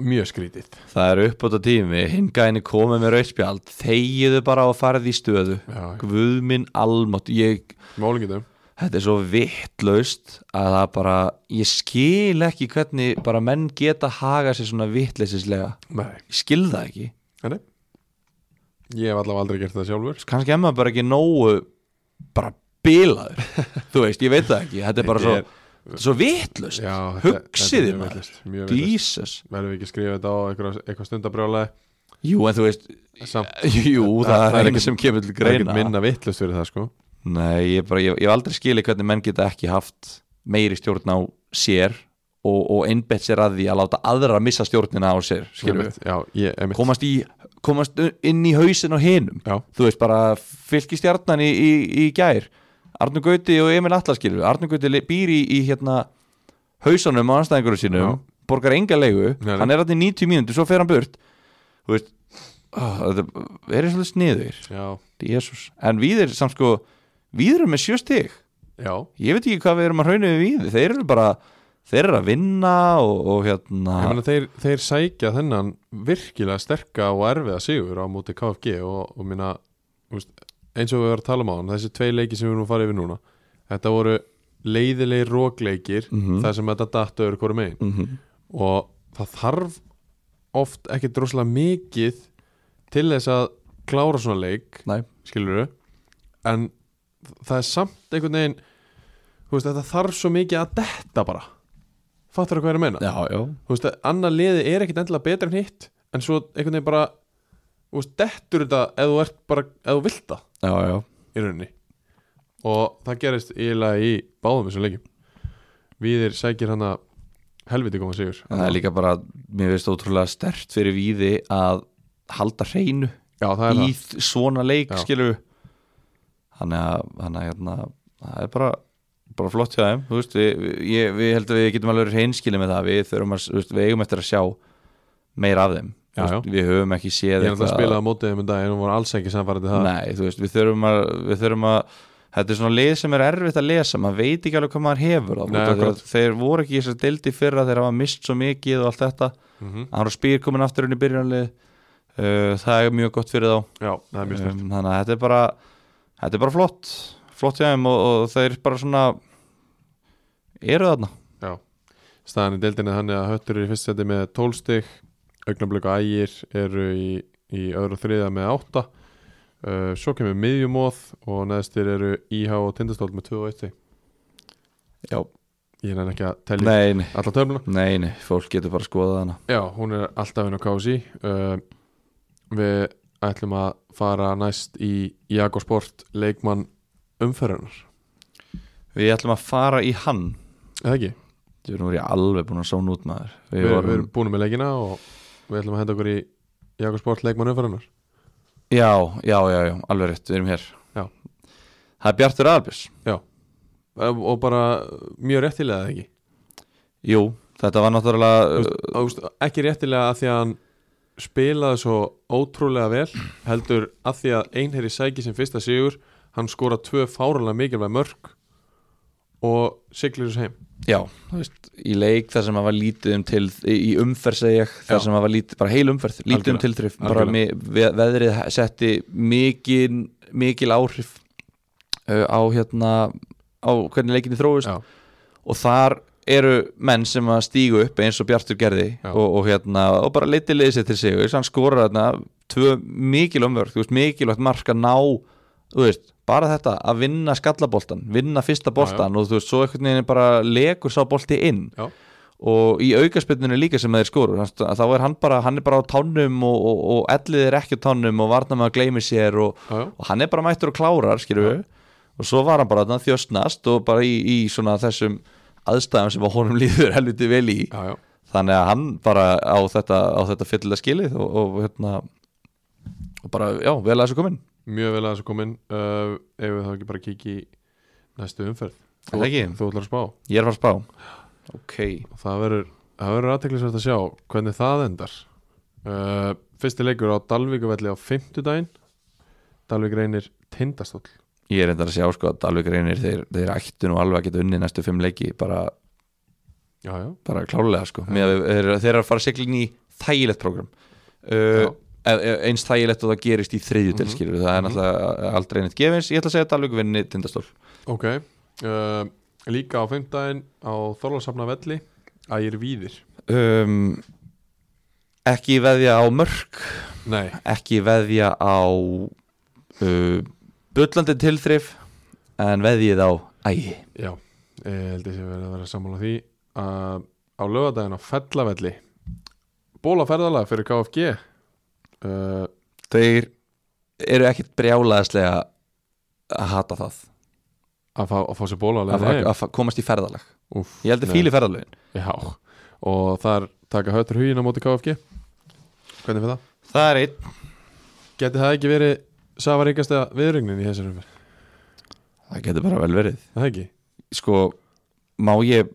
A: mjög skrítið
B: Það er upp á þetta tími, hingaðinni komið með rauðspjald Þegiðu bara og farið í stöðu
A: Já,
B: Guð minn almátt ég,
A: málingitum
B: Þetta er svo vittlaust að það bara Ég skil ekki hvernig bara menn geta haga sér svona vittleysislega
A: Nei,
B: Ég skil það ekki
A: nei Ég hef allavega aldrei gert það sjálfur
B: Kannski er maður bara ekki nógu bara bilaður Þú veist, ég veit það ekki Þetta er bara svo,
A: Þetta
B: þetta er svo vittlaust
A: Já, þetta-
B: Hugsið
A: þetta er
B: þið
A: mjög
B: maður
A: vitlaust, Mjög veitlust
B: Jesus
A: Verðum við ekki að skrifa þetta á eitthvað, eitthvað stundabrjálega
B: Jú, en þú veist,
A: Samt
B: jú,
A: það er
B: það, er
A: ekkert-
B: ekki sem kemur
A: það
B: til
A: er ekkert
B: greina
A: minna vittlust fyrir það sko
B: Nei, ég, bara, ég, ég hef aldrei skilið hvernig menn geta ekki haft meiri stjórn á sér og, og einbett sér að því að láta aðra missa stjórnina á sér skilur við.
A: Einmitt, Já, ég, einmitt
B: komast, í, komast inn í hausin á hinum
A: Já,
B: þú veist bara fylgistjarnan í, í, í gær Arnur Gauti og Emil Atla skilur við. Arnur Gauti le- býr í, í hérna hausanum á anstæðingurum sínum
A: Já.
B: borgar enga leigu,
A: Nei, nei.
B: hann er allir 90 mínútur svo fer hann burt þú veist, oh, það er svolítið sniður
A: já,
B: Jesus. en við er samt sko við erum með sjö stig
A: já
B: ég veit ekki hvað við erum að hrauna við við þeir eru bara, þeir eru að vinna og, og hérna
A: Ég meina þeir, þeir sækja þennan virkilega sterka og erfiða sigur á móti KFG og, og minna, veist, eins og við varum að tala um á hann, þessi tvei leiki sem við erum að fara yfir núna þetta voru leiðilegi rókleikir
B: Mhm.
A: þar sem þetta datta öðru hverju megin
B: mm
A: og það þarf oft ekki droslega mikið til þess að klára svona leik
B: Nei.
A: skilur en það er samt einhvern veginn þú veist, þetta þarf svo mikið að detta bara fattur það hvað ég er að meina
B: já, já,
A: þú veist, að annar liði er ekkit endilega betra en hitt en svo einhvern veginn bara þú veist, dettur þetta ef þú ert bara ef þú vilt það
B: já, já
A: í rauninni og það gerist eiginlega í báðum þessum leikjum Viðir sækir hana helviti koma sigur
B: það er líka bara, mér veist ótrúlega stert fyrir viði að halda hreinu
A: Já, það er
B: í
A: það
B: þ- svona leik,
A: Já.
B: skilur við þannig að, þannig að hérna, það er bara bara flott hjá þeim, þú veist við, við, ég- við heldum að við getum alveg reynskilið með það við þurfum að, þú veist, við eigum eftir að sjá meira af þeim,
A: Já,
B: Þú veist, við höfum ekki séð
A: Ég er alltaf að
B: eitthvað-
A: spila á mótið um daginn og voru alls ekki samfærandi það
B: Nei, þú veist, við þurfum að, við þurfum að þetta er svona lið sem er erfitt að lesa maður veit ekki alveg hvað maður hefur
A: Nei,
B: Nei,
A: akkurat.
B: þeir voru ekki í þessar deildi fyrra þeir hafa mist svo mikið og allt þetta
A: mm -hmm.
B: hann er spýr komin aftur inn í byrjanlið uh, það er mjög gott fyrir þá
A: Já, það er mjög stund
B: um, þannig að þetta er bara þetta er bara flott, flott hjá þeim og, og þeir bara svona eru þarna
A: Staðan í deildinni er þannig að höttur eru í fyrst seti með 12 stig Augnablöku ægir eru í, í öðru og þriða með 8 uh, Svo kemur miðjumóð og neðstir eru IH og Tindastóll með 2 og 1 stig
B: Já.
A: Ég er ekki að telja
B: nei, nei,
A: alla töfluna
B: nei, nei, fólk getur bara að skoða þarna
A: Já, hún er alltaf inn á kási uh, Við ætlum að fara næst í Jakosport leikmann umferðarnar
B: við ætlum að fara í hann
A: Eða ekki?
B: þú erum verið alveg búin að sóna út maður
A: Við, við erum búin með leikina og við ætlum að henda okkur í Jakobsport leikmann umfæranar
B: Já, já, já, já, alveg rétt, við erum hér
A: Já.
B: Það er Bjartur Albers
A: og bara mjög réttilega eða ekki
B: Jú, Þetta var náttúrulega
A: Þú Þú veist, ekki réttilega að því að hann spilaði svo ótrúlega vel heldur að því að einherri sæki sem fyrsta sigur hann skora tvö fáralega mikilvæg mörg og siglir þessu heim
B: Já, þú veist, í leik þar sem að var lítið um til, í í umferð segja ég þar
A: Já.
B: sem að var lítið, bara heil umferð, lítið um
A: Algjörlega.
B: tilþrif, bara mi, ve- veðrið he- setti mikil, mikil áhrif uh, á hérna, á hvernig leikinni þróist
A: Já.
B: og þar eru menn sem að stígu upp eins og Bjartur gerði
A: Já.
B: og, og hérna, og bara leiti leiði sér til sig og hann skorar þarna tvö mikil umverð, þú veist, mikilvægt mark að ná þú veist, bara þetta að vinna skallaboltan, vinna fyrsta boltan og þú veist, svo einhvern veginn bara legur sá bolti inn
A: Já.
B: og í aukaspilninu líka sem þeir skorur þannig að þá er hann bara, hann er bara á tánum og, og, og ellið er ekki á tánum og varna með að gleymi sér og,
A: Já, já.
B: og hann er bara mættur og klárar, skilur við og svo var hann bara þarna þjóstnast og bara í, í svona þessum aðstæðum sem að honum líður helviti vel í
A: já, já.
B: þannig að hann bara á þetta, á þetta fyllilega skilið og, og hérna og bara, já, vel að þessu komin
A: mjög vel að þessu komin uh, ef við þá ekki bara kikið í næstu umferð
B: Er það ekki?
A: þú ætlar að spá
B: Ég er að fara að spá Ok
A: og það verður, það verður aðteklisvægt að sjá hvernig það endar uh, fyrsti leikur á Dalvíkuvelli á fimmtudaginn Dalvík reynir tindastóll
B: Ég er endar að sjá sko að Dalvik reynir þeir, þeir ættu nú alveg að geta unni næstu fimm leiki bara,
A: já, já,
B: bara klálega sko Mér, þeir, þeir eru að fara siglin í þægilegt program uh,
A: Já.
B: e- e- eins þægilegt og það gerist í þriðju til
A: Mhm.
B: skilur það er
A: Mhm.
B: náttúrulega aldrei neitt gefins Ég ætla að segja að Dalvik vinni tindastól
A: ok uh, líka á fimmtudaginn á Þorlásafna velli ægir víðir
B: um, Ekki veðja á mörg
A: nei,
B: ekki veðja á uh, bullandi tilþrif en veðjið á ægi
A: já, ég held ég sem verður að vera sammála því uh, á lögadaginn á fellavelli bólaferðalega fyrir KFG uh,
B: þeir eru ekkit brjálaðislega að hata það
A: að fá, að fá sér bóla á
B: að,
A: leiðinni
B: að,
A: heim.
B: að fa- komast í ferðalag
A: Úff,
B: ég held að
A: nei.
B: fíli ferðalögin
A: Já, og þar taka höttur hugin á móti KFG Hvernig fyrir það?
B: það er einn
A: Geti það ekki verið safaríkasta viðrögnin í þessari umferð?
B: það getur bara vel verið
A: Er Það ekki?
B: sko, má ég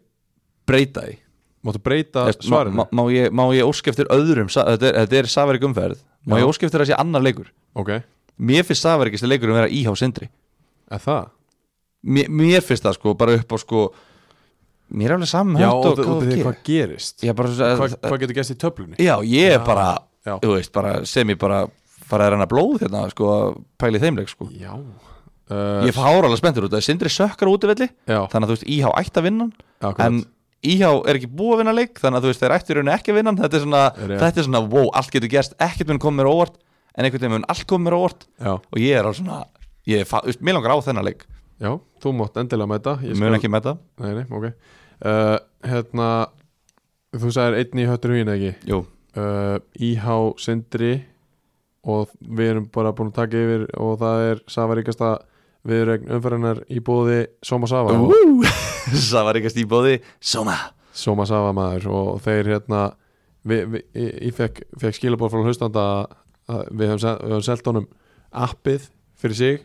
B: breyta því
A: Máttu breyta
B: Eða, má,
A: svarinu?
B: má, má, ég, má ég óska eftir öðrum sa- þetta er, þetta er safarík umferð má
A: Já.
B: ég óska eftir að sé annar leikur
A: ok,
B: mér finnst safaríkist leikur um að vera íhá sindri
A: er það?
B: mér, mér finnst það sko, bara upp á sko mér er alveg saman
A: Já,
B: hönd
A: út út
B: og
A: af
B: hvað
A: því
B: það
A: hvað gerist
B: Já, bara,
A: Hvað hva getur gæst í töflunni?
B: já, ég er
A: Já.
B: bara,
A: Já.
B: þú veist, bara sem ég bara fara að renna blóð hérna, sko, að pæli þeimleik, sko
A: Já uh,
B: Ég fá áralega spenntur út, það er sindri sökkar út í velli
A: Já,
B: þannig að þú veist, íhá ætti að vinna hann,
A: akkurat
B: en íhá er ekki búið að vinna leik, þannig að þú veist, þeir ættu í rauninni ekki að vinna hann, þetta er svona,
A: Rétt.
B: þetta er svona wow, allt getur gerst, ekkert mun koma mér á óvart en einhvern veginn mun allt koma mér á óvart
A: Já,
B: og ég er alveg svona, ég er, fa- þú veist, mér langar á þennan leik,
A: já, þú mátt endilega mæta Ég
B: mun ekki með það,
A: Nei, nei, ok uh, Hérna, þú sagðir einn í höttur hugin ekki?
B: jú
A: uh, IH Sindri og við erum bara búin að taka yfir og það er safaríkasta viðregn umferðinar í bóði Soma Sava og
B: það var eitthvað stíbóði, Soma
A: Soma Sava maður og þeir hérna við, við, ég ég fekk, fekk skilabóð frá hlustanda að- að við höfum, sel- við höfum selt honum appið fyrir sig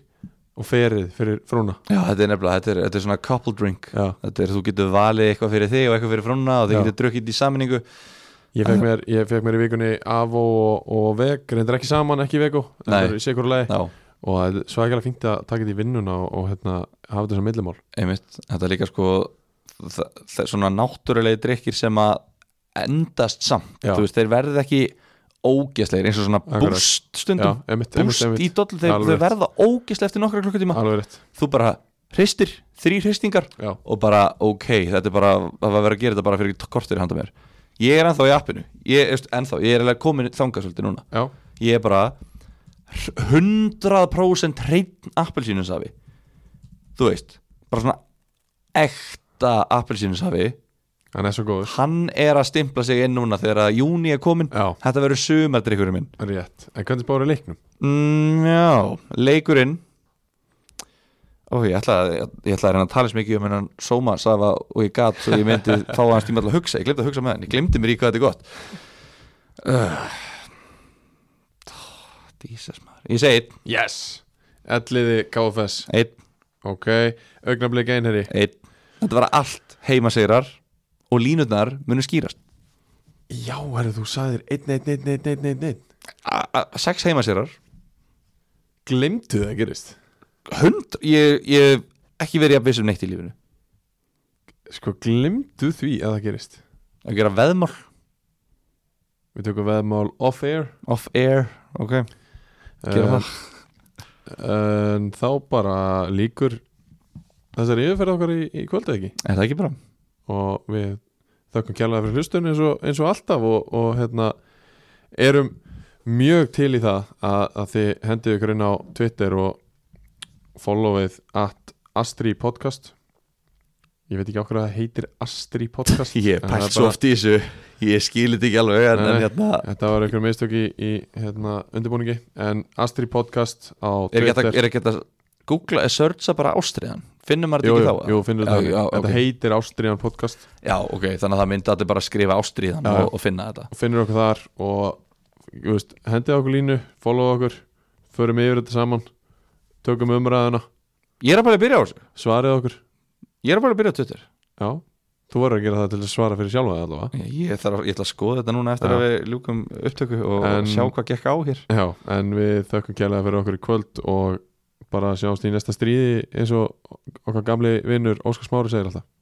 A: og ferið fyrir frúna
B: Já, þetta er nefnilega, þetta er, þetta er svona couple drink
A: Já.
B: Þetta er, þú getur valið eitthvað fyrir þig og eitthvað fyrir frúna og þið
A: Já.
B: getur drukkið þetta í samningu
A: ég fekk, mér, ég fekk mér í vikunni Avo og, og Veg, reyndir ekki saman ekki í Vego,
B: Nei.
A: þetta er sikur leið
B: Já,
A: og það er svækilega fínt að taka þetta í vinnuna og, og hérna, hafa þetta sem millimál
B: einmitt, þetta er líka sko það, það er svona náttúrulegi drikkir sem að endast samt,
A: Já.
B: þú veist, þeir verða ekki ógeslegir, eins og svona
A: Akkurat.
B: búst stundum,
A: emitt,
B: búst í dollu þeir,
A: Alveg
B: þau
A: rétt.
B: verða ógeslega eftir nokkra klukkutíma
A: Alveg rétt
B: Þú bara hristir, þrý hristingar
A: Já,
B: og bara ok, þetta er bara það var verið að gera þetta bara fyrir t- kortir handa mér ég er ennþá í appinu, ég, er- ennþá, ég er alveg komin þangað svolítið núna
A: já,
B: ég er bara 100% hreitn appelsínusafi þú veist, bara svona ekta appelsínusafi
A: hann er svo góður
B: hann er að stimpla sig inn núna þegar að júni er komin
A: Já,
B: þetta verður sumardrykkurinn minn
A: rétt En hvernig spáður í leiknum?
B: mm, já, leikurinn Ó, ég ætla, að, ég ætla að reyna að tala svo mikið um hennan Soma Safa og ég gat svo ég myndi fá hans tíma alltaf að hugsa, ég glemdi að hugsa með hann ég glemdi mér í hvað þetta er gott uh, Jesus maður ég segi einn,
A: Yes Elliði KFS
B: einn
A: Ok, augnablik einherri
B: einn Þetta var allt heimasýrar og línurnar munu skýrast
A: Já, herru, þú sagðir 1, 1, 1, 1, 1, 1, 1
B: A- a- sex heimasýrar
A: Glemtu það gerist
B: hund, ég, ég hef ekki verið að vissum neitt í lífinu
A: Sko, glemtu því að það gerist
B: að gera veðmál
A: Við tökum veðmál off-air
B: off air, ok, gera
A: en,
B: það
A: en þá bara líkur þessari yfirferð okkar í, í kvöldu ekki
B: er það ekki bara,
A: og við þökkum kjærlega fyrir hlustun eins og, eins og alltaf og, og hérna erum mjög til í það að, að þið hendið ykkur inn á Twitter og followið at Astri Podcast ég veit ekki okkur að það heitir Astri Podcast
B: ég
A: en það
B: pælt
A: er
B: svo
A: bara-
B: oft í þessu ég skilit ekki alveg en,
A: Nei,
B: en
A: nei.
B: hérna,
A: Þetta var einhver mistök í, í hérna, undirbúningi en Astri Podcast á
B: er ekki hægt
A: Twitter
B: að- er ekki hægt að googla, eða searcha bara ástriðan finnum maður
A: Jú,
B: þetta
A: jú,
B: ekki þá
A: jú, finnur
B: Já,
A: þetta
B: já,
A: Þetta
B: ok.
A: heitir Ástriðan Podcast
B: já, ok, þannig að það myndi allir bara skrifa ástriðan
A: Já, já.
B: og, og finna þetta
A: finnir okkur þar og þú veist, hendið okkur línu, follow okkur förum yfir þetta saman tökum umræðuna,
B: ég er að bara að byrja á þessu,
A: svarið okkur
B: ég er að bara að byrja á Twitter
A: já, þú verður að gera það til að svara fyrir sjálfa þig allavega
B: ég, ég, þarf, að- ég ætla að skoða þetta núna eftir
A: sko. Já.
B: að við ljúkum upptöku og
A: En-
B: sjá hvað gekk á hér
A: já, en við þökkum kjærlega fyrir okkur í kvöld og bara sjáumst í næsta stríði eins og okkar gamli vinnur Óskar Smári segir alltaf